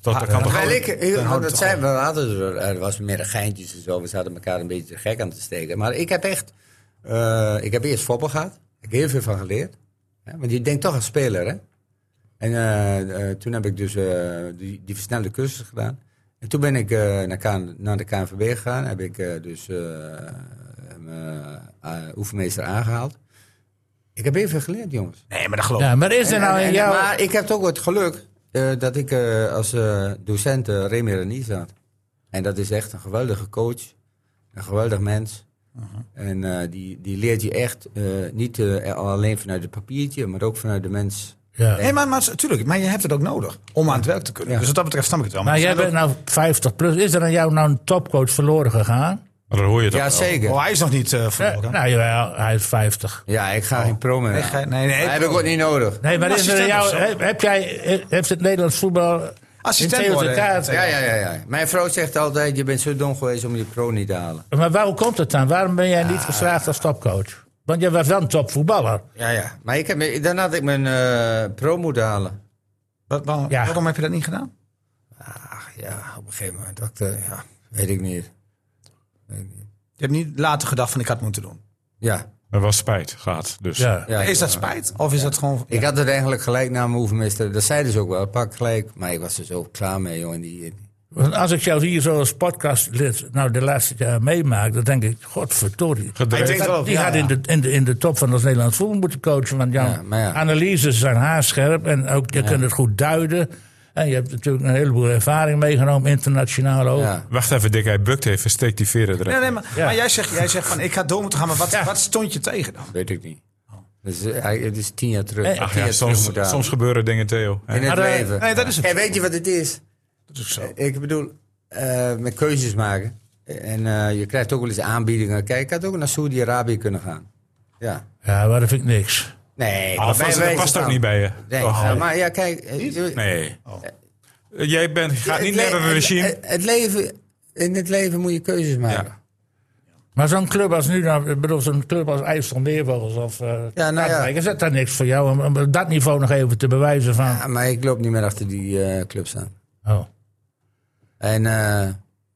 Speaker 1: Dat, dat kan toch
Speaker 6: Wij
Speaker 1: ook?
Speaker 6: likken, ik- eh,
Speaker 4: houdt het
Speaker 6: dat
Speaker 4: toch
Speaker 6: zijn, we hadden er, er was meer een geintjes en zo. We zaten elkaar een beetje te gek aan te steken. Maar ik heb echt, eh, ik heb eerst voetbal gehad. Ik heb heel veel van geleerd. Hè, want je denkt toch als speler, hè? En eh, eh, toen heb ik dus eh, die, die versnelde cursus gedaan. En toen ben ik eh, naar, K- naar de KNVB gegaan. Heb ik eh, dus eh, mijn, eh, oefenmeester aangehaald. Ik heb heel veel geleerd, jongens.
Speaker 4: Nee, maar dat geloof ik.
Speaker 2: Ja, maar is er
Speaker 6: En-
Speaker 2: nou
Speaker 6: en-
Speaker 2: in
Speaker 6: en-
Speaker 2: jouw...
Speaker 6: Maar ik heb toch ook het geluk eh, dat ik eh, als eh, docent eh, Remy Renies had. En dat is echt een geweldige coach. Een geweldig mens. En eh, die, die leert je echt eh, niet eh, alleen vanuit het papiertje, maar ook vanuit de mens.
Speaker 2: Ja.
Speaker 4: Nee, maar, maar natuurlijk. Maar je hebt het ook nodig om aan het werk te kunnen.
Speaker 6: Ja.
Speaker 4: Dus wat dat betreft snap ik het wel.
Speaker 2: Maar
Speaker 4: er
Speaker 2: jij
Speaker 4: zijn
Speaker 2: bent nou 50 plus. Is er aan jou nou een topcoach verloren gegaan?
Speaker 1: Maar dan hoor je toch wel.
Speaker 6: Jazeker.
Speaker 4: ook- Oh, hij is nog niet eh
Speaker 2: Ja,
Speaker 4: verloren.
Speaker 2: nou, jawel, hij is 50.
Speaker 6: Ja, ik ga geen pro meer.
Speaker 4: Nee, ga- nee, nee,
Speaker 6: Dat heb ik ook niet nodig.
Speaker 2: Nee, maar
Speaker 4: Een
Speaker 2: is er aan jou,
Speaker 4: assistent of zo.
Speaker 2: heb, heb jij, heeft het Nederlands voetbal
Speaker 4: Assistent
Speaker 2: in
Speaker 4: worden,
Speaker 2: kaart?
Speaker 6: Ja, ja, ja, ja. Mijn vrouw zegt altijd, je bent zo dom geweest om je pro niet te halen.
Speaker 2: Maar waarom komt het dan? Waarom ben jij niet gevraagd als topcoach? Want jij was wel een topvoetballer.
Speaker 6: Ja, ja. Maar ik heb, dan had ik mijn eh, pro moeten halen.
Speaker 4: Wat- waarom-
Speaker 2: Ja.
Speaker 4: Waarom heb je dat niet gedaan?
Speaker 6: Ach ja, op een gegeven moment. Dat, eh, ja, weet ik niet. Weet ik niet.
Speaker 4: Je hebt niet later gedacht van ik had moeten doen.
Speaker 6: Ja.
Speaker 1: Er was spijt gehad. Dus.
Speaker 2: Ja.
Speaker 6: ja
Speaker 4: is dat spijt? Of is dat gewoon...
Speaker 6: Ik had het eigenlijk gelijk na mijn oefenmeester. Dat zeiden ze ook wel, pak gelijk. Maar ik was er zo klaar mee, jongen. Die,
Speaker 2: Want als ik jou hier zo als podcastlid nou de laatste jaar meemaak, dan denk ik, godverdorie.
Speaker 1: Gedreven.
Speaker 4: Ik denk wel,
Speaker 2: die
Speaker 4: ja.
Speaker 2: had in de, in, de, in de top van ons Nederlands voetbal moeten coachen. Want jouw
Speaker 6: Ja, maar ja.
Speaker 2: analyses zijn haarscherp en ook, je kunt het goed duiden. En je hebt natuurlijk een heleboel ervaring meegenomen, internationaal ook.
Speaker 6: ja.
Speaker 1: Wacht even, Dick, hij bukt even. Steek die veren erin.
Speaker 4: Nee, nee, maar,
Speaker 2: Ja.
Speaker 4: maar jij, zegt, jij zegt van ik ga door moeten gaan. Maar wat,
Speaker 2: Ja.
Speaker 4: wat stond je tegen dan?
Speaker 6: Weet ik niet. Dus, eh, hij- het is tien jaar terug.
Speaker 2: Eh,
Speaker 6: Ach,
Speaker 1: Ja, soms,
Speaker 6: terug
Speaker 1: soms gebeuren dingen, Theo.
Speaker 6: in het
Speaker 2: Maar, eh,
Speaker 6: leven.
Speaker 4: nee, dat is het.
Speaker 6: en weet je wat het is? Ik bedoel, eh, met keuzes maken. En eh, je krijgt ook wel eens aanbiedingen. Kijk, ik had ook naar Saudi-Arabië kunnen gaan. Ja.
Speaker 2: Ja, maar dat vind ik niks.
Speaker 6: Nee,
Speaker 1: Ah,
Speaker 6: maar
Speaker 1: dat
Speaker 6: wij-
Speaker 1: past-
Speaker 6: wij-
Speaker 1: dat past ook niet bij je.
Speaker 6: Nee,
Speaker 1: Oh.
Speaker 6: nou, maar ja, kijk. eh, je-
Speaker 1: Nee. Eh, Jij bent, gaat
Speaker 6: het
Speaker 1: niet
Speaker 6: le-
Speaker 1: naar een
Speaker 6: het-
Speaker 1: regime.
Speaker 6: Het, het leven, in het leven moet je keuzes maken.
Speaker 2: Maar zo'n club als nu, nou, ik bedoel, zo'n club als IJsselmeervogels of eh
Speaker 6: Ja, nou ja.
Speaker 2: Katwijk, is dat dan niks voor jou? Om, om dat niveau nog even te bewijzen van...
Speaker 6: Ja, maar ik loop niet meer achter die eh, clubs aan.
Speaker 2: Oh.
Speaker 6: En eh,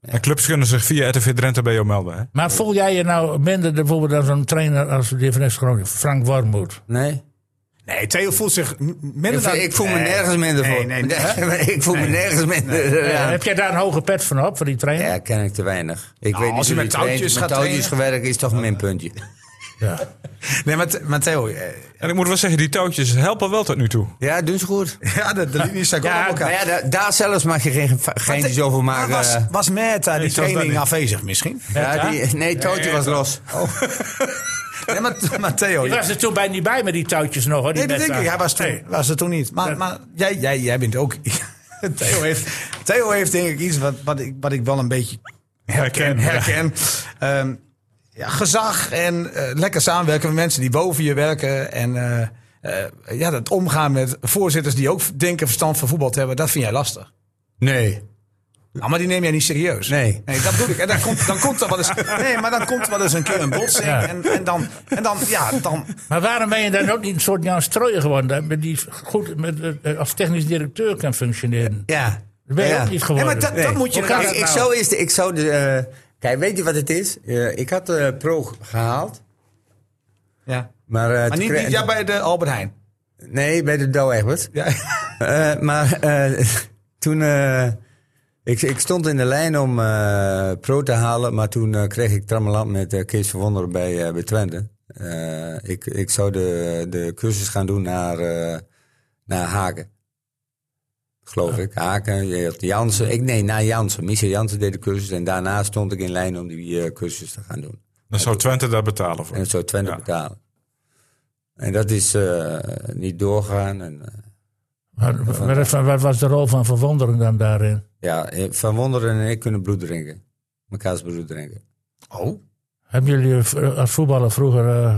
Speaker 1: En clubs kunnen zich via RTV Drenthe bij jou melden. Hè?
Speaker 2: Maar voel jij je nou minder bijvoorbeeld dan zo'n trainer als de van Groningen, Frank Wormoed?
Speaker 6: nee.
Speaker 4: Nee, Theo voelt zich m- minder
Speaker 6: Ik,
Speaker 4: dan...
Speaker 6: ik voel me
Speaker 4: Nee.
Speaker 6: nergens minder
Speaker 4: Nee,
Speaker 6: voor.
Speaker 4: nee, nee.
Speaker 6: ik voel me nergens minder.
Speaker 2: Eh,
Speaker 6: Ja.
Speaker 2: heb jij daar een hoge pet van op, voor die trainer?
Speaker 6: Ja, ken ik te weinig. Ik weet niet
Speaker 4: Nou, als je
Speaker 6: hoe
Speaker 4: met
Speaker 6: die traint.
Speaker 4: touwtjes gaat
Speaker 6: met touwtjes
Speaker 4: trainen.
Speaker 6: gewerkt is toch een minpuntje.
Speaker 2: Ja.
Speaker 4: Nee, maar, Th- maar Theo... eh,
Speaker 1: En ik moet wel zeggen, die touwtjes helpen wel tot nu toe.
Speaker 6: Ja, doen ze goed.
Speaker 4: Ja, de, de linies zijn gewoon
Speaker 6: Ja,
Speaker 4: op elkaar.
Speaker 6: maar Nou ja, da- daar zelfs mag je geen geintjes over eh,
Speaker 4: Maar
Speaker 6: maken.
Speaker 4: was, was Merta die
Speaker 1: ik zou dat
Speaker 4: training
Speaker 1: niet.
Speaker 4: afwezig misschien? Oh.
Speaker 6: ja, die, nee, touwtje was los.
Speaker 4: Nee, maar, maar Theo...
Speaker 2: Die
Speaker 4: ja.
Speaker 2: was er toen bij niet bij met die touwtjes nog, hoor. die
Speaker 4: Nee, dat denk
Speaker 2: Bessa.
Speaker 4: ik. Hij was, toen,
Speaker 2: Nee.
Speaker 4: was er toen niet. Maar, maar jij, jij, jij bent ook... Theo, heeft, Theo heeft denk ik iets wat, wat, ik, wat ik wel een beetje
Speaker 1: Herken.
Speaker 4: herken. Ehm, ja, gezag en eh, lekker samenwerken met mensen die boven je werken. En eh, eh, ja, dat omgaan met voorzitters die ook denken verstand van voetbal te hebben. Dat vind jij lastig.
Speaker 6: Nee.
Speaker 4: Ah, maar die neem jij niet serieus.
Speaker 6: Nee.
Speaker 4: Nee, dat bedoel ik. En dan komt, dan komt er wel eens. Nee, maar dan komt er wel eens een keer een botsing.
Speaker 2: Ja.
Speaker 4: En, en, dan, en dan, ja, dan.
Speaker 2: Maar waarom ben je dan ook niet een soort Jan Strooijer geworden, hè, die goed met, eh, als technisch directeur kan functioneren?
Speaker 6: Ja.
Speaker 2: Dat ben je
Speaker 6: Ja.
Speaker 2: ook niet geworden.
Speaker 4: Nee, maar dat- dat moet je
Speaker 2: Hoe
Speaker 6: Ik,
Speaker 2: kan
Speaker 6: ik,
Speaker 2: dat nou?
Speaker 6: zou eerst, ik zou de. eh, kijk, weet je wat het is? Eh, ik had de pro gehaald.
Speaker 4: Ja.
Speaker 6: Maar, eh,
Speaker 4: Maar
Speaker 6: toen
Speaker 4: niet,
Speaker 6: kreeg-
Speaker 4: niet ja, bij de Albert Heijn.
Speaker 6: Nee, bij de Douwe Egbert.
Speaker 4: Ja.
Speaker 6: Eh, maar eh, toen. eh, ik, ik stond in de lijn om eh, pro te halen. Maar toen eh, kreeg ik trammeland met eh, Kees van Wonderen bij, eh, bij Twente. Eh, ik, ik zou de, de cursus gaan doen naar, eh, naar Haken. Geloof ik. Haken, je had Jansen. Ik, nee, naar Jansen. Michel Jansen deed de cursus. En daarna stond ik in lijn om die eh, cursus te gaan doen.
Speaker 1: Dan zou Twente daar betalen voor.
Speaker 6: En zo Twente
Speaker 1: Ja.
Speaker 6: betalen. En dat is eh, niet doorgaan. En, eh,
Speaker 2: Maar- maar- wat- Wat was de rol van verwondering dan daarin?
Speaker 6: ja, eh, Van Wonderen en ik kunnen bloed drinken. Mekaars bloed drinken.
Speaker 4: Oh.
Speaker 2: Hebben jullie eh, als voetballer vroeger eh,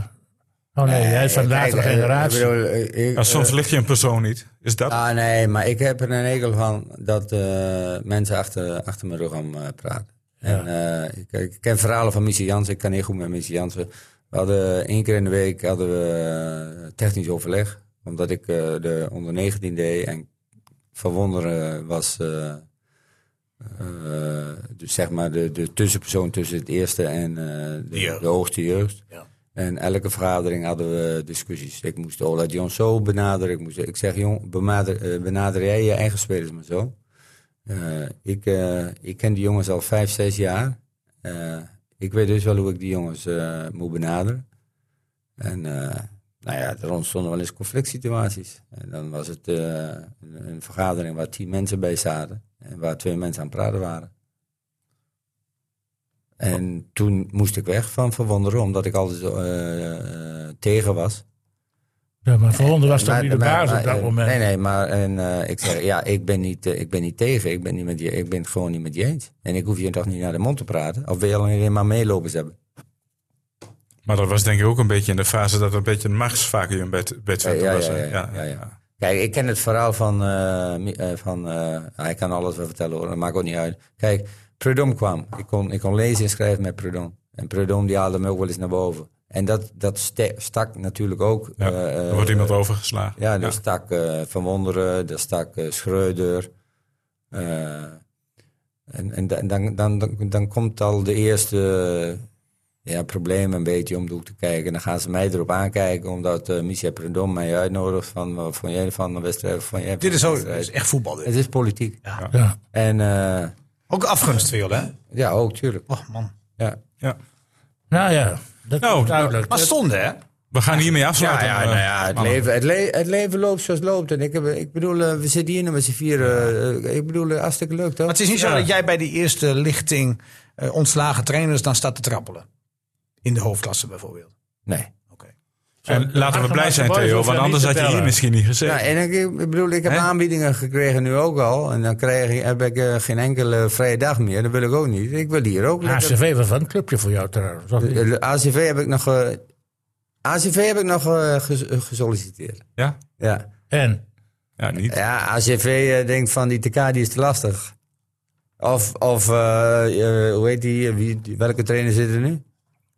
Speaker 2: Oh nee, hij is van
Speaker 6: kijk,
Speaker 2: latere
Speaker 6: eh,
Speaker 2: generatie.
Speaker 6: ik bedoel, eh, ik-
Speaker 1: Ja, soms ligt je een persoon niet. Is dat?
Speaker 6: Ah nee, maar ik heb er een regel van dat eh, mensen achter, achter mijn rug om eh, praten. En, eh, ik, ik ken verhalen van Missie Jansen, ik kan heel goed met Missie Jansen. We hadden één keer in de week hadden we eh, technisch overleg, omdat ik eh, de onder 19 deed en Van Wonderen was eh, eh, dus zeg maar de, de tussenpersoon tussen het eerste en eh, de, de hoogste jeugd. En elke vergadering hadden we discussies. Ik moest Ola John zo benaderen. Ik, moest, ik zeg, jong, benader, eh, benader jij je eigen spelers maar zo. Eh, ik, eh, ik ken die jongens al vijf, zes jaar. Eh, ik weet dus wel hoe ik die jongens eh, moet benaderen. En eh, nou ja, er ontstonden wel eens conflict situaties. En dan was het eh, een, een vergadering waar tien mensen bij zaten. En waar twee mensen aan het praten waren. En toen moest ik weg van Verwonderen, omdat ik altijd eh, eh, tegen was.
Speaker 2: Ja, maar voor Honden was toch
Speaker 6: Maar-
Speaker 2: niet de
Speaker 6: maar-
Speaker 2: baas op
Speaker 6: maar,
Speaker 2: dat
Speaker 6: eh,
Speaker 2: moment?
Speaker 6: Nee, nee, maar en, eh, ik zeg, ja, ik ben, niet, eh, ik ben niet tegen. Ik ben, niet met je, ik ben het gewoon niet met je eens. En ik hoef je toch niet naar de mond te praten. Of wil je alleen maar meelopers hebben?
Speaker 1: Maar dat was denk ik ook een beetje in de fase dat er een beetje een machtsvacuum bij, bij Twente
Speaker 6: Ja, ja,
Speaker 1: was. eh, hè?
Speaker 6: ja, ja, ja, ja. Kijk, ik ken het verhaal van... eh, Mi- eh, van eh, hij kan alles wel vertellen hoor, dat maakt ook niet uit. Kijk, Prudhomme kwam. Ik kon, ik kon lezen en schrijven met Prudhomme. En Prudhomme die haalde me ook wel eens naar boven. En dat, dat ste- stak natuurlijk ook...
Speaker 1: Ja,
Speaker 6: eh, eh,
Speaker 1: er wordt iemand overgeslagen.
Speaker 6: Ja, daar stak eh, Van Wonderen, daar stak eh, Schreuder. Eh, en en da- dan, dan, dan, dan komt al de eerste eh, ja, probleem een beetje om de hoek te kijken. En dan gaan ze mij erop aankijken, omdat eh Michel Prudhomme mij uitnodigt van... Wat vond jij van de wedstrijd? Wat vond jij van
Speaker 4: Dit is,
Speaker 6: de
Speaker 4: ook, dit
Speaker 6: wedstrijd?
Speaker 4: is echt voetbal. dit.
Speaker 6: Het is politiek.
Speaker 2: Ja.
Speaker 6: En eh,
Speaker 4: Ook afgunst voor jullie, hè?
Speaker 6: ja, ook tuurlijk.
Speaker 4: Och man.
Speaker 6: Ja.
Speaker 1: Ja.
Speaker 2: Nou ja, dat
Speaker 1: Nou,
Speaker 2: is duidelijk.
Speaker 4: Maar zonde, hè?
Speaker 1: We gaan hiermee afsluiten.
Speaker 6: ja,
Speaker 1: eh,
Speaker 6: nou ja, het,
Speaker 1: mannen.
Speaker 6: leven, het, le- het leven loopt zoals het loopt. En ik, heb, ik bedoel, eh, we zitten hier nu met z'n vieren. eh, ik bedoel, eh, hartstikke leuk, toch?
Speaker 4: Maar het is niet zo dat jij bij die eerste lichting eh, ontslagen trainers dan staat te trappelen. In de hoofdklasse bijvoorbeeld.
Speaker 6: Nee.
Speaker 1: En laten we blij zijn,
Speaker 2: Boys
Speaker 1: Theo,
Speaker 2: hoeft
Speaker 1: want
Speaker 2: er
Speaker 1: anders
Speaker 2: niet
Speaker 1: had je
Speaker 2: te
Speaker 1: hier
Speaker 2: tellen.
Speaker 1: misschien niet gezeten.
Speaker 6: Ja, en ik, ik bedoel, ik heb
Speaker 1: Hè?
Speaker 6: aanbiedingen gekregen nu ook al. En dan krijg, ik- heb ik eh, geen enkele vrije dag meer. Dat wil ik ook niet. Ik wil hier ook lekker-
Speaker 2: HCV was wel een clubje voor jou trouwens. of niet?
Speaker 6: Eh, eh, ACV heb ik nog, eh, ACV heb ik nog eh, ges- eh, gesolliciteerd.
Speaker 1: Ja?
Speaker 6: Ja.
Speaker 2: En?
Speaker 1: Ja, niet.
Speaker 6: ja, ACV eh, denkt van die TK die is te lastig. Of, of eh, eh, hoe heet die, eh, wie, die- welke trainer zit er nu?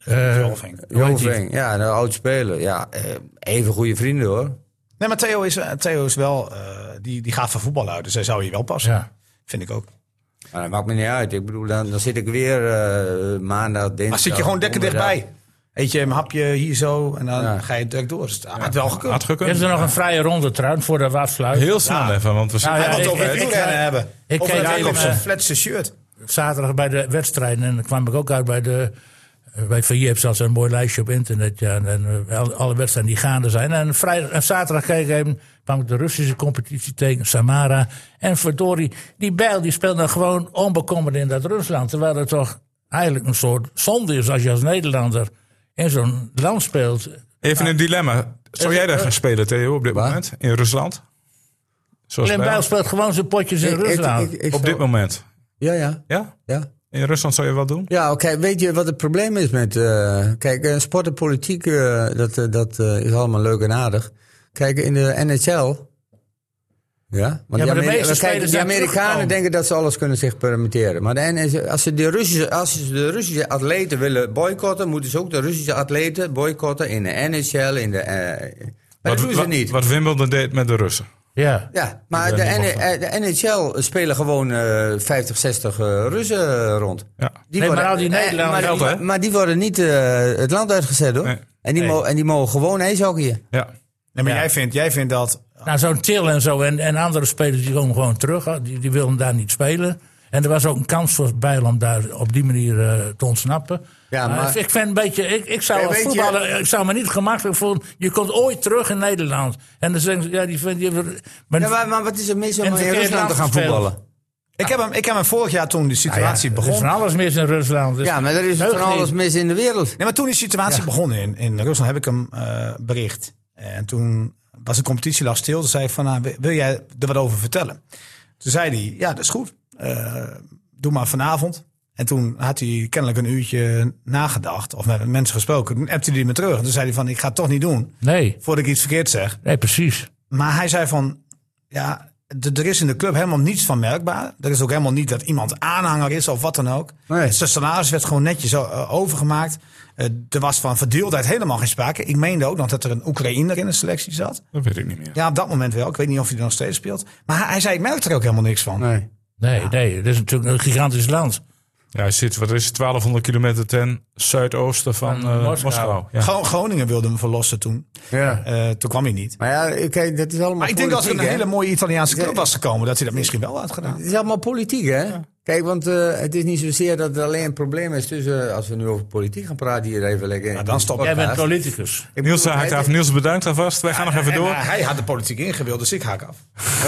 Speaker 2: eh, hoe heet die?
Speaker 6: Joving. Ja, een oud speler. Ja, eh, even goede vrienden hoor.
Speaker 4: Nee, maar Theo is, eh, Theo is wel, eh, die, die gaat van voetbal uit. Dus hij zou hier wel passen.
Speaker 2: Ja.
Speaker 4: Vind ik ook.
Speaker 6: Maar dat maakt me niet uit. Ik bedoel, dan, dan zit ik weer eh, maandag, dinsdag.
Speaker 4: Maar zit je gewoon lekker
Speaker 6: donderdag.
Speaker 4: dichtbij. Eet je een hapje hier zo en dan
Speaker 6: Ja.
Speaker 4: ga je direct door. Dus het had wel gekund.
Speaker 1: Had gekund.
Speaker 2: Is er nog een vrije ronde trouwens voordat we afsluiten?
Speaker 1: Heel snel even, want we zijn...
Speaker 2: Nou ja,
Speaker 4: Hij wil het
Speaker 2: ik-
Speaker 4: over
Speaker 2: ik-
Speaker 4: het
Speaker 2: ik-
Speaker 4: wielrennen hebben.
Speaker 2: ik
Speaker 4: over
Speaker 2: keek
Speaker 4: het
Speaker 2: even,
Speaker 4: Jacobsen
Speaker 2: eh,
Speaker 4: flatse shirt.
Speaker 2: zaterdag bij de wedstrijden. En dan kwam ik ook uit bij de. Bij VJ heb zelfs een mooi lijstje op internet. Ja, en, en, eh, al- alle wedstrijden die gaande zijn. En, vrijdag, en zaterdag keek ik even, kwam ik de Russische competitie tegen, Samara. En verdorie, die Bijl die speelt dan gewoon onbekommerd in dat Rusland. Terwijl het toch eigenlijk een soort zonde is als je als Nederlander in zo'n land speelt.
Speaker 1: Even een dilemma. Zou jij daar gaan spelen, Theo, op dit moment? In Rusland? Zoals
Speaker 2: Glenn
Speaker 1: wij-
Speaker 2: Bijl speelt gewoon zijn potjes in
Speaker 6: Ik- ik-
Speaker 2: Rusland.
Speaker 6: ik- ik
Speaker 1: Op
Speaker 6: zou-
Speaker 1: dit moment.
Speaker 6: Ja, ja,
Speaker 1: Ja?
Speaker 6: ja.
Speaker 1: In Rusland zou je wat doen?
Speaker 6: Ja, oké, weet je wat het probleem is met... eh, kijk, eh, sport en politiek, eh, dat, eh, dat eh, is allemaal leuk en aardig. Kijk, in de NHL... Ja, want
Speaker 2: de
Speaker 6: Ameri-
Speaker 2: meeste
Speaker 6: kijk,
Speaker 2: spelers
Speaker 6: die
Speaker 2: zijn
Speaker 6: Amerikanen
Speaker 2: teruggekomen.
Speaker 6: denken dat ze alles kunnen zich permitteren. Maar de NHL als, ze de Russische, als ze de Russische atleten willen boycotten, moeten ze ook de Russische atleten boycotten in de NHL, in de... eh, maar dat doen ze
Speaker 1: wat,
Speaker 6: niet.
Speaker 1: Wat Wimbledon deed met de Russen.
Speaker 2: ja.
Speaker 6: Ja, maar
Speaker 1: Ik
Speaker 6: de,
Speaker 1: ben niet
Speaker 6: N- eh, de NHL spelen gewoon eh 50, 60 eh, Russen rond.
Speaker 1: Ja.
Speaker 6: Die
Speaker 2: Nee, maar al die
Speaker 6: eh,
Speaker 2: Nederlanders
Speaker 6: maar,
Speaker 1: geld, hè?
Speaker 6: maar, maar die worden niet eh, het land uitgezet, hoor.
Speaker 1: Nee.
Speaker 6: En, die mo- en die mogen gewoon ijshockeyen.
Speaker 1: Ja.
Speaker 4: Nee, maar jij, vindt, jij vindt dat...
Speaker 2: Nou, zo'n Til en zo en, en andere spelers die komen gewoon terug. Oh, Die, die wilden daar niet spelen. En er was ook een kans voor Bijl om daar op die manier eh, te ontsnappen.
Speaker 6: Ja,
Speaker 2: Maar
Speaker 6: maar-
Speaker 2: ik vind een beetje, ik, ik zou
Speaker 6: Ja,
Speaker 2: als
Speaker 6: weet je-
Speaker 2: voetballer, ik zou me niet gemakkelijk voelen. Je komt ooit terug in Nederland. En dan zeggen ze, ja, die vindt, die hebben- maar-
Speaker 6: Ja, maar, maar wat is er mis om
Speaker 2: En
Speaker 6: in
Speaker 2: verkeerd
Speaker 6: Rusland te gaan
Speaker 2: afgespeeld.
Speaker 6: voetballen?
Speaker 4: Ik heb, hem, ik heb hem vorig jaar toen de
Speaker 2: Nou ja,
Speaker 4: situatie
Speaker 2: er is
Speaker 4: begon.
Speaker 2: van alles mis in Rusland. Dus
Speaker 6: Ja, maar er is
Speaker 2: deugt
Speaker 6: van alles
Speaker 2: niet.
Speaker 6: mis in de wereld.
Speaker 4: Nee, maar toen die situatie begon in, in Rusland, heb ik hem eh, bericht. En toen was de competitie lag stil. Toen zei ik van, nou, wil- wil jij er wat over vertellen? Toen zei hij, ja, dat is goed. Eh, doe maar vanavond. En toen had hij kennelijk een uurtje nagedacht of met mensen gesproken. Toen appte hij me terug. Toen zei hij van, ik ga het toch niet doen
Speaker 2: Nee,
Speaker 4: voordat ik iets verkeerd zeg.
Speaker 2: nee, precies.
Speaker 4: Maar hij zei van, ja, d- er is in de club helemaal niets van merkbaar. Er is ook helemaal niet dat iemand aanhanger is of wat dan ook.
Speaker 6: Nee.
Speaker 4: Zijn salaris werd gewoon netjes eh, overgemaakt. Eh, Er was van verdeeldheid helemaal geen sprake. Ik meende ook nog dat er een Oekraïner in de selectie zat.
Speaker 1: Dat weet ik niet meer.
Speaker 4: Ja, op dat moment wel. Ik weet niet of hij er nog steeds speelt. Maar hij, hij zei, ik merk er ook helemaal niks van.
Speaker 6: Nee.
Speaker 2: Nee, nee, dat is natuurlijk een gigantisch land.
Speaker 1: Ja, hij zit, wat is het, 1200 kilometer ten zuidoosten van
Speaker 2: Van
Speaker 1: eh,
Speaker 2: Moskou.
Speaker 1: Moskou. Ja.
Speaker 4: Gewoon Groningen wilde hem verlossen toen.
Speaker 6: Ja.
Speaker 4: Eh, toen kwam hij niet.
Speaker 6: Maar ja, kijk, dat is allemaal
Speaker 4: Maar ik denk dat er een
Speaker 6: politiek, hè?
Speaker 4: hele mooie Italiaanse club was gekomen. Dat hij dat misschien wel had gedaan.
Speaker 6: Het is allemaal politiek, hè? Kijk, want eh, het is niet zozeer dat er alleen een probleem is tussen... eh, Als we nu over politiek gaan praten hier even lekker.
Speaker 4: Nou, dan stop ik.
Speaker 2: Jij
Speaker 6: Podcast.
Speaker 2: bent politicus.
Speaker 6: Ik
Speaker 1: Niels,
Speaker 6: bedoel,
Speaker 1: haakt
Speaker 6: het-
Speaker 1: af. Niels, bedankt alvast. Wij gaan nog even
Speaker 4: En,
Speaker 1: door.
Speaker 4: eh, hij had de politiek ingewild, dus ik haak af.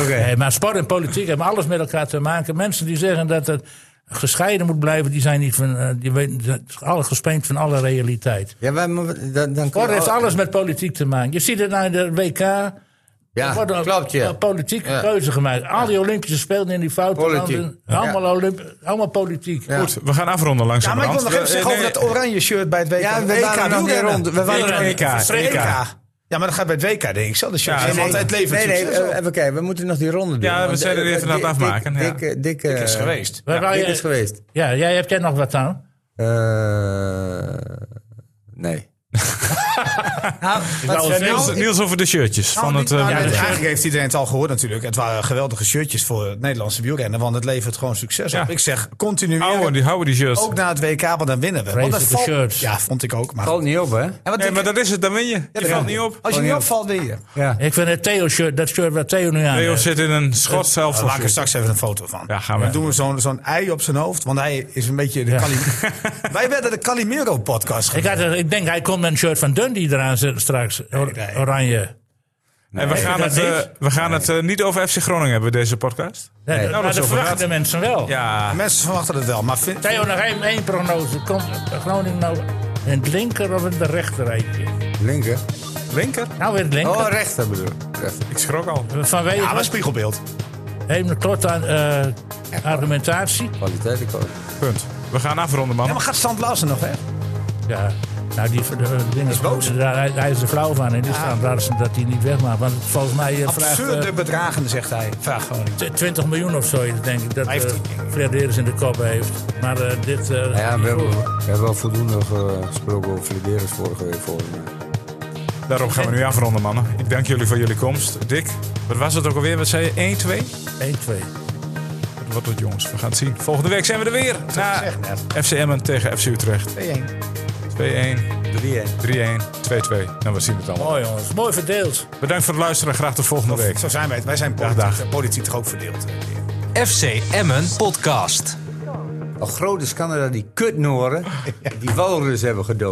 Speaker 6: Oké.
Speaker 2: Nee, Eh, maar sport en politiek hebben alles met elkaar te maken. Mensen die zeggen dat het gescheiden moet blijven, die zijn niet van, eh, die weten, dat is alle gespeend van alle realiteit.
Speaker 6: Ja, maar, maar dan, dan
Speaker 2: Sport heeft alles met politiek te maken. Je ziet het nou in de WK. Er
Speaker 6: Ja,
Speaker 2: wordt een-
Speaker 6: klopt, ja.
Speaker 2: een Politieke
Speaker 6: Ja.
Speaker 2: keuze gemaakt. Al die Olympische spelen in die foute
Speaker 6: Politiek.
Speaker 2: landen.
Speaker 6: Ja.
Speaker 2: Allemaal, Olymp- allemaal politiek.
Speaker 6: Ja.
Speaker 1: Goed, we gaan afronden
Speaker 4: Ja, maar ik
Speaker 1: langzamerhand.
Speaker 4: wil nog even
Speaker 1: We-
Speaker 4: zeggen
Speaker 1: eh,
Speaker 4: over
Speaker 1: nee,
Speaker 4: dat oranje shirt bij het WK.
Speaker 6: Ja, we
Speaker 4: WK
Speaker 6: waren nog niet
Speaker 4: wielrennen.
Speaker 6: rond. We waren nog
Speaker 1: EK,
Speaker 6: niet-
Speaker 4: WK.
Speaker 1: EK.
Speaker 4: Ja, maar dat gaat bij het WK, denk ik. Zelfde shirt.
Speaker 1: Ja,
Speaker 4: Ja,
Speaker 1: nee,
Speaker 4: want het levert
Speaker 6: Nee, nee,
Speaker 4: succes op.
Speaker 6: eh, even kijken. We moeten nog die ronde doen.
Speaker 1: Ja, we
Speaker 6: want,
Speaker 1: zijn er
Speaker 6: eh,
Speaker 1: even aan het
Speaker 6: Dick-
Speaker 1: afmaken, ja.
Speaker 6: Dick, eh, Dick, eh,
Speaker 4: is geweest.
Speaker 2: Waar wou
Speaker 6: Dick
Speaker 2: je-
Speaker 6: is geweest.
Speaker 2: ja, jij hebt jij nog wat aan?
Speaker 6: Eh, nee.
Speaker 2: wou
Speaker 4: Wat-
Speaker 2: zeggen-
Speaker 1: Niels,
Speaker 4: Nou,
Speaker 1: Niels over de shirtjes van
Speaker 4: nou,
Speaker 1: het eh,
Speaker 4: nou,
Speaker 1: WK.
Speaker 4: eigenlijk heeft iedereen het al gehoord natuurlijk. Het waren geweldige shirtjes voor het Nederlandse wielrennen. Want het levert gewoon succes
Speaker 1: Ja.
Speaker 4: op. Ik zeg, continu.
Speaker 1: Houden die, houden die shirts.
Speaker 4: Ook nou, na het WK, want dan winnen we. Want dat
Speaker 2: Vreselijke
Speaker 4: valt-
Speaker 2: shirts.
Speaker 4: Ja, vond ik ook. Maar
Speaker 6: Valt niet op, hè?
Speaker 4: En wat
Speaker 1: Nee,
Speaker 4: denk
Speaker 1: maar
Speaker 4: je-
Speaker 1: dat is het, dan win je. Je valt niet op.
Speaker 4: Als je niet opvalt, win je.
Speaker 6: Ja.
Speaker 2: Ik vind het Theo-shirt, dat shirt waar Theo nu aan
Speaker 1: Leo
Speaker 2: heeft.
Speaker 1: zit in een schot zelf.
Speaker 4: Daar maak ik er straks even een foto van.
Speaker 1: Ja, gaan we.
Speaker 4: Dan doen we zo'n zo'n ei op zijn hoofd. Want hij is een beetje de
Speaker 2: Ja.
Speaker 4: Cali- Wij werden de Calimero-podcast
Speaker 2: Ik, had, er- ik denk, hij komt met een shirt van Dundee eraan zitten straks. Or-
Speaker 4: nee.
Speaker 2: Oranje.
Speaker 1: En we gaan
Speaker 2: dat
Speaker 1: het, eh,
Speaker 2: niet?
Speaker 1: we gaan het eh, niet over FC Groningen hebben, deze podcast.
Speaker 2: Nee,
Speaker 6: Nee.
Speaker 2: maar
Speaker 1: dat is
Speaker 2: dat
Speaker 1: over
Speaker 2: verwachten
Speaker 1: gehad.
Speaker 2: de mensen wel.
Speaker 1: Ja,
Speaker 4: Mensen verwachten het wel, maar vind-
Speaker 2: Theo, nog één, één prognose. Komt Groningen nou in het linker of in de rechter rijtje?
Speaker 6: Linker.
Speaker 1: linker.
Speaker 2: Nou, weer het linker.
Speaker 6: Oh, rechter bedoel ik. Rechter.
Speaker 1: Ik schrok al.
Speaker 2: Vanwege
Speaker 4: ja, maar spiegelbeeld.
Speaker 2: een klote eh, argumentatie.
Speaker 6: Kwaliteit, ik ook.
Speaker 1: Punt. We gaan afronden,
Speaker 4: Ja,
Speaker 1: man.
Speaker 4: maar gaat Stant Larsen nog, hè?
Speaker 2: Ja. Nou, die de, de dingen
Speaker 4: is boos.
Speaker 2: Daar, hij, hij is er flauw van. En die staan daar dat hij niet weg mag. Want volgens mij eh, vraagt eh,
Speaker 4: Absurde bedragen, zegt hij. Vraag gewoon niet.
Speaker 2: t- 20 miljoen of zo, denk ik. Dat
Speaker 4: Hij heeft-
Speaker 2: eh, Fred Heeres in de kop heeft. Maar eh, dit... eh,
Speaker 6: Nou ja, we hebben,
Speaker 2: goed.
Speaker 6: we hebben wel voldoende eh, gesproken over Flederis vorige week. volgens mij.
Speaker 1: Daarom gaan we nu afronden, mannen. Ik dank jullie voor jullie komst. Dick, wat was het ook alweer? Wat zei je? 1, 2?
Speaker 2: 1, 2.
Speaker 1: Wat wordt het, jongens? We gaan het zien. Volgende week zijn we er weer. Na
Speaker 4: gezegd net.
Speaker 1: FC Emmen tegen FC Utrecht. 2-1.
Speaker 4: 2-1.
Speaker 1: 3-1. 2-2. Nou, we zien het allemaal.
Speaker 2: Mooi jongens, mooi verdeeld.
Speaker 1: Bedankt voor het luisteren. Graag de volgende week.
Speaker 4: Zo zijn wij het. Wij zijn politiek,
Speaker 1: dag.
Speaker 4: eh, politiek toch ook verdeeld. eh.
Speaker 3: FC Emmen Podcast.
Speaker 6: Oh, Al groot is Canada die kutnoren die walrus hebben gedood.